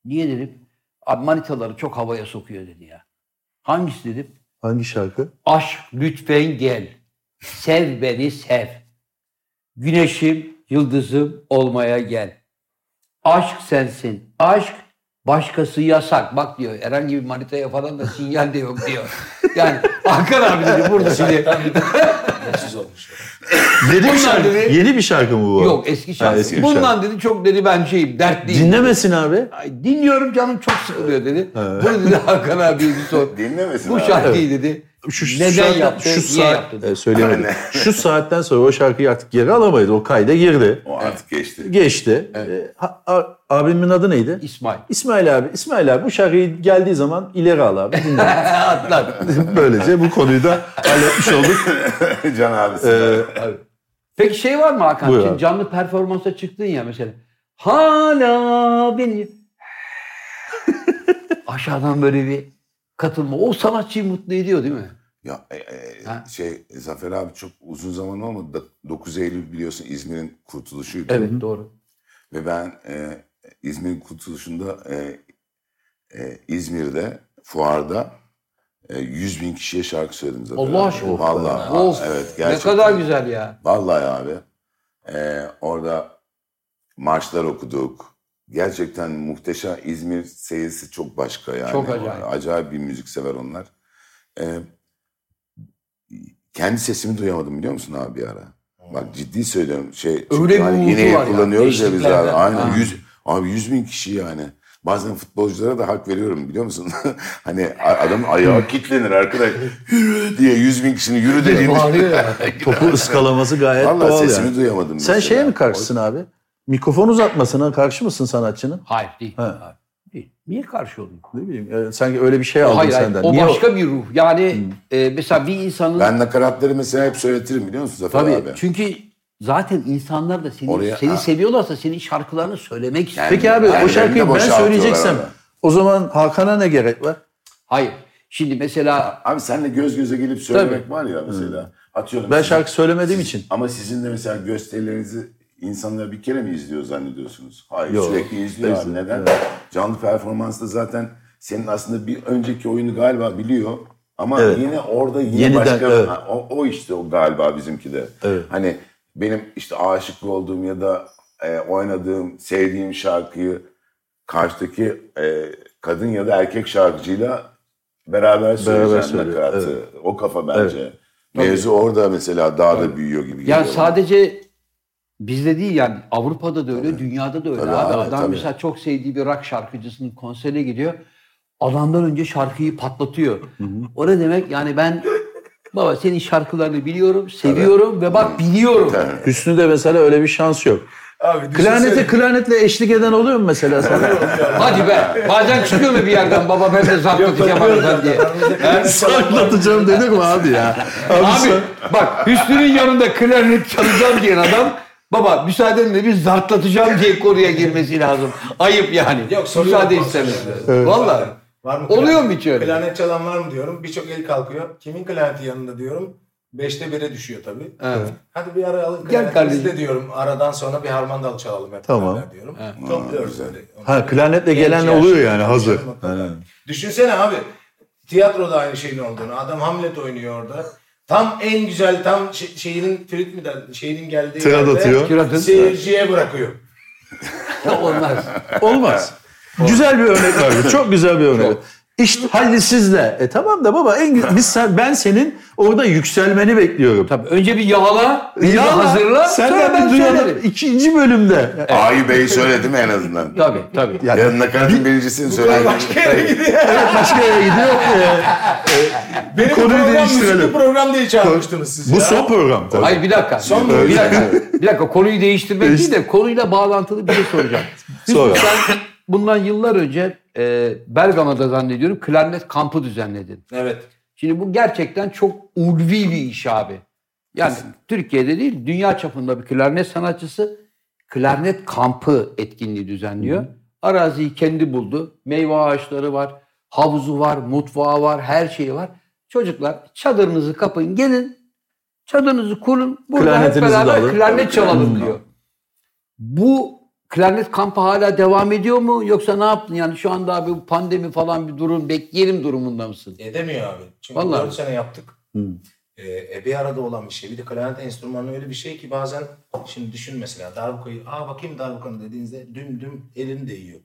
Speaker 1: Niye dedim? Abi manitaları çok havaya sokuyor dedi ya. Hangisi dedim?
Speaker 2: Hangi şarkı?
Speaker 1: Aşk lütfen gel. Sev beni sev. Güneşim, yıldızım olmaya gel. Aşk sensin. Aşk başkası yasak. Bak diyor herhangi bir manitaya falan da sinyal de yok diyor. Yani Hakan abi dedi burada
Speaker 2: [LAUGHS]
Speaker 1: şimdi.
Speaker 4: Mutsuz olmuş.
Speaker 2: Yeni bir
Speaker 1: Bunlar
Speaker 2: şarkı,
Speaker 1: dedi-
Speaker 2: yeni bir şarkı mı bu?
Speaker 1: Yok eski şarkı.
Speaker 2: eski bir
Speaker 1: Bundan
Speaker 2: şarkı.
Speaker 1: dedi çok dedi ben şeyim dertliyim.
Speaker 2: Dinlemesin abi.
Speaker 1: Ay, dinliyorum canım çok sıkılıyor dedi. Bunu dedi Hakan abiye bir sor.
Speaker 3: Dinlemesin
Speaker 1: Bu
Speaker 3: abi.
Speaker 1: şarkıyı dedi. Neden
Speaker 2: şarkı-
Speaker 1: yaptı,
Speaker 2: Şu
Speaker 1: niye
Speaker 2: saat,
Speaker 1: yaptı diye.
Speaker 2: E, söyleyemedim.
Speaker 3: Aynen.
Speaker 2: şu saatten sonra o şarkıyı artık geri alamayız. O kayda girdi.
Speaker 3: O artık geçti.
Speaker 2: Geçti. E, ha- a- abimin adı neydi?
Speaker 1: İsmail.
Speaker 2: İsmail abi. İsmail abi bu şarkıyı geldiği zaman ileri al abi. dinle.
Speaker 1: Atlat.
Speaker 2: [LAUGHS] Böylece bu konuyu da halletmiş olduk. [LAUGHS]
Speaker 3: [LAUGHS] Can abisi.
Speaker 2: E,
Speaker 1: Peki şey var mı Hakan?
Speaker 2: Buyur
Speaker 1: Şimdi
Speaker 2: abi.
Speaker 1: canlı performansa çıktın ya mesela. Hala beni... [LAUGHS] Aşağıdan böyle bir katılma. O sanatçıyı mutlu ediyor değil mi?
Speaker 3: Ya e, e,
Speaker 1: Ha.
Speaker 3: şey Zafer abi çok uzun zaman olmadı da 9 Eylül biliyorsun İzmir'in kurtuluşuydu.
Speaker 1: Evet doğru.
Speaker 3: Ve ben e, İzmir'in kurtuluşunda e, e, İzmir'de fuarda e, 100 bin kişiye şarkı söyledim zaten.
Speaker 1: Allah aşkına.
Speaker 3: Vallahi ha,
Speaker 1: Of,
Speaker 3: evet
Speaker 1: ne
Speaker 3: gerçekten.
Speaker 1: kadar güzel ya.
Speaker 3: Vallahi abi. E, orada marşlar okuduk. Gerçekten muhteşem İzmir seyircisi çok başka yani.
Speaker 1: Çok acayip.
Speaker 3: Acayip bir müziksever onlar. E, kendi sesimi duyamadım biliyor musun abi bir ara? Bak ciddi söylüyorum. Şey, çünkü
Speaker 1: Hmm. bir
Speaker 3: hani
Speaker 1: umudu
Speaker 3: iğneyi
Speaker 1: var ya,
Speaker 3: kullanıyoruz ya biz abi.
Speaker 1: eşliklerden.
Speaker 3: Aynen.
Speaker 1: Ha.
Speaker 3: Yüz, abi 100 bin kişi yani. Bazen futbolculara da hak veriyorum biliyor musun? [LAUGHS] hani a- adam
Speaker 1: [LAUGHS]
Speaker 3: ayağı kitlenir arkadaş. Yürü diye 100 bin kişinin yürü dediğini.
Speaker 1: Bağırıyor
Speaker 2: [LAUGHS]
Speaker 1: ya.
Speaker 2: topu ıskalaması gayet
Speaker 3: Vallahi
Speaker 2: doğal
Speaker 3: sesimi
Speaker 2: yani.
Speaker 3: duyamadım.
Speaker 2: Sen
Speaker 3: mesela.
Speaker 2: şeye mi karşısın abi? Mikrofon uzatmasına karşı mısın sanatçının?
Speaker 1: Hayır değil.
Speaker 2: Ha.
Speaker 1: Hayır, değil. Niye karşı oldun?
Speaker 2: Ne bileyim e, sanki öyle bir şey aldın
Speaker 1: Hayır, hayır.
Speaker 2: senden.
Speaker 1: O
Speaker 2: Niye o-
Speaker 1: başka bir ruh. Yani e, mesela bir insanın...
Speaker 3: Ben nakaratları mesela hep söyletirim biliyor musun Zafer
Speaker 1: Tabii
Speaker 3: abi?
Speaker 1: çünkü zaten insanlar da seni
Speaker 3: Oraya-
Speaker 1: seni
Speaker 3: ha.
Speaker 1: seviyorlarsa senin şarkılarını söylemek istiyor.
Speaker 2: Peki abi
Speaker 3: Yani
Speaker 2: o şarkıyı
Speaker 3: elinde
Speaker 2: ben
Speaker 3: boşaltıyorlar
Speaker 2: söyleyeceksem
Speaker 3: abi.
Speaker 2: o zaman Hakan'a ne gerek var?
Speaker 1: Hayır. Şimdi mesela
Speaker 3: Abi senle göz göze gelip söylemek var ya mesela. Atıyorum.
Speaker 2: Hmm. Ben
Speaker 3: sizin-
Speaker 2: şarkı söylemediğim için.
Speaker 3: Ama sizin de mesela gösterilerinizi insanlar bir kere mi izliyor zannediyorsunuz? Hayır
Speaker 2: Yok.
Speaker 3: sürekli izliyor. abi.
Speaker 2: İzliyor.
Speaker 3: Neden? Canlı performansta zaten senin aslında bir önceki oyunu galiba biliyor. Ama
Speaker 2: Evet.
Speaker 3: yine orada yine
Speaker 2: Yeniden,
Speaker 3: başka
Speaker 2: evet.
Speaker 3: Ha, o, o işte o galiba bizimki de.
Speaker 2: Evet.
Speaker 3: Hani benim işte aşık olduğum ya da e, oynadığım, sevdiğim şarkıyı karşıdaki e, kadın ya da erkek şarkıcıyla beraber söyleyeceğim
Speaker 2: söylüyor,
Speaker 3: nakaratı. O kafa bence. Mevzu orada mesela daha da büyüyor gibi geliyor.
Speaker 1: yani sadece bizde değil yani Avrupa'da da öyle, dünyada da öyle.
Speaker 3: Tabii
Speaker 1: abi,
Speaker 3: abi,
Speaker 1: adam
Speaker 3: tabii.
Speaker 1: mesela çok sevdiği bir rock şarkıcısının konserine gidiyor. Adamdan önce şarkıyı patlatıyor. O ne demek? Yani ben baba senin şarkılarını biliyorum, seviyorum ve bak biliyorum.
Speaker 2: Hüsnü de mesela öyle bir şans yok.
Speaker 4: Abi
Speaker 2: şey
Speaker 1: şey
Speaker 2: Klarneti klarnetle eşlik eden oluyor mu mesela sana? [LAUGHS]
Speaker 1: Hadi be. Bazen çıkıyor mu bir yerden baba ben de zaptı yapamadım diye.
Speaker 2: Saklatacağım dedik mi abi ya? Abi,
Speaker 1: Abi
Speaker 2: sen-
Speaker 1: bak Hüsnü'nün yanında klarnet çalacağım diyen adam baba müsaadenle bir zartlatacağım diye koruya girmesi lazım. Ayıp yani.
Speaker 4: Yok, soru yok.
Speaker 1: Müsaade istemesi.
Speaker 4: Evet.
Speaker 1: Vallahi.
Speaker 4: Var mı
Speaker 1: Oluyor
Speaker 4: klarnet?
Speaker 1: mu hiç öyle?
Speaker 4: Klarnet çalan var mı diyorum. Birçok el kalkıyor. Kimin klarneti yanında diyorum. Beşte bire düşüyor tabii.
Speaker 1: Evet.
Speaker 4: Hadi bir ara alın
Speaker 1: Gel
Speaker 4: klarnetimizi
Speaker 1: kardeşim.
Speaker 4: de diyorum. Aradan sonra bir harmandal çalalım hep
Speaker 2: Tamam.
Speaker 4: beraber diyorum. Topluyoruz öyle.
Speaker 2: Ha klarnetle
Speaker 4: Genç
Speaker 2: gelen
Speaker 4: yaşlı
Speaker 2: oluyor yani hazır.
Speaker 4: canım,
Speaker 2: Ha.
Speaker 4: Düşünsene abi. Tiyatroda aynı şeyin olduğunu. Adam Hamlet oynuyor orada. Tam en güzel tam şe- şeyinin Frit mi der, şeyinin geldiği
Speaker 2: Tirat atıyor.
Speaker 1: Tiratın.
Speaker 4: seyirciye bırakıyor.
Speaker 1: Olmaz.
Speaker 2: [LAUGHS] Olmaz. güzel bir örnek [LAUGHS] var. Çok güzel bir örnek. İşte hadi siz de. E tamam da baba en [LAUGHS] gü- biz sen- ben senin orada yükselmeni bekliyorum.
Speaker 1: Tabii önce bir yağla, bir
Speaker 2: Yala,
Speaker 1: hazırla.
Speaker 2: Senden
Speaker 1: sonra ben
Speaker 2: bir duyalım.
Speaker 1: söylerim.
Speaker 2: İkinci bölümde.
Speaker 3: Ayı Bey söyledi mi en
Speaker 1: [LAUGHS]
Speaker 3: azından?
Speaker 1: Tabii tabii.
Speaker 2: Yani-
Speaker 3: Yani nakaratın birincisini söyledi.
Speaker 4: Başka yere gidiyor.
Speaker 2: Evet başka yere [LAUGHS] gidiyor. Ee,
Speaker 4: Benim
Speaker 2: Konuyu
Speaker 4: program
Speaker 2: değiştirelim.
Speaker 4: müzikli program diye çağırmıştınız siz
Speaker 2: bu
Speaker 4: ya.
Speaker 2: son program tabii.
Speaker 1: Hayır bir dakika.
Speaker 4: Son
Speaker 1: bir,
Speaker 4: bölüm.
Speaker 1: dakika. bir dakika konuyu değiştirmek değil de konuyla bağlantılı bir şey soracağım.
Speaker 2: Sonra.
Speaker 1: Sen bundan yıllar önce e, Bergama'da zannediyorum klarnet kampı düzenledin.
Speaker 4: Evet.
Speaker 1: Şimdi bu gerçekten çok ulvi bir iş abi. Yani Türkiye'de değil, dünya çapında bir klarnet sanatçısı klarnet kampı etkinliği düzenliyor. Araziyi kendi buldu. Meyve ağaçları var, havuzu var, mutfağı var, her şeyi var. Çocuklar çadırınızı kapın, gelin. Çadırınızı kurun. Burada hep
Speaker 2: Klarnetinizi de
Speaker 1: beraber
Speaker 2: alın.
Speaker 1: klarnet çalalım
Speaker 3: Hı.
Speaker 1: diyor. Bu klarnet kampı hala devam ediyor mu yoksa ne yaptın? Yani şu anda abi bu pandemi falan bir durum bekleyelim durumunda mısın?
Speaker 4: Edemiyor abi. Çünkü
Speaker 1: Vallahi.
Speaker 4: 4 sene yaptık. Ee, e, bir arada olan bir şey. Bir de klarnet enstrümanı öyle bir şey ki bazen şimdi düşün mesela darbukayı aa bakayım darbukanı dediğinizde düm düm elin değiyor.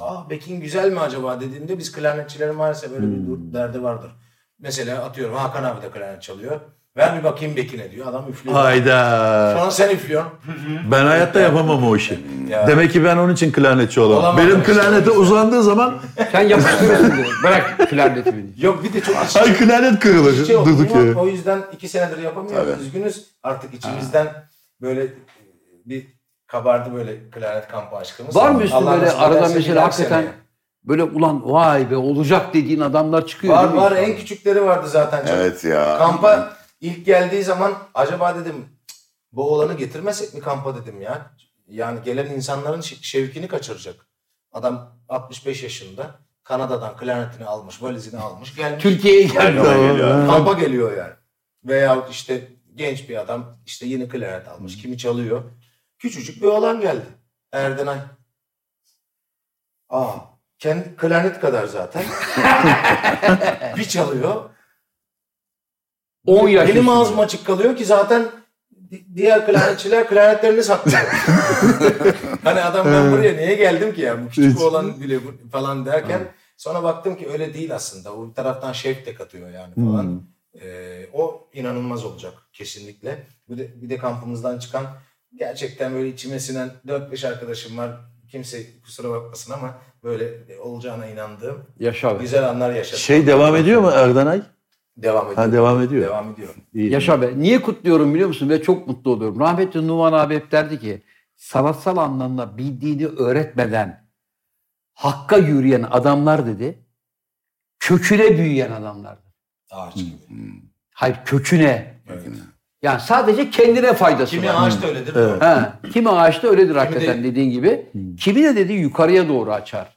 Speaker 4: Aa bekin güzel mi acaba dediğinde biz klarnetçilerin maalesef böyle bir dur- derdi vardır. Mesela atıyorum Hakan abi de klarnet çalıyor. Ver bir bakayım bekine diyor. Adam üflüyor.
Speaker 2: Hayda.
Speaker 4: Sonra sen üflüyorsun.
Speaker 2: Ben hayatta yapamam o işi.
Speaker 4: Ya.
Speaker 2: Demek ki ben onun için klarnetçi olamam.
Speaker 4: Olamadım
Speaker 2: Benim
Speaker 4: işte.
Speaker 2: klarnete uzandığı zaman
Speaker 1: Sen yapıştırıyorsun diyor. Bırak klarneti beni.
Speaker 4: Yok bir de çok
Speaker 2: [LAUGHS]
Speaker 4: iç-
Speaker 2: ay klarnet kırılır.
Speaker 4: şey oldu.
Speaker 2: Durduk
Speaker 4: Ulan
Speaker 2: yere.
Speaker 4: O yüzden iki senedir yapamıyoruz.
Speaker 3: Tabii.
Speaker 4: Üzgünüz. Artık içimizden böyle e, bir kabardı böyle klarnet kampı aşkımız.
Speaker 1: Var mı üstün
Speaker 4: Allah
Speaker 1: böyle
Speaker 4: nasip
Speaker 1: arada
Speaker 4: ederse
Speaker 1: mesela
Speaker 4: gider
Speaker 1: hakikaten
Speaker 4: seneye.
Speaker 1: böyle ulan vay be olacak dediğin adamlar çıkıyor
Speaker 4: Var
Speaker 1: değil mi?
Speaker 4: var en küçükleri vardı zaten. Çok-
Speaker 3: Evet ya.
Speaker 4: Kampa ilk geldiği zaman acaba dedim "Cık, bu oğlanı getirmesek mi kampa dedim ya. Yani gelen insanların şe- şevkini kaçıracak. Adam 65 yaşında Kanada'dan klarnetini almış, valizini almış. Gelmiş.
Speaker 1: Türkiye'ye geldi.
Speaker 3: Kampa geliyor.
Speaker 4: Kampa geliyor yani. Veya işte genç bir adam işte yeni klarnet almış. Kimi çalıyor. Küçücük bir oğlan geldi. Erdenay. Aa, kendi klarnet kadar zaten. bir çalıyor.
Speaker 1: 10 yaş.
Speaker 4: Benim
Speaker 1: üstünde.
Speaker 4: ağzım açık kalıyor ki zaten di- diğer klarnetçiler klarnetlerini saklıyor.
Speaker 2: [LAUGHS]
Speaker 4: hani adam ben buraya niye geldim ki ya? Bu küçük
Speaker 2: Hiç.
Speaker 4: oğlan bile bu- falan derken sonra baktım ki öyle değil aslında. O bir taraftan şevk de katıyor yani falan.
Speaker 2: Hmm.
Speaker 4: Ee, o inanılmaz olacak kesinlikle. Bir de, bir de kampımızdan çıkan gerçekten böyle içime sinen 4-5 arkadaşım var. Kimse kusura bakmasın ama böyle olacağına inandığım
Speaker 1: Yaşa be.
Speaker 4: güzel anlar yaşadım.
Speaker 2: Şey devam ediyor mu Erdanay?
Speaker 4: devam ediyor.
Speaker 2: Ha devam ediyor.
Speaker 4: Devam ediyor.
Speaker 2: İyi.
Speaker 1: Yaşa be. Niye kutluyorum biliyor musun? Ve çok mutlu oluyorum. Rahmetli Numan abi hep derdi ki sanatsal anlamda bildiğini öğretmeden hakka yürüyen adamlar dedi. Köküne büyüyen adamlardı.
Speaker 2: Hmm.
Speaker 4: Ağaç gibi.
Speaker 1: Hayır köküne.
Speaker 4: Evet.
Speaker 1: Yani sadece kendine faydası
Speaker 4: Kimi
Speaker 1: var.
Speaker 4: ağaç da öyledir.
Speaker 2: Evet.
Speaker 1: Ha, kimi ağaçta öyledir hakikaten
Speaker 4: de-
Speaker 1: dediğin gibi.
Speaker 4: Hmm.
Speaker 1: Kimi de dedi yukarıya doğru açar.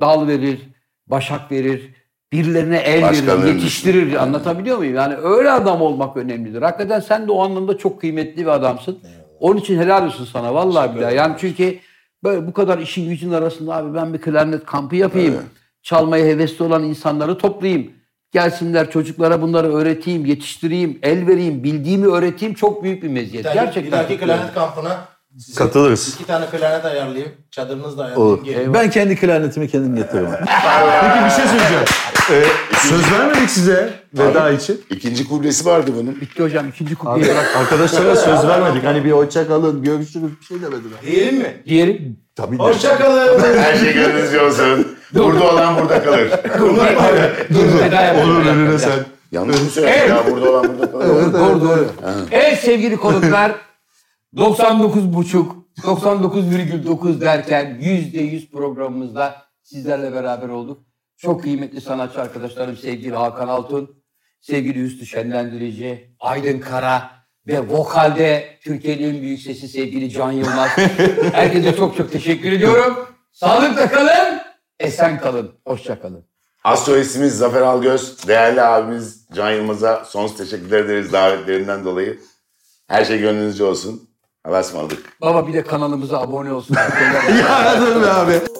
Speaker 1: Dal verir, başak verir, birilerine el
Speaker 3: Başkalarını
Speaker 1: verir, yetiştirir. Anlatabiliyor muyum? Yani öyle adam olmak önemlidir. Hakikaten sen de o anlamda çok kıymetli bir adamsın. Onun için helal olsun sana vallahi billahi. Yani çünkü böyle bu kadar işin gücün arasında abi ben bir klarnet kampı yapayım. Çalmaya hevesli olan insanları toplayayım. Gelsinler çocuklara bunları öğreteyim, yetiştireyim, el vereyim, bildiğimi öğreteyim çok büyük bir meziyet.
Speaker 4: Bir dahaki,
Speaker 1: Gerçekten.
Speaker 4: bir dahaki
Speaker 1: kutluyorum.
Speaker 4: klarnet kampına size
Speaker 2: Katılırız.
Speaker 4: iki tane klarnet ayarlayayım. Çadırınızı da ayarlayayım.
Speaker 2: Olur.
Speaker 4: Gelin.
Speaker 2: Ben kendi klarnetimi kendim getiririm. [LAUGHS] Peki bir şey söyleyeceğim. Ee, söz vermedik size veda için.
Speaker 3: İkinci kublesi vardı bunun.
Speaker 1: Bitti hocam ikinci kupayı bırak.
Speaker 2: Arkadaşlara söz [LAUGHS] vermedik. Hani bir hoşça kalın, görüşürüz bir şey demediler.
Speaker 4: Diyelim mi?
Speaker 1: Diyelim.
Speaker 2: Tabii. [LAUGHS]
Speaker 4: Hoşçakalın.
Speaker 3: Her şey gönlünüzce olsun. burada olan burada kalır.
Speaker 1: Veda yapalım.
Speaker 2: Olur
Speaker 1: Bir dakika,
Speaker 2: önüne
Speaker 1: bir dakika.
Speaker 2: sen.
Speaker 3: [LAUGHS] Yanlış mı söyledim ya? Burada olan burada kalır.
Speaker 1: Doğru
Speaker 2: [LAUGHS]
Speaker 1: doğru. Evet sevgili konuklar 99,5 99,9 derken %100 programımızda sizlerle beraber olduk. Çok kıymetli sanatçı arkadaşlarım sevgili Hakan Altun, sevgili Hüsnü Şenlendirici, Aydın Kara ve vokalde Türkiye'nin en büyük sesi sevgili Can Yılmaz. Herkese çok çok teşekkür ediyorum. Sağlıkla kalın, esen kalın, hoşça kalın.
Speaker 3: Astrolojimiz Zafer Algöz, değerli abimiz Can Yılmaz'a sonsuz teşekkürler ederiz davetlerinden dolayı. Her şey gönlünüzce olsun. Allah'a ısmarladık.
Speaker 1: Baba bir de kanalımıza abone olsunlar.
Speaker 2: Aradın abi.